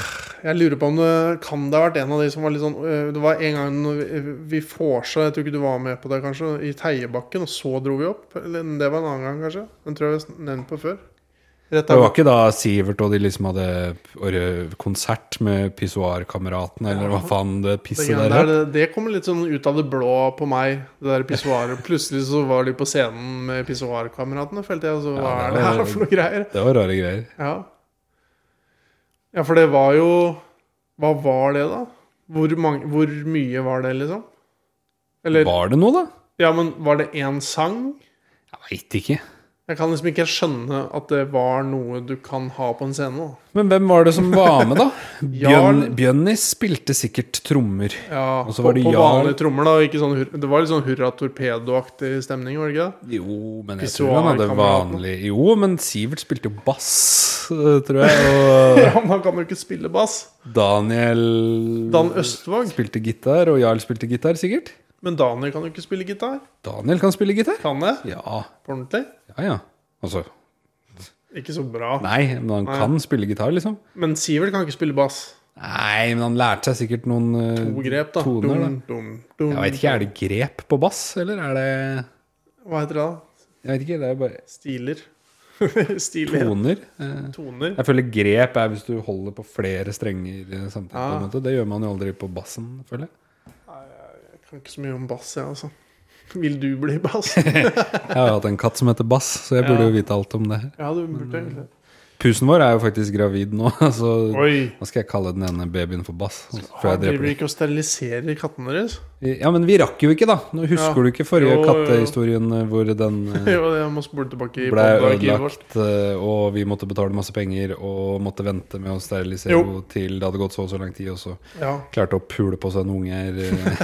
Jeg lurer på om det kan det ha vært en av de som var litt sånn øh, Det var en gang når vi, vi vorsa, jeg tror ikke du var med på det, kanskje, i Teiebakken, og så dro vi opp. Eller Ah, det var en annen gang, kanskje. Den tror jeg vi har nevnt på før. Rett
Det
av
var ikke da Sivert og de liksom hadde åre- konsert med pissoarkameratene, eller hva faen det
det,
pisset
greiene
der
der,
het?
det, det kom litt sånn ut av det blå på meg, det der pissoaret. Plutselig så var de på scenen med pissoarkameratene, følte jeg. Så hva
Ja,
er
det
det
var-
her for noe greier?
Det var rare greier.
Ja. ja, for det var jo Hva var det, da? Hvor, mange, hvor mye var det, liksom? Eller
Var det noe, da?
Ja, men var det én sang?
Jeg veit ikke.
Jeg kan liksom ikke skjønne at det var noe du kan ha på en scene. da
Men hvem var det som var med, da? Bjørn,
Jarl.
Bjørnis spilte sikkert trommer.
Ja,
Og så
på,
var det
på
Jarl.
vanlige trommer, da. Ikke sånn, hur- det var litt sånn hurra torpedo-aktig stemning, var det ikke det?
Jo, men jeg tror han hadde
Pissoarkameratene.
vanlig Jo, men Sivert spilte jo bass, eh, tror jeg.
Ja, men han kan jo ikke spille bass.
Og Daniel
Dan Østvåg.
spilte gitar, og Jarl spilte gitar, sikkert.
Men Daniel kan jo ikke spille gitar.
Daniel kan spille gitar.
Kan det?
Ja,
På ordentlig?
ja. ja. Altså
Ikke så bra.
Nei, men han
Nei.
kan spille gitar, liksom.
Men Sivert kan ikke spille bass.
Nei, men han lærte seg sikkert noen eh,
To grep, da.
toner. da.
Dum, dum, dum.
Jeg veit ikke, er det grep på bass, eller er det
Hva heter det da?
Jeg vet ikke, det er bare
Stiler. Stiler.
toner. Eh,
Toner.
Jeg føler grep er hvis du holder på flere strenger eh, samtidig. på en
Ja.
måte. Det gjør man jo aldri på bassen, føler jeg.
Jeg kan ikke så mye om bass, jeg, altså. Vil du bli bass?
Jeg har jo hatt en katt som heter Bass, så jeg burde
Ja.
jo vite alt om det. her.
Ja, du burde egentlig det.
Pusen vår er jo faktisk gravid nå, så
Oi!
hva skal jeg kalle den ene babyen for Bass?
Har
Før Mm. jeg
dere
dreper den.
ikke og steriliserer kattene deres?
Ja, men vi rakk jo ikke, da. Nå
Ja.
husker du ikke forrige
Jo, jo, jo.
kattehistorien eh, hvor den eh,
Jo, jeg må spole tilbake i
ble
poddarkivet vårt.
ødelagt, eh, og vi måtte betale masse penger og måtte vente med å sterilisere
Jo.
henne til det hadde gått så og så lang tid, og så
Ja.
klarte å pule på seg en unge her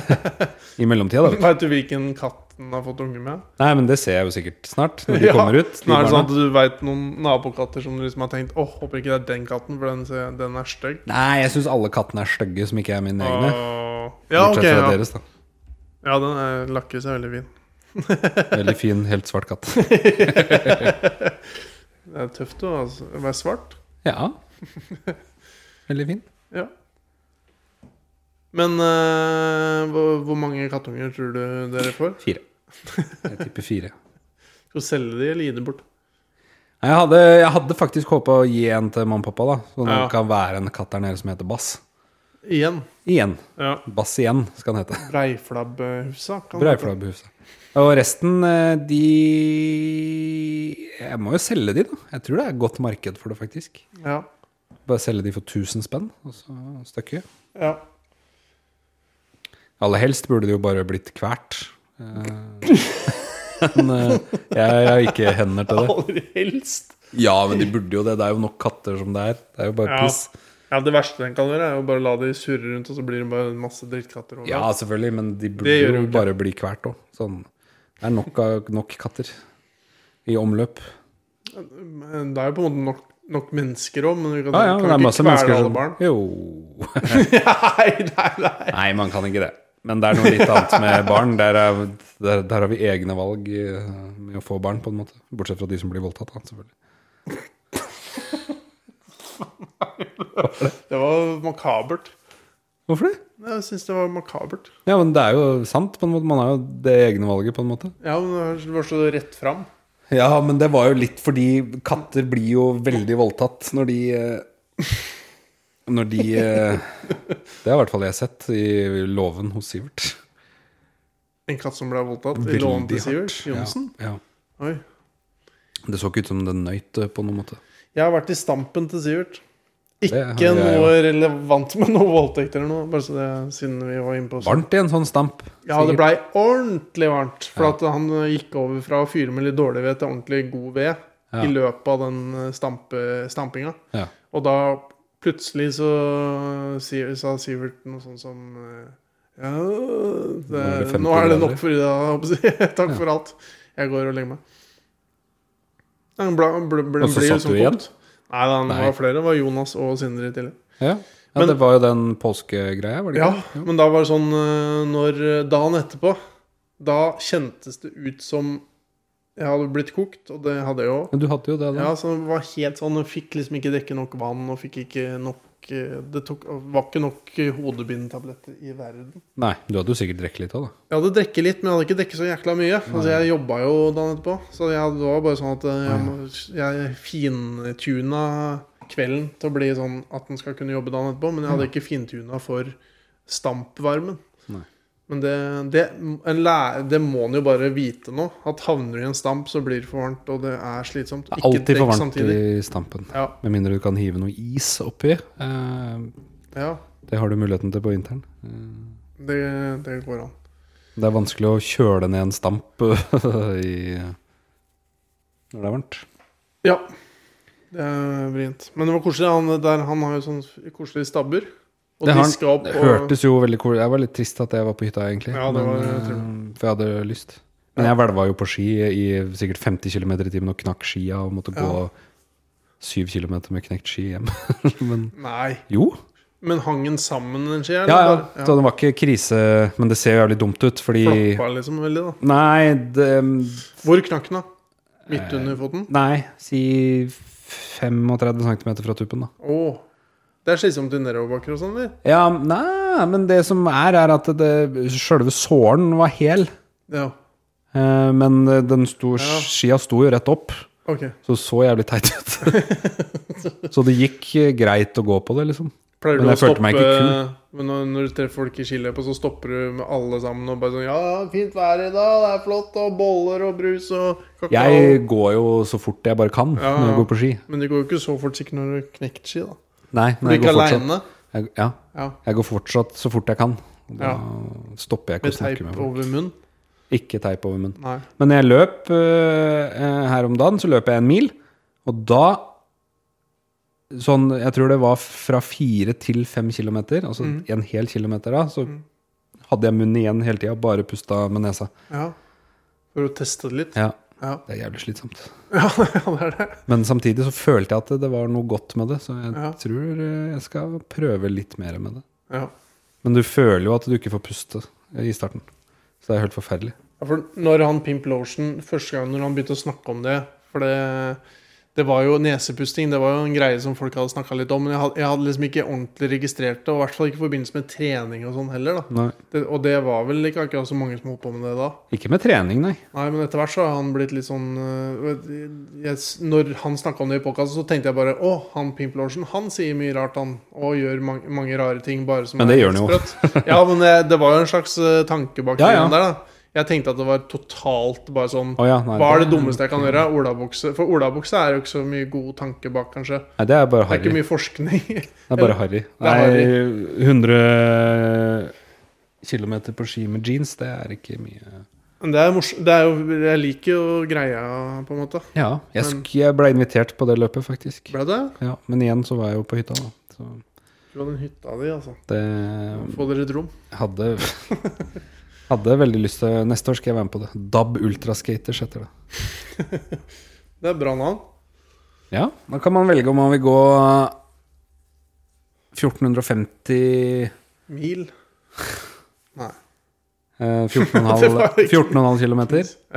eh, i mellomtida. Da.
Veit du hvilken katt den har fått unge med?
Nei, men det ser jeg jo sikkert snart, når de
Ja.
kommer ut.
Nå er det sånn
barna.
at du veit noen nabokatter som du liksom har tenkt Åh, håper ikke det er den katten, for den, ser- den er stygg.
Nei, jeg syns alle kattene er stygge som ikke er mine egne.
Åh. Ja, Ah, ok.
bortsett
Ja,
fra deres, da.
ja den er- lakkes er veldig fin.
Veldig fin, helt svart katt.
Det er tøft å altså, være svart.
Ja. Veldig fin.
Ja. Men eh, hvor, hvor mange kattunger tror du dere får?
Fire. Jeg tipper fire.
Skal du selge de eller gi de bort?
Nei, Jeg hadde, jeg hadde faktisk håpa å gi en til mamma og pappa, da. Så det
Ja.
kan være en katt der nede som heter Bass.
Igjen.
Igjen.
Ja.
Bass igjen, skal den hete.
Breiflabbhusa. kan det hete.
Breiflabbhuset. Og resten, eh, de Jeg må jo selge de, da. Jeg tror det er godt marked for det, faktisk.
Ja.
Bare selge de for 1000 spenn, og så stykket.
ja.
Aller helst burde det jo bare blitt kvert. Eh, Men eh, jeg har ikke hender til det.
Aller helst.
Ja, men de burde jo det. Det er jo nok katter som det er. Det er jo bare
Ja.
piss.
Ja, Det verste den kan gjøre, er jo bare la de surre rundt, og så blir det bare en masse drittkatter. overalt.
Ja, selvfølgelig, men de burde
Det gjør
jo
jo ikke.
bare bli kvert òg. Sånn. Det er nok, av- nok katter i omløp.
Men Det er jo på en måte nok, nok mennesker òg, men du kan,
Ja, ja,
kan
men det er
ikke
masse
kvele
mennesker
alle
som
barn.
Jo.
nei, nei, nei.
Nei, man kan ikke det. Men det er noe litt annet med barn. Der, er, der, der har vi egne valg eh, med å få barn, på en måte. Bortsett fra de som blir voldtatt, da, selvfølgelig.
Det var makabert.
Hvorfor det?
Jeg syns det var makabert.
Ja, men det er jo sant, på en måte. Man har jo det egne valget, på en måte.
Ja, men Det var så rett fram.
Ja, men det var jo litt fordi katter blir jo veldig voldtatt når de eh, Når de eh, Det har i hvert fall jeg sett i låven hos Sivert.
En katt som ble voldtatt i
Veldig
lånet til
hardt.
Sivert Johnsen?
Ja,
Oi.
ja. Det så ikke ut som den nøyt eh, på noen måte.
Jeg har vært i stampen til Sivert.
har
Ikke
jeg
noe relevant med noe voldtekt eller noe. Bare så det, siden vi var inne på
Varmt i en sånn stamp.
Ja, det blei ordentlig varmt. For at han eh, gikk over fra å fyre med litt dårlig ved til ordentlig god ved
Ja.
i løpet av den eh, stampe, stampinga.
Ja.
Og da plutselig så si- sa Sivert noe sånn som eh, Ja, det,
er det
nå er det
50
nok for i dag. holdt på å si. Takk for alt. Jeg går og legger meg. Nei, Han ble, ble, ble,
Og så
ble
satt
liksom
du igjen?
kokt. Nei, da, han
Nei.
var flere. Det var Jonas og Sindre i tillegg.
Ja, ja
Men-
det var jo den påskegreia, var det
Ja,
ikke?
men da var det sånn eh, når eh, Dagen etterpå, da kjentes det ut som jeg hadde blitt kokt, og det hadde jeg jo.
Men du hadde jo det, da.
Ja, så det var helt sånn, jeg fikk liksom ikke drikke nok vann, og fikk ikke nok eh, Det tok, var ikke nok eh, hodebindtabletter i verden.
Nei, du hadde jo sikkert drukket litt òg, da.
Jeg hadde drukket litt, men jeg hadde ikke drukket så jækla mye. Altså, jeg jobba jo dagen etterpå, så jeg, det var bare sånn at eh, jeg, må- jeg fintuna kvelden til å bli sånn at den skal kunne jobbe dagen etterpå, men jeg hadde ikke fintuna for stampvarmen.
Nei.
Men det, det, en læ- det må en jo bare vite nå. At havner du i en stamp, så blir det for varmt, og det er slitsomt.
Det er
Ikke
alltid for
drikk
varmt
samtidig.
i stampen.
Ja,
Med mindre du kan hive noe is oppi. Eh,
ja
det har du muligheten til på vinteren.
det, det går an.
Det er vanskelig å kjøle ned en stamp i når det er varmt.
Ja. Det er vrient. Men det var koselig. Han, der, han har jo sånn koselige stabber. Og
Det har han-
diska opp.
Det
og-
hørtes jo veldig cool Jeg var litt trist at jeg var på hytta, egentlig.
Ja, det var-
men,
jeg tror
eh, for jeg hadde lyst. Men jeg hvelva jo på ski i sikkert 50 km i timen og knakk skia og måtte
Ja.
gå 7 km med knekt ski hjem. men
Nei.
jo.
Men hang den sammen, den skjer?
Ja, ja.
eller?
Så det var ikke krise, men det ser jo jævlig dumt ut, fordi
Flappa liksom veldig, da.
Nei, det,
Hvor knakk den, da? Midt under foten?
nei si 35 cm fra tuppen, da.
Å. Det er slitsomt i nedoverbakker og sånn, eller?
Ja, nei, men det som er, er at det, selve såren var hel.
Ja.
Eh, men den sto,
Ja.
skia sto jo rett opp,
Ok.
så det så jævlig teit ut. så det gikk eh, greit å gå på det, liksom.
Pleier
Men
du å
jeg følte
stoppe
meg ikke
men når, når du treffer folk i skiløpet, så stopper du med alle sammen og bare sånn Ja, fint vær i dag, det er flott, og boller og brus og kakao.
Jeg går jo så fort jeg bare kan
Ja,
når
ja.
jeg går på ski.
Men det går jo ikke så fort sikkert når du knekker ski, da.
Nei,
Du
men jeg
gikk
går fortsatt.
aleine
Jeg, ja,
Ja.
jeg går fortsatt så fort jeg kan. Og Da
Ja.
stopper jeg ikke
med
å
teip
snakke med folk.
over munnen.
Ikke teip over munnen.
Nei.
Men når jeg løp eh, eh, her om dagen, så løp jeg en mil, og da Sånn, jeg tror det var fra fire til fem kilometer, altså
Mm.
en hel kilometer da, så hadde jeg munnen igjen hele tida, bare pusta med nesa.
Ja. For å teste det litt.
Ja,
Ja.
det er jævlig slitsomt.
Ja, det er det.
Men samtidig så følte jeg at det, det var noe godt med det, så jeg
Ja.
tror eh, jeg skal prøve litt mer med det.
Ja.
Men du føler jo at du ikke får puste eh, i starten, så det er helt forferdelig.
Ja, for når han Pimp Lotion Første gang når han begynte å snakke om det For det, det var jo nesepusting Det var jo en greie som folk hadde snakket litt om Men jeg hadde, jeg hadde liksom ikke ordentlig registrert det Og i hvert fall ikke i forbindelse med trening og sånn heller da
Nei.
det, Og det var vel ikke akkurat så mange som holdt på med det da
Ikke med trening, nei.
Nei, men etter hvert så har han blitt litt sånn øh, jeg, Når han snakka om det i podkasten, så tenkte jeg bare Å, han Pimp Lorsen, han sier mye rart, han. Og gjør mange, mange rare ting. Bare som
Men det
er
gjør han jo.
sprøtt. ja, men eh, det, det var jo en slags øh, tanke bak
Ja,
den
ja.
der, da. Jeg tenkte at det var totalt bare sånn
Å ja, nei,
Hva er det
det-
dummeste jeg kan gjøre? Olabukse. For olabukse er jo ikke så mye god tanke bak, kanskje.
Nei, det er
Det er
bare harry.
ikke mye forskning.
Det er bare harry.
Det er
Nei, 100 km på ski med jeans, det er ikke mye
Men det er mors det er jo, jeg liker jo greia, på en måte.
Ja, jeg,
Men-
sk jeg ble invitert på det løpet, faktisk.
Ble det?
Ja, men igjen så var jeg jo på hytta, da. Så
Fra den hytta di, altså.
det
Få dere et rom.
hadde Hadde veldig lyst til Neste år skal jeg være med på det. DAB Ultraskaters heter det.
Det er bra navn.
Ja, da kan man velge om man vil gå 1450 eh,
Mil.
Eh,
Det
14,5
var ikke-
14,5 km,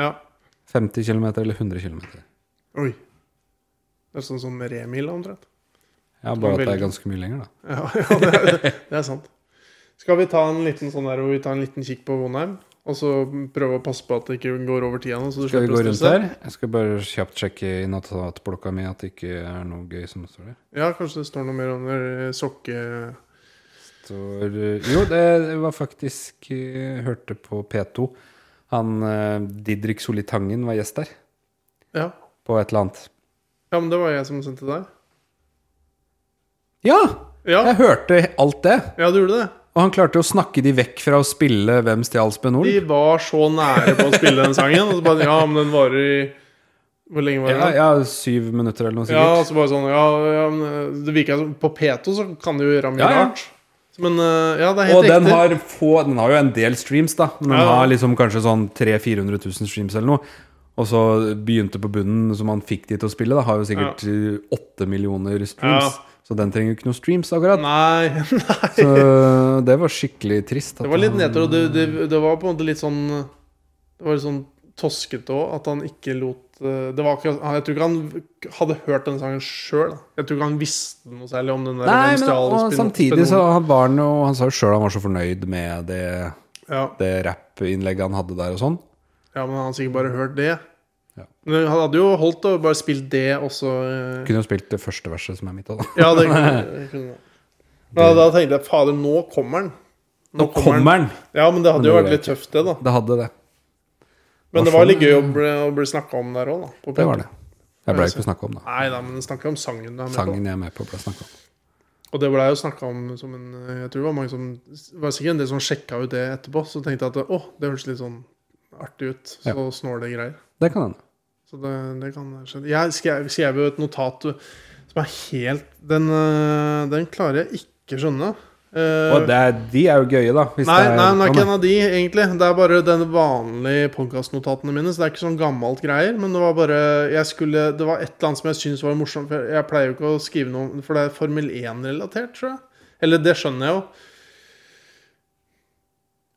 Ja.
50 km eller 100 km.
Oi. Det er sånn som remil, omtrent.
Ja,
man
bare at det
velge.
er ganske mye lenger, da.
Ja, ja det, er, det er sant. Skal vi ta en liten sånn der hvor vi tar en liten kikk på Vonheim? Og så prøve å passe på at det ikke går over tida nå? Så du
Skal vi
slipper å
gå rundt
stresse?
her? Jeg skal bare kjapt sjekke i notatblokka mi at det ikke er noe gøy som står der.
Ja, kanskje det står noe mer under eh, sokke...
Står, eh, jo, det var faktisk eh, Hørte på P2. Han eh, Didrik Solli Tangen var gjest der,
Ja.
på et eller annet.
ja, men det var jeg som sendte deg.
Ja!
Ja,
Jeg hørte alt det.
ja du gjorde det.
Og han klarte å snakke de vekk fra å spille 'Hvem stjal
De
Spenol'.
var så nære på å spille den sangen. Og så bare Ja, men den varer i Hvor lenge var
Ja,
den?
ja, syv minutter eller noe
Ja, og
sikkert.
så bare sånn Ja, ja men eh, det virker som På P2 så kan det jo gjøre mye
Ja, ja.
rart. Men eh, ja, det er helt
Og
riktig.
den har, få, den har jo en del streams, da. Men den
Ja, ja.
har liksom kanskje sånn 300 400 000 streams eller noe. Og så begynte på bunnen, som han fikk de til å spille. Da har jo sikkert eh, 8 millioner streams.
Ja.
Så den trenger jo ikke noe streams, akkurat.
Nei, nei.
Så det var skikkelig trist. at
Det var litt
han-
nedtur, og det, det, det var på en måte litt sånn Det var litt sånn toskete òg at han ikke lot eh, det var akkurat, Jeg tror ikke han hadde hørt den sangen sjøl. Jeg tror ikke han visste noe særlig om den der
Nei,
hvem
men
stjal
og
spin-
samtidig så
spinonen.
var han jo Han sa jo sjøl han var så fornøyd med det,
ja,
det rappinnlegget han hadde der og sånn.
ja, men han har sikkert bare hørt det.
Ja.
Men han hadde jo holdt og bare spilt det også. eh,
Kunne jo spilt det første verset som er mitt òg, da.
Ja, det kunne kunne- Men da tenkte jeg fader, nå kommer han.
Nå kommer han!
Ja, men det hadde
Men
jo
det
vært
gjorde
litt
jeg
tøft, det, da.
Det hadde det.
Men det
Hva
var
skjønner
litt gøy å bli, å bli snakka om der òg, da. på
Det var
P3.
det. Jeg ble jo ikke snakka om, da.
Nei da, men snakka om sangen. Da,
Sangen jeg er med på, ble snakka om.
Og det blei jo snakka om som en Jeg tror det var mange som det var sikkert en del som sjekka ut det etterpå. Så tenkte jeg at å, det hørtes litt sånn artig ut. Så
Ja.
snåle greier.
Det kan hende.
Så det, det kan skje. Jeg skrev, skrev jo et notat som er helt Den, øh, den klarer jeg ikke skjønne. Eh,
Og det er, de er jo gøye, da. Hvis
Nei,
det er,
nei, den er ikke
Å,
en av de, egentlig. Det er bare den vanlige podkastnotatene mine. Så det er ikke sånn gammelt greier. Men det var bare jeg skulle, Det var et eller annet som jeg syntes var morsomt. For jeg pleier jo ikke å skrive noe For det er Formel 1-relatert, tror jeg. Eller det skjønner jeg jo.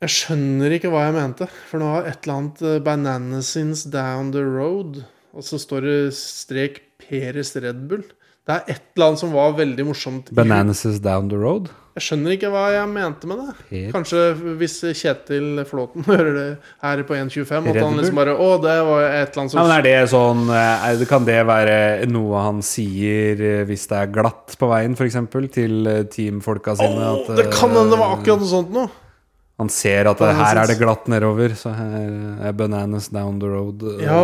Jeg skjønner ikke hva jeg mente. For det var et eller annet eh, 'Bananasins Down the Road'. Og så står det strek 'Peres Red Bull'. Det er et eller annet som var veldig morsomt. i-
Bananas Down the Road.
jeg skjønner ikke hva jeg mente med det.
Per.
Kanskje hvis Kjetil Flåten hører det her på 1.25, at
Red
han
Bull?
liksom bare Å, det var et eller annet
Ja,
som
men er det sånn eh, er- Kan det være noe han sier eh, hvis det er glatt på veien, f.eks., til eh, teamfolka sine?
Åh,
at,
det kan hende det var
eh,
akkurat noe sånt noe!
Han ser at eh,
Bananas.
her er det glatt nedover, så her er bananas down the road. eh.
Ja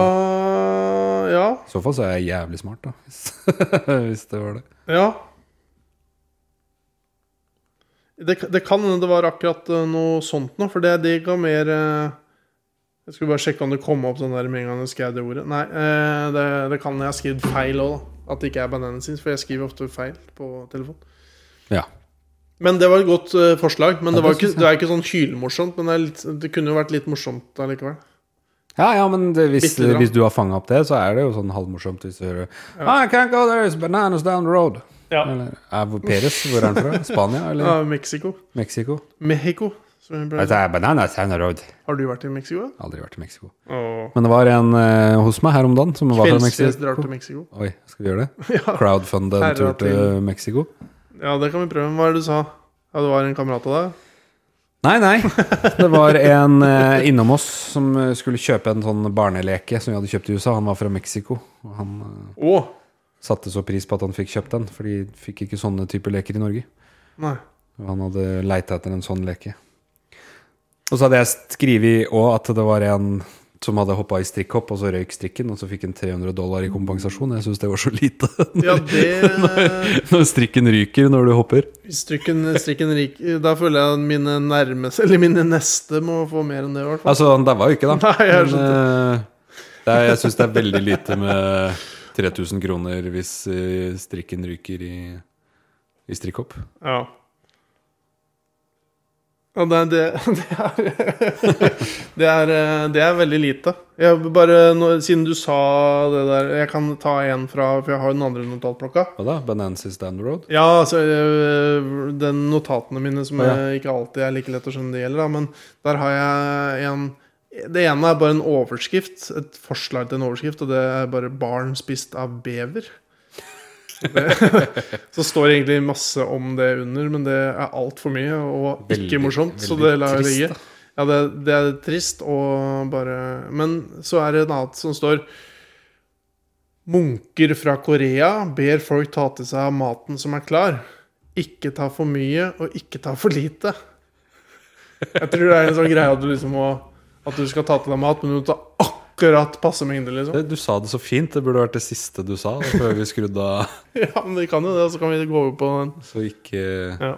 Ja.
I så fall så er jeg jævlig smart, da. Hvis, hvis det var det.
ja. Det, det kan hende det var akkurat eh, noe sånt noe, for det, det ga mer eh, Jeg skulle bare sjekke om det kom opp sånn der med en gang jeg skrev det ordet. Nei, eh, det, det kan jeg ha skrevet feil òg, da. At det ikke er bananasins, for jeg skriver ofte feil på telefon.
Ja.
Men det var et godt eh, forslag. Men
Ja,
det, var
det
ikke,
synes jeg.
det er ikke sånn hylmorsomt. Men det, er litt, det kunne jo vært litt morsomt allikevel.
Ja, ja, men det, hvis,
Bitte litt, da.
hvis du har fanga opp det, så er det jo sånn halvmorsomt hvis du hører I can't go there, it's bananas down the road.
Ja.
Eller er hvor- Perez, hvor er han fra? Spania eller
Ja, Mexico.
Mexico?
Mexico. Som vi ble.
Altså, bananas down the road.
Har du vært i Mexico? ja?
Aldri vært i Mexico.
Åh.
Men det var en eh, hos meg her om dagen som var fra
Kveldsfest drar
Mexico.
til Mexico.
Oi, skal vi gjøre det?
Ja.
Crowdfunde en tur
Herre
til Mexico?
ja, det kan vi prøve. Hva er det du sa? Ja, Det var en kamerat av deg?
Nei, nei. Det var en eh, innom oss som eh, skulle kjøpe en sånn barneleke som vi hadde kjøpt i USA. Han var fra Mexico. Og han eh,
Å!
satte så pris på at han fikk kjøpt den, for de fikk ikke sånne typer leker i Norge.
Nei.
Og han hadde leita etter en sånn leke. Og så hadde jeg skrevet òg at det var en som hadde hoppa i strikkhopp, og så røyk strikken, og så fikk han 300 dollar i kompensasjon. Jeg syns det var så lite.
Ja, det
Når strikken ryker når du hopper.
Strikken, strikken rik Da føler jeg mine nærmeste Eller mine neste må få mer enn det, i hvert fall.
Altså, han daua jo ikke, da.
Nei, jeg
Men, eh, det er, jeg syns det er veldig lite med 3000 kroner hvis eh, strikken ryker i, i strikkhopp.
Ja. Ja, det er det, det er det er, eh, det er veldig lite. Jeg vil bare, nå- siden du sa det der Jeg kan ta en fra For jeg har jo den andre notatblokka.
Hva da? Bananas is down the road?
Ja, altså eh, Den notatene mine som
Ja.
eh, ikke alltid er like lett å skjønne det gjelder, da, men der har jeg en Det ene er bare en overskrift. Et forslag til en overskrift, og det er bare 'Barn spist av bever'. Det, så står det egentlig masse om det under, men det er altfor mye og
Veldig-
ikke morsomt. Så
veldig
det lar jeg
trist,
ligge.
da.
Ja, det, det er trist og bare Men så er det en annen som står Munker fra Korea ber folk ta til seg av maten som er klar. Ikke ta for mye og ikke ta for lite. Jeg tror det er en sånn greie at du liksom må At du skal ta til deg mat, men du må ta akkurat passe mengde, liksom.
Det, du sa det så fint. Det burde vært det siste du sa da, før vi skrudde av.
Ja, men vi kan jo det, så kan vi gå over på den.
Så ikke
Ja.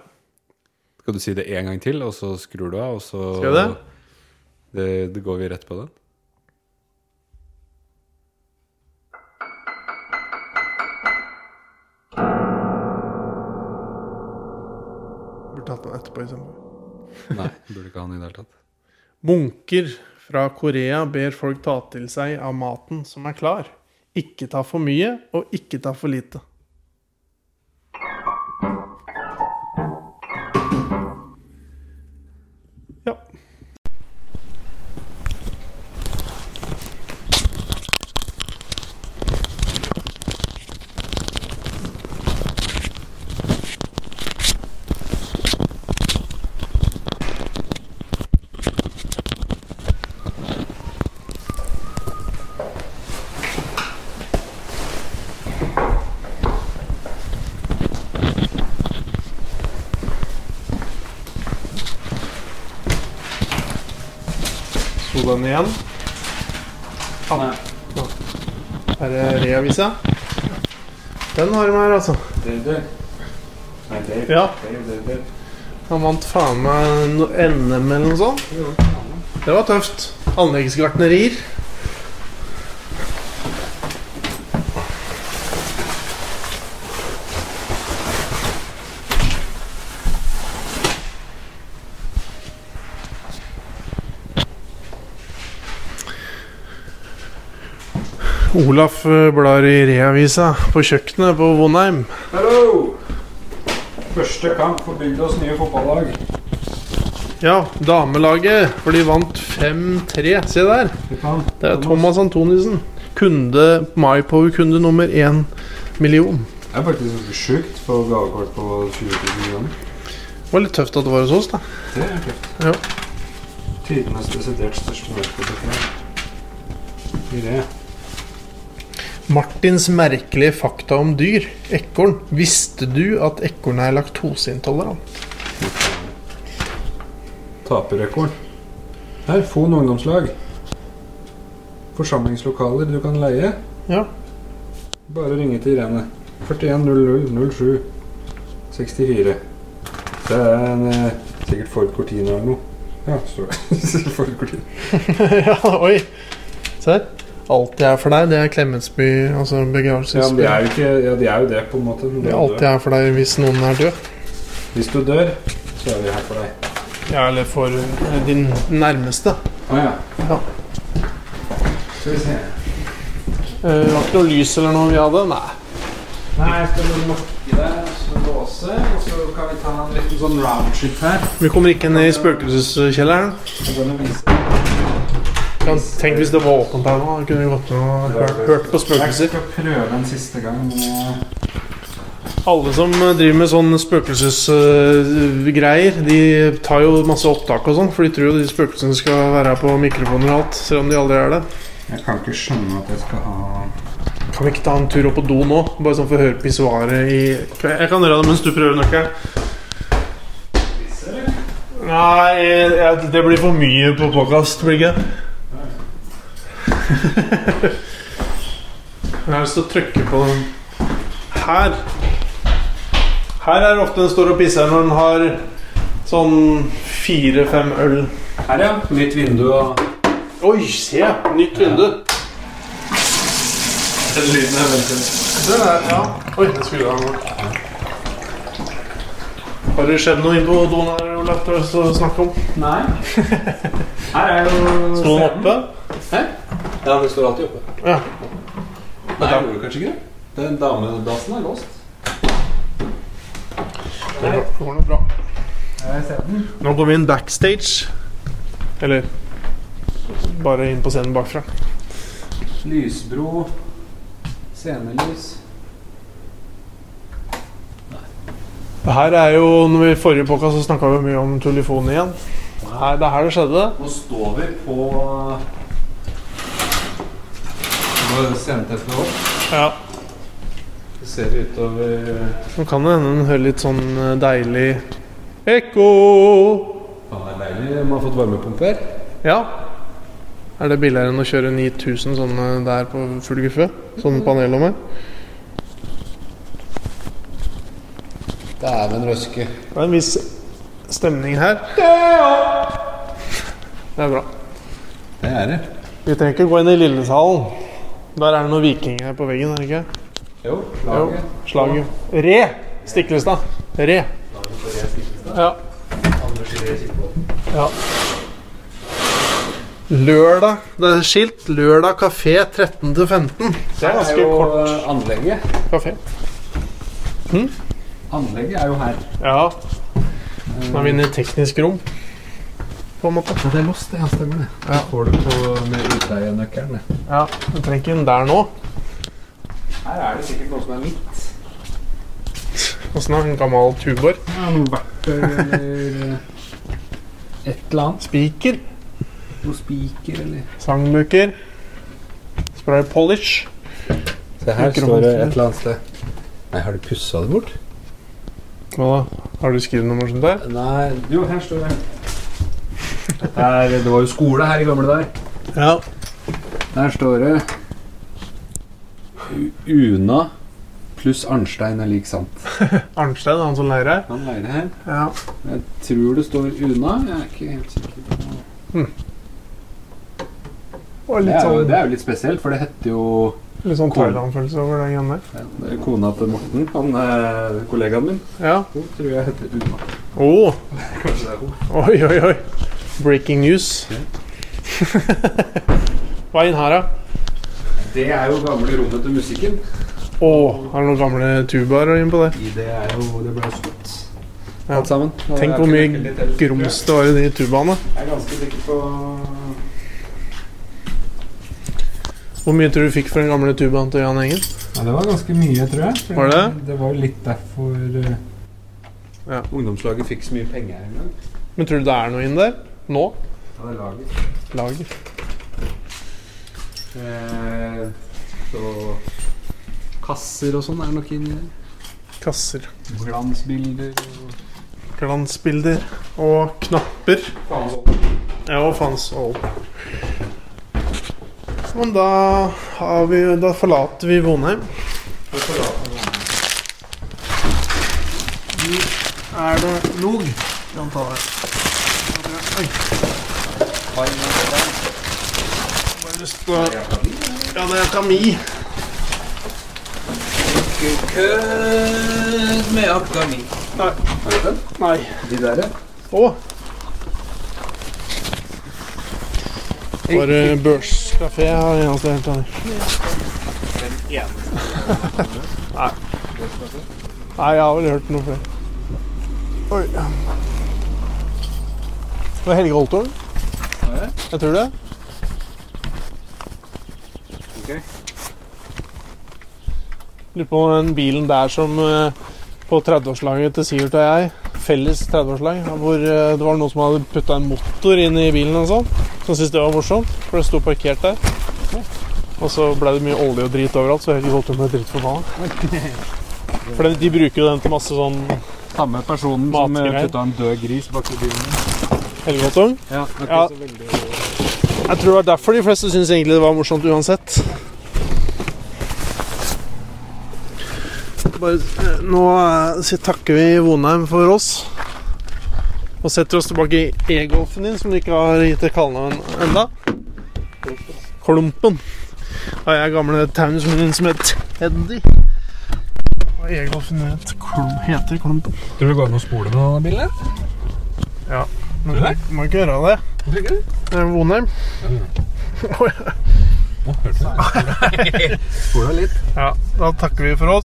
Skal du si det én gang til, og så skrur du av, og så
Skal jeg det?
Det, det går vi rett på den?
Burde tatt den etterpå, liksom.
Nei, burde ikke ha den i det hele tatt.
Munker fra Korea ber folk ta til seg av maten som er klar. Ikke ta for mye, og ikke ta for lite. Ja. sto den igjen? Ah, Nei. Her er reavisa. Den har de her, altså. Ja. Han vant faen meg no- NM eller noe sånt. Det var tøft. Anleggsgartnerier. Olaf eh, blar i reavisa på kjøkkenet på Vonheim.
Hallo! Første kamp for bygdas nye fotballag.
Ja, damelaget, for de vant 5-3. Se der. Det er Thomas Antonissen. Kunde MyPower-kunde nummer én million.
Det er faktisk ganske sjukt på gavekort på 20 000 kroner.
Det var litt tøft at det var hos oss, da.
Det er tøft.
Ja.
Tidenes desidert største mørkebutikk. I det.
Martins merkelige fakta om dyr. Ekorn. Visste du at ekorn er laktoseintolerant?
Taperrekord. Her, Fon ungdomslag. Forsamlingslokaler du kan leie.
Ja.
Bare ringe til Irene. 410007 64. Det er en, eh, sikkert Ford Cortina eller noe. Ja, står det. Ford Cortina.
ja, oi. Se her. Alt jeg er for deg, det er Klemetsby, altså
Ja, men
begravelsesby.
de er jo ikke, ja, de er jo det, på en måte. men
det
de
er
er
alt
døde.
jeg er for deg hvis noen er død.
Hvis du dør, så er vi her for deg.
Ja, eller for eh, din nærmeste.
Å ja.
Ja.
Skal vi se.
Eh, var det ikke noe lys eller noe vi hadde? Nei.
Nei, jeg skal bare lokke deg, så låse, og så kan vi ta en liten sånn roundship her.
Vi kommer ikke ned i spøkelseskjelleren.
Så kan jeg vise
Ja, Tenk hvis det var åpent her nå. da Kunne vi gått ned og hørt, hørt på
Jeg
spøkelser.
skal prøve en siste gang. men jeg-
Alle som eh, driver med sånn spøkelsesgreier, de tar jo masse opptak og sånn. For de tror jo de spøkelsene skal være her på mikrofoner og alt, selv om de aldri er det.
Jeg kan ikke skjønne at jeg skal ha
Kan vi ikke ta en tur opp på do nå? Bare sånn for å høre pissoaret i Jeg kan gjøre det mens du prøver nøkkelen. Nei, jeg, det blir for mye på podkast, blir det ikke? Jeg har lyst til å trykke på den her. Her er det ofte den står og pisser når den har sånn fire-fem øl.
Her, ja. Nytt vindu og
Oi, se! Nytt vindu.
Den lyden er veldig
Det der, ja. Oi, det skulle han Har det skjedd noe inne på doen her, Olav? Du har lyst til å snakke om?
Nei. Her er jo
Sto den oppe?
Ja, den står alltid oppe.
Ja.
Nei, gjorde du kanskje ikke det? Den damedassen er låst.
Det går- det går nå bra. Nå går vi inn backstage. Eller bare inn på scenen bakfra.
Lysbro. Scenelys.
Det her er jo, når vi i forrige påkast så snakka vi mye om telefonen igjen. Her, det er her det skjedde.
Nå står vi på Nå sendte jeg opp.
Ja.
Så ser vi utover
Nå kan det hende den hører litt sånn eh, deilig ekko.
Faen, det er deilig. Man har fått varmepumpe her.
Ja. Er det billigere enn å kjøre 9000 sånne der på full guffe? Sånn Sånne panellommer?
Det er en røske.
Det er en viss stemning her. Det er bra.
Det er det.
Vi trenger ikke gå inn i lillesalen. Der er det noen vikinger på veggen, er det ikke?
Jo,
Jo.
laget.
Slaget. Re Stiklestad. Re. Ja. ja. Lørdag. Det er skilt. Lørdag kafé 13 til 15. Det er ganske kort
eh, anlegget.
kafé.
Anlegget er jo her.
Ja. Nå er vi inne i teknisk rom, på en måte.
Ja, det er lost, det. Ja, stemmer det. Ja. Får du på med utleie-nøkkelen, det.
Ja, Vi trenger ikke inn der nå.
Her er det sikkert noe som er mitt.
Åssen er en gammel Tuborg?
Ja, noe verktøy eller eh, et eller annet.
Spiker.
Noe spiker eller
Sangbøker. Spray polish.
Se, her står det et eller annet sted. Nei, har du pussa det bort?
Hva da? Har du skrevet noe morsomt der?
Nei Jo, her står det.
Der, det var jo skole her i gamle dager.
Ja.
Der står det U- Una pluss Arnstein er lik sant.
Arnstein, han som leier her.
Han leier det her.
Ja.
Jeg tror det står Una. Jeg er ikke helt sikker. på-
Og
Det
litt
er jo, det
sånn,
er jo litt spesielt, for det heter jo
litt sånn Thailand-følelse over det greiene der.
ja, det er Kona til Morten, han eh, kollegaen min,
Ja.
hun tror jeg heter Una.
Oh. Oi, oi, oi. Breaking news. Hva er inn her, da?
Det er jo gamle rommet til musikken.
Å, har du noen gamle tubaer inn på det?
I det er jo Det ble skutt.
Ja.
Alt sammen.
Tenk hvor mye grums det var i de tubaene.
Jeg er ganske sikker på
Hvor mye tror du fikk for den gamle tubaen til Jan Engen?
Ja, det var ganske mye, tror jeg.
Var det?
Det var litt derfor eh,
Ungdomslaget fikk så mye penger en gang.
Men tror du det er noe inn der? Nå?
Ja, det er laget.
Lager.
Eh, Så kasser og sånn er nok inni der.
Kasser.
Glansbilder og
Glansbilder. Og knapper.
faen sånn.
Ja, og fans all. Men da, har vi, da forlater vi Vonheim. Vi er det log. Kan ta det. Oi. Bare lyst til å Ja, det er Tami.
Kødd med Afghani.
Nei. Nei.
De der, ja.
Å! Bare børskafé er det eneste jeg helt enig Nei. Nei, jeg har vel hørt noe før. Oi. Det var Helge Holtorn. Jeg tror det.
Ok.
Lurer på om den bilen der som eh, på 30-årslaget til Sivert og jeg, felles 30-årslag, hvor eh, det var noen som hadde putta en motor inn i bilen og sånn, som syntes det var morsomt, for det sto parkert der. Og så ble det mye olje og drit overalt, så Helge holdt på med drittforbanna. For de, de bruker jo den til masse sånn
Samme personen
som, eh, Matgreier. putta
en død gris bak i bilen.
helgemotorn.
Ja,
Ja. Jeg tror det var derfor de fleste syntes egentlig det var morsomt uansett. Bare, eh, nå eh, si- takker vi Vonheim for oss. Og setter oss tilbake i e-golfen din, som du ikke har gitt et kallenavn enda. Klumpen. Da jeg gamle taunismen din som het Teddy. Og e-golfen din het Klum- heter Klumpen.
Tror du det går an å spole med denne bilen? her?
Men du må ikke gjøre det.
Tror du ikke det?
Det er Vonheim.
Å, hørte du det? Spola litt.
Ja, da takker vi for oss.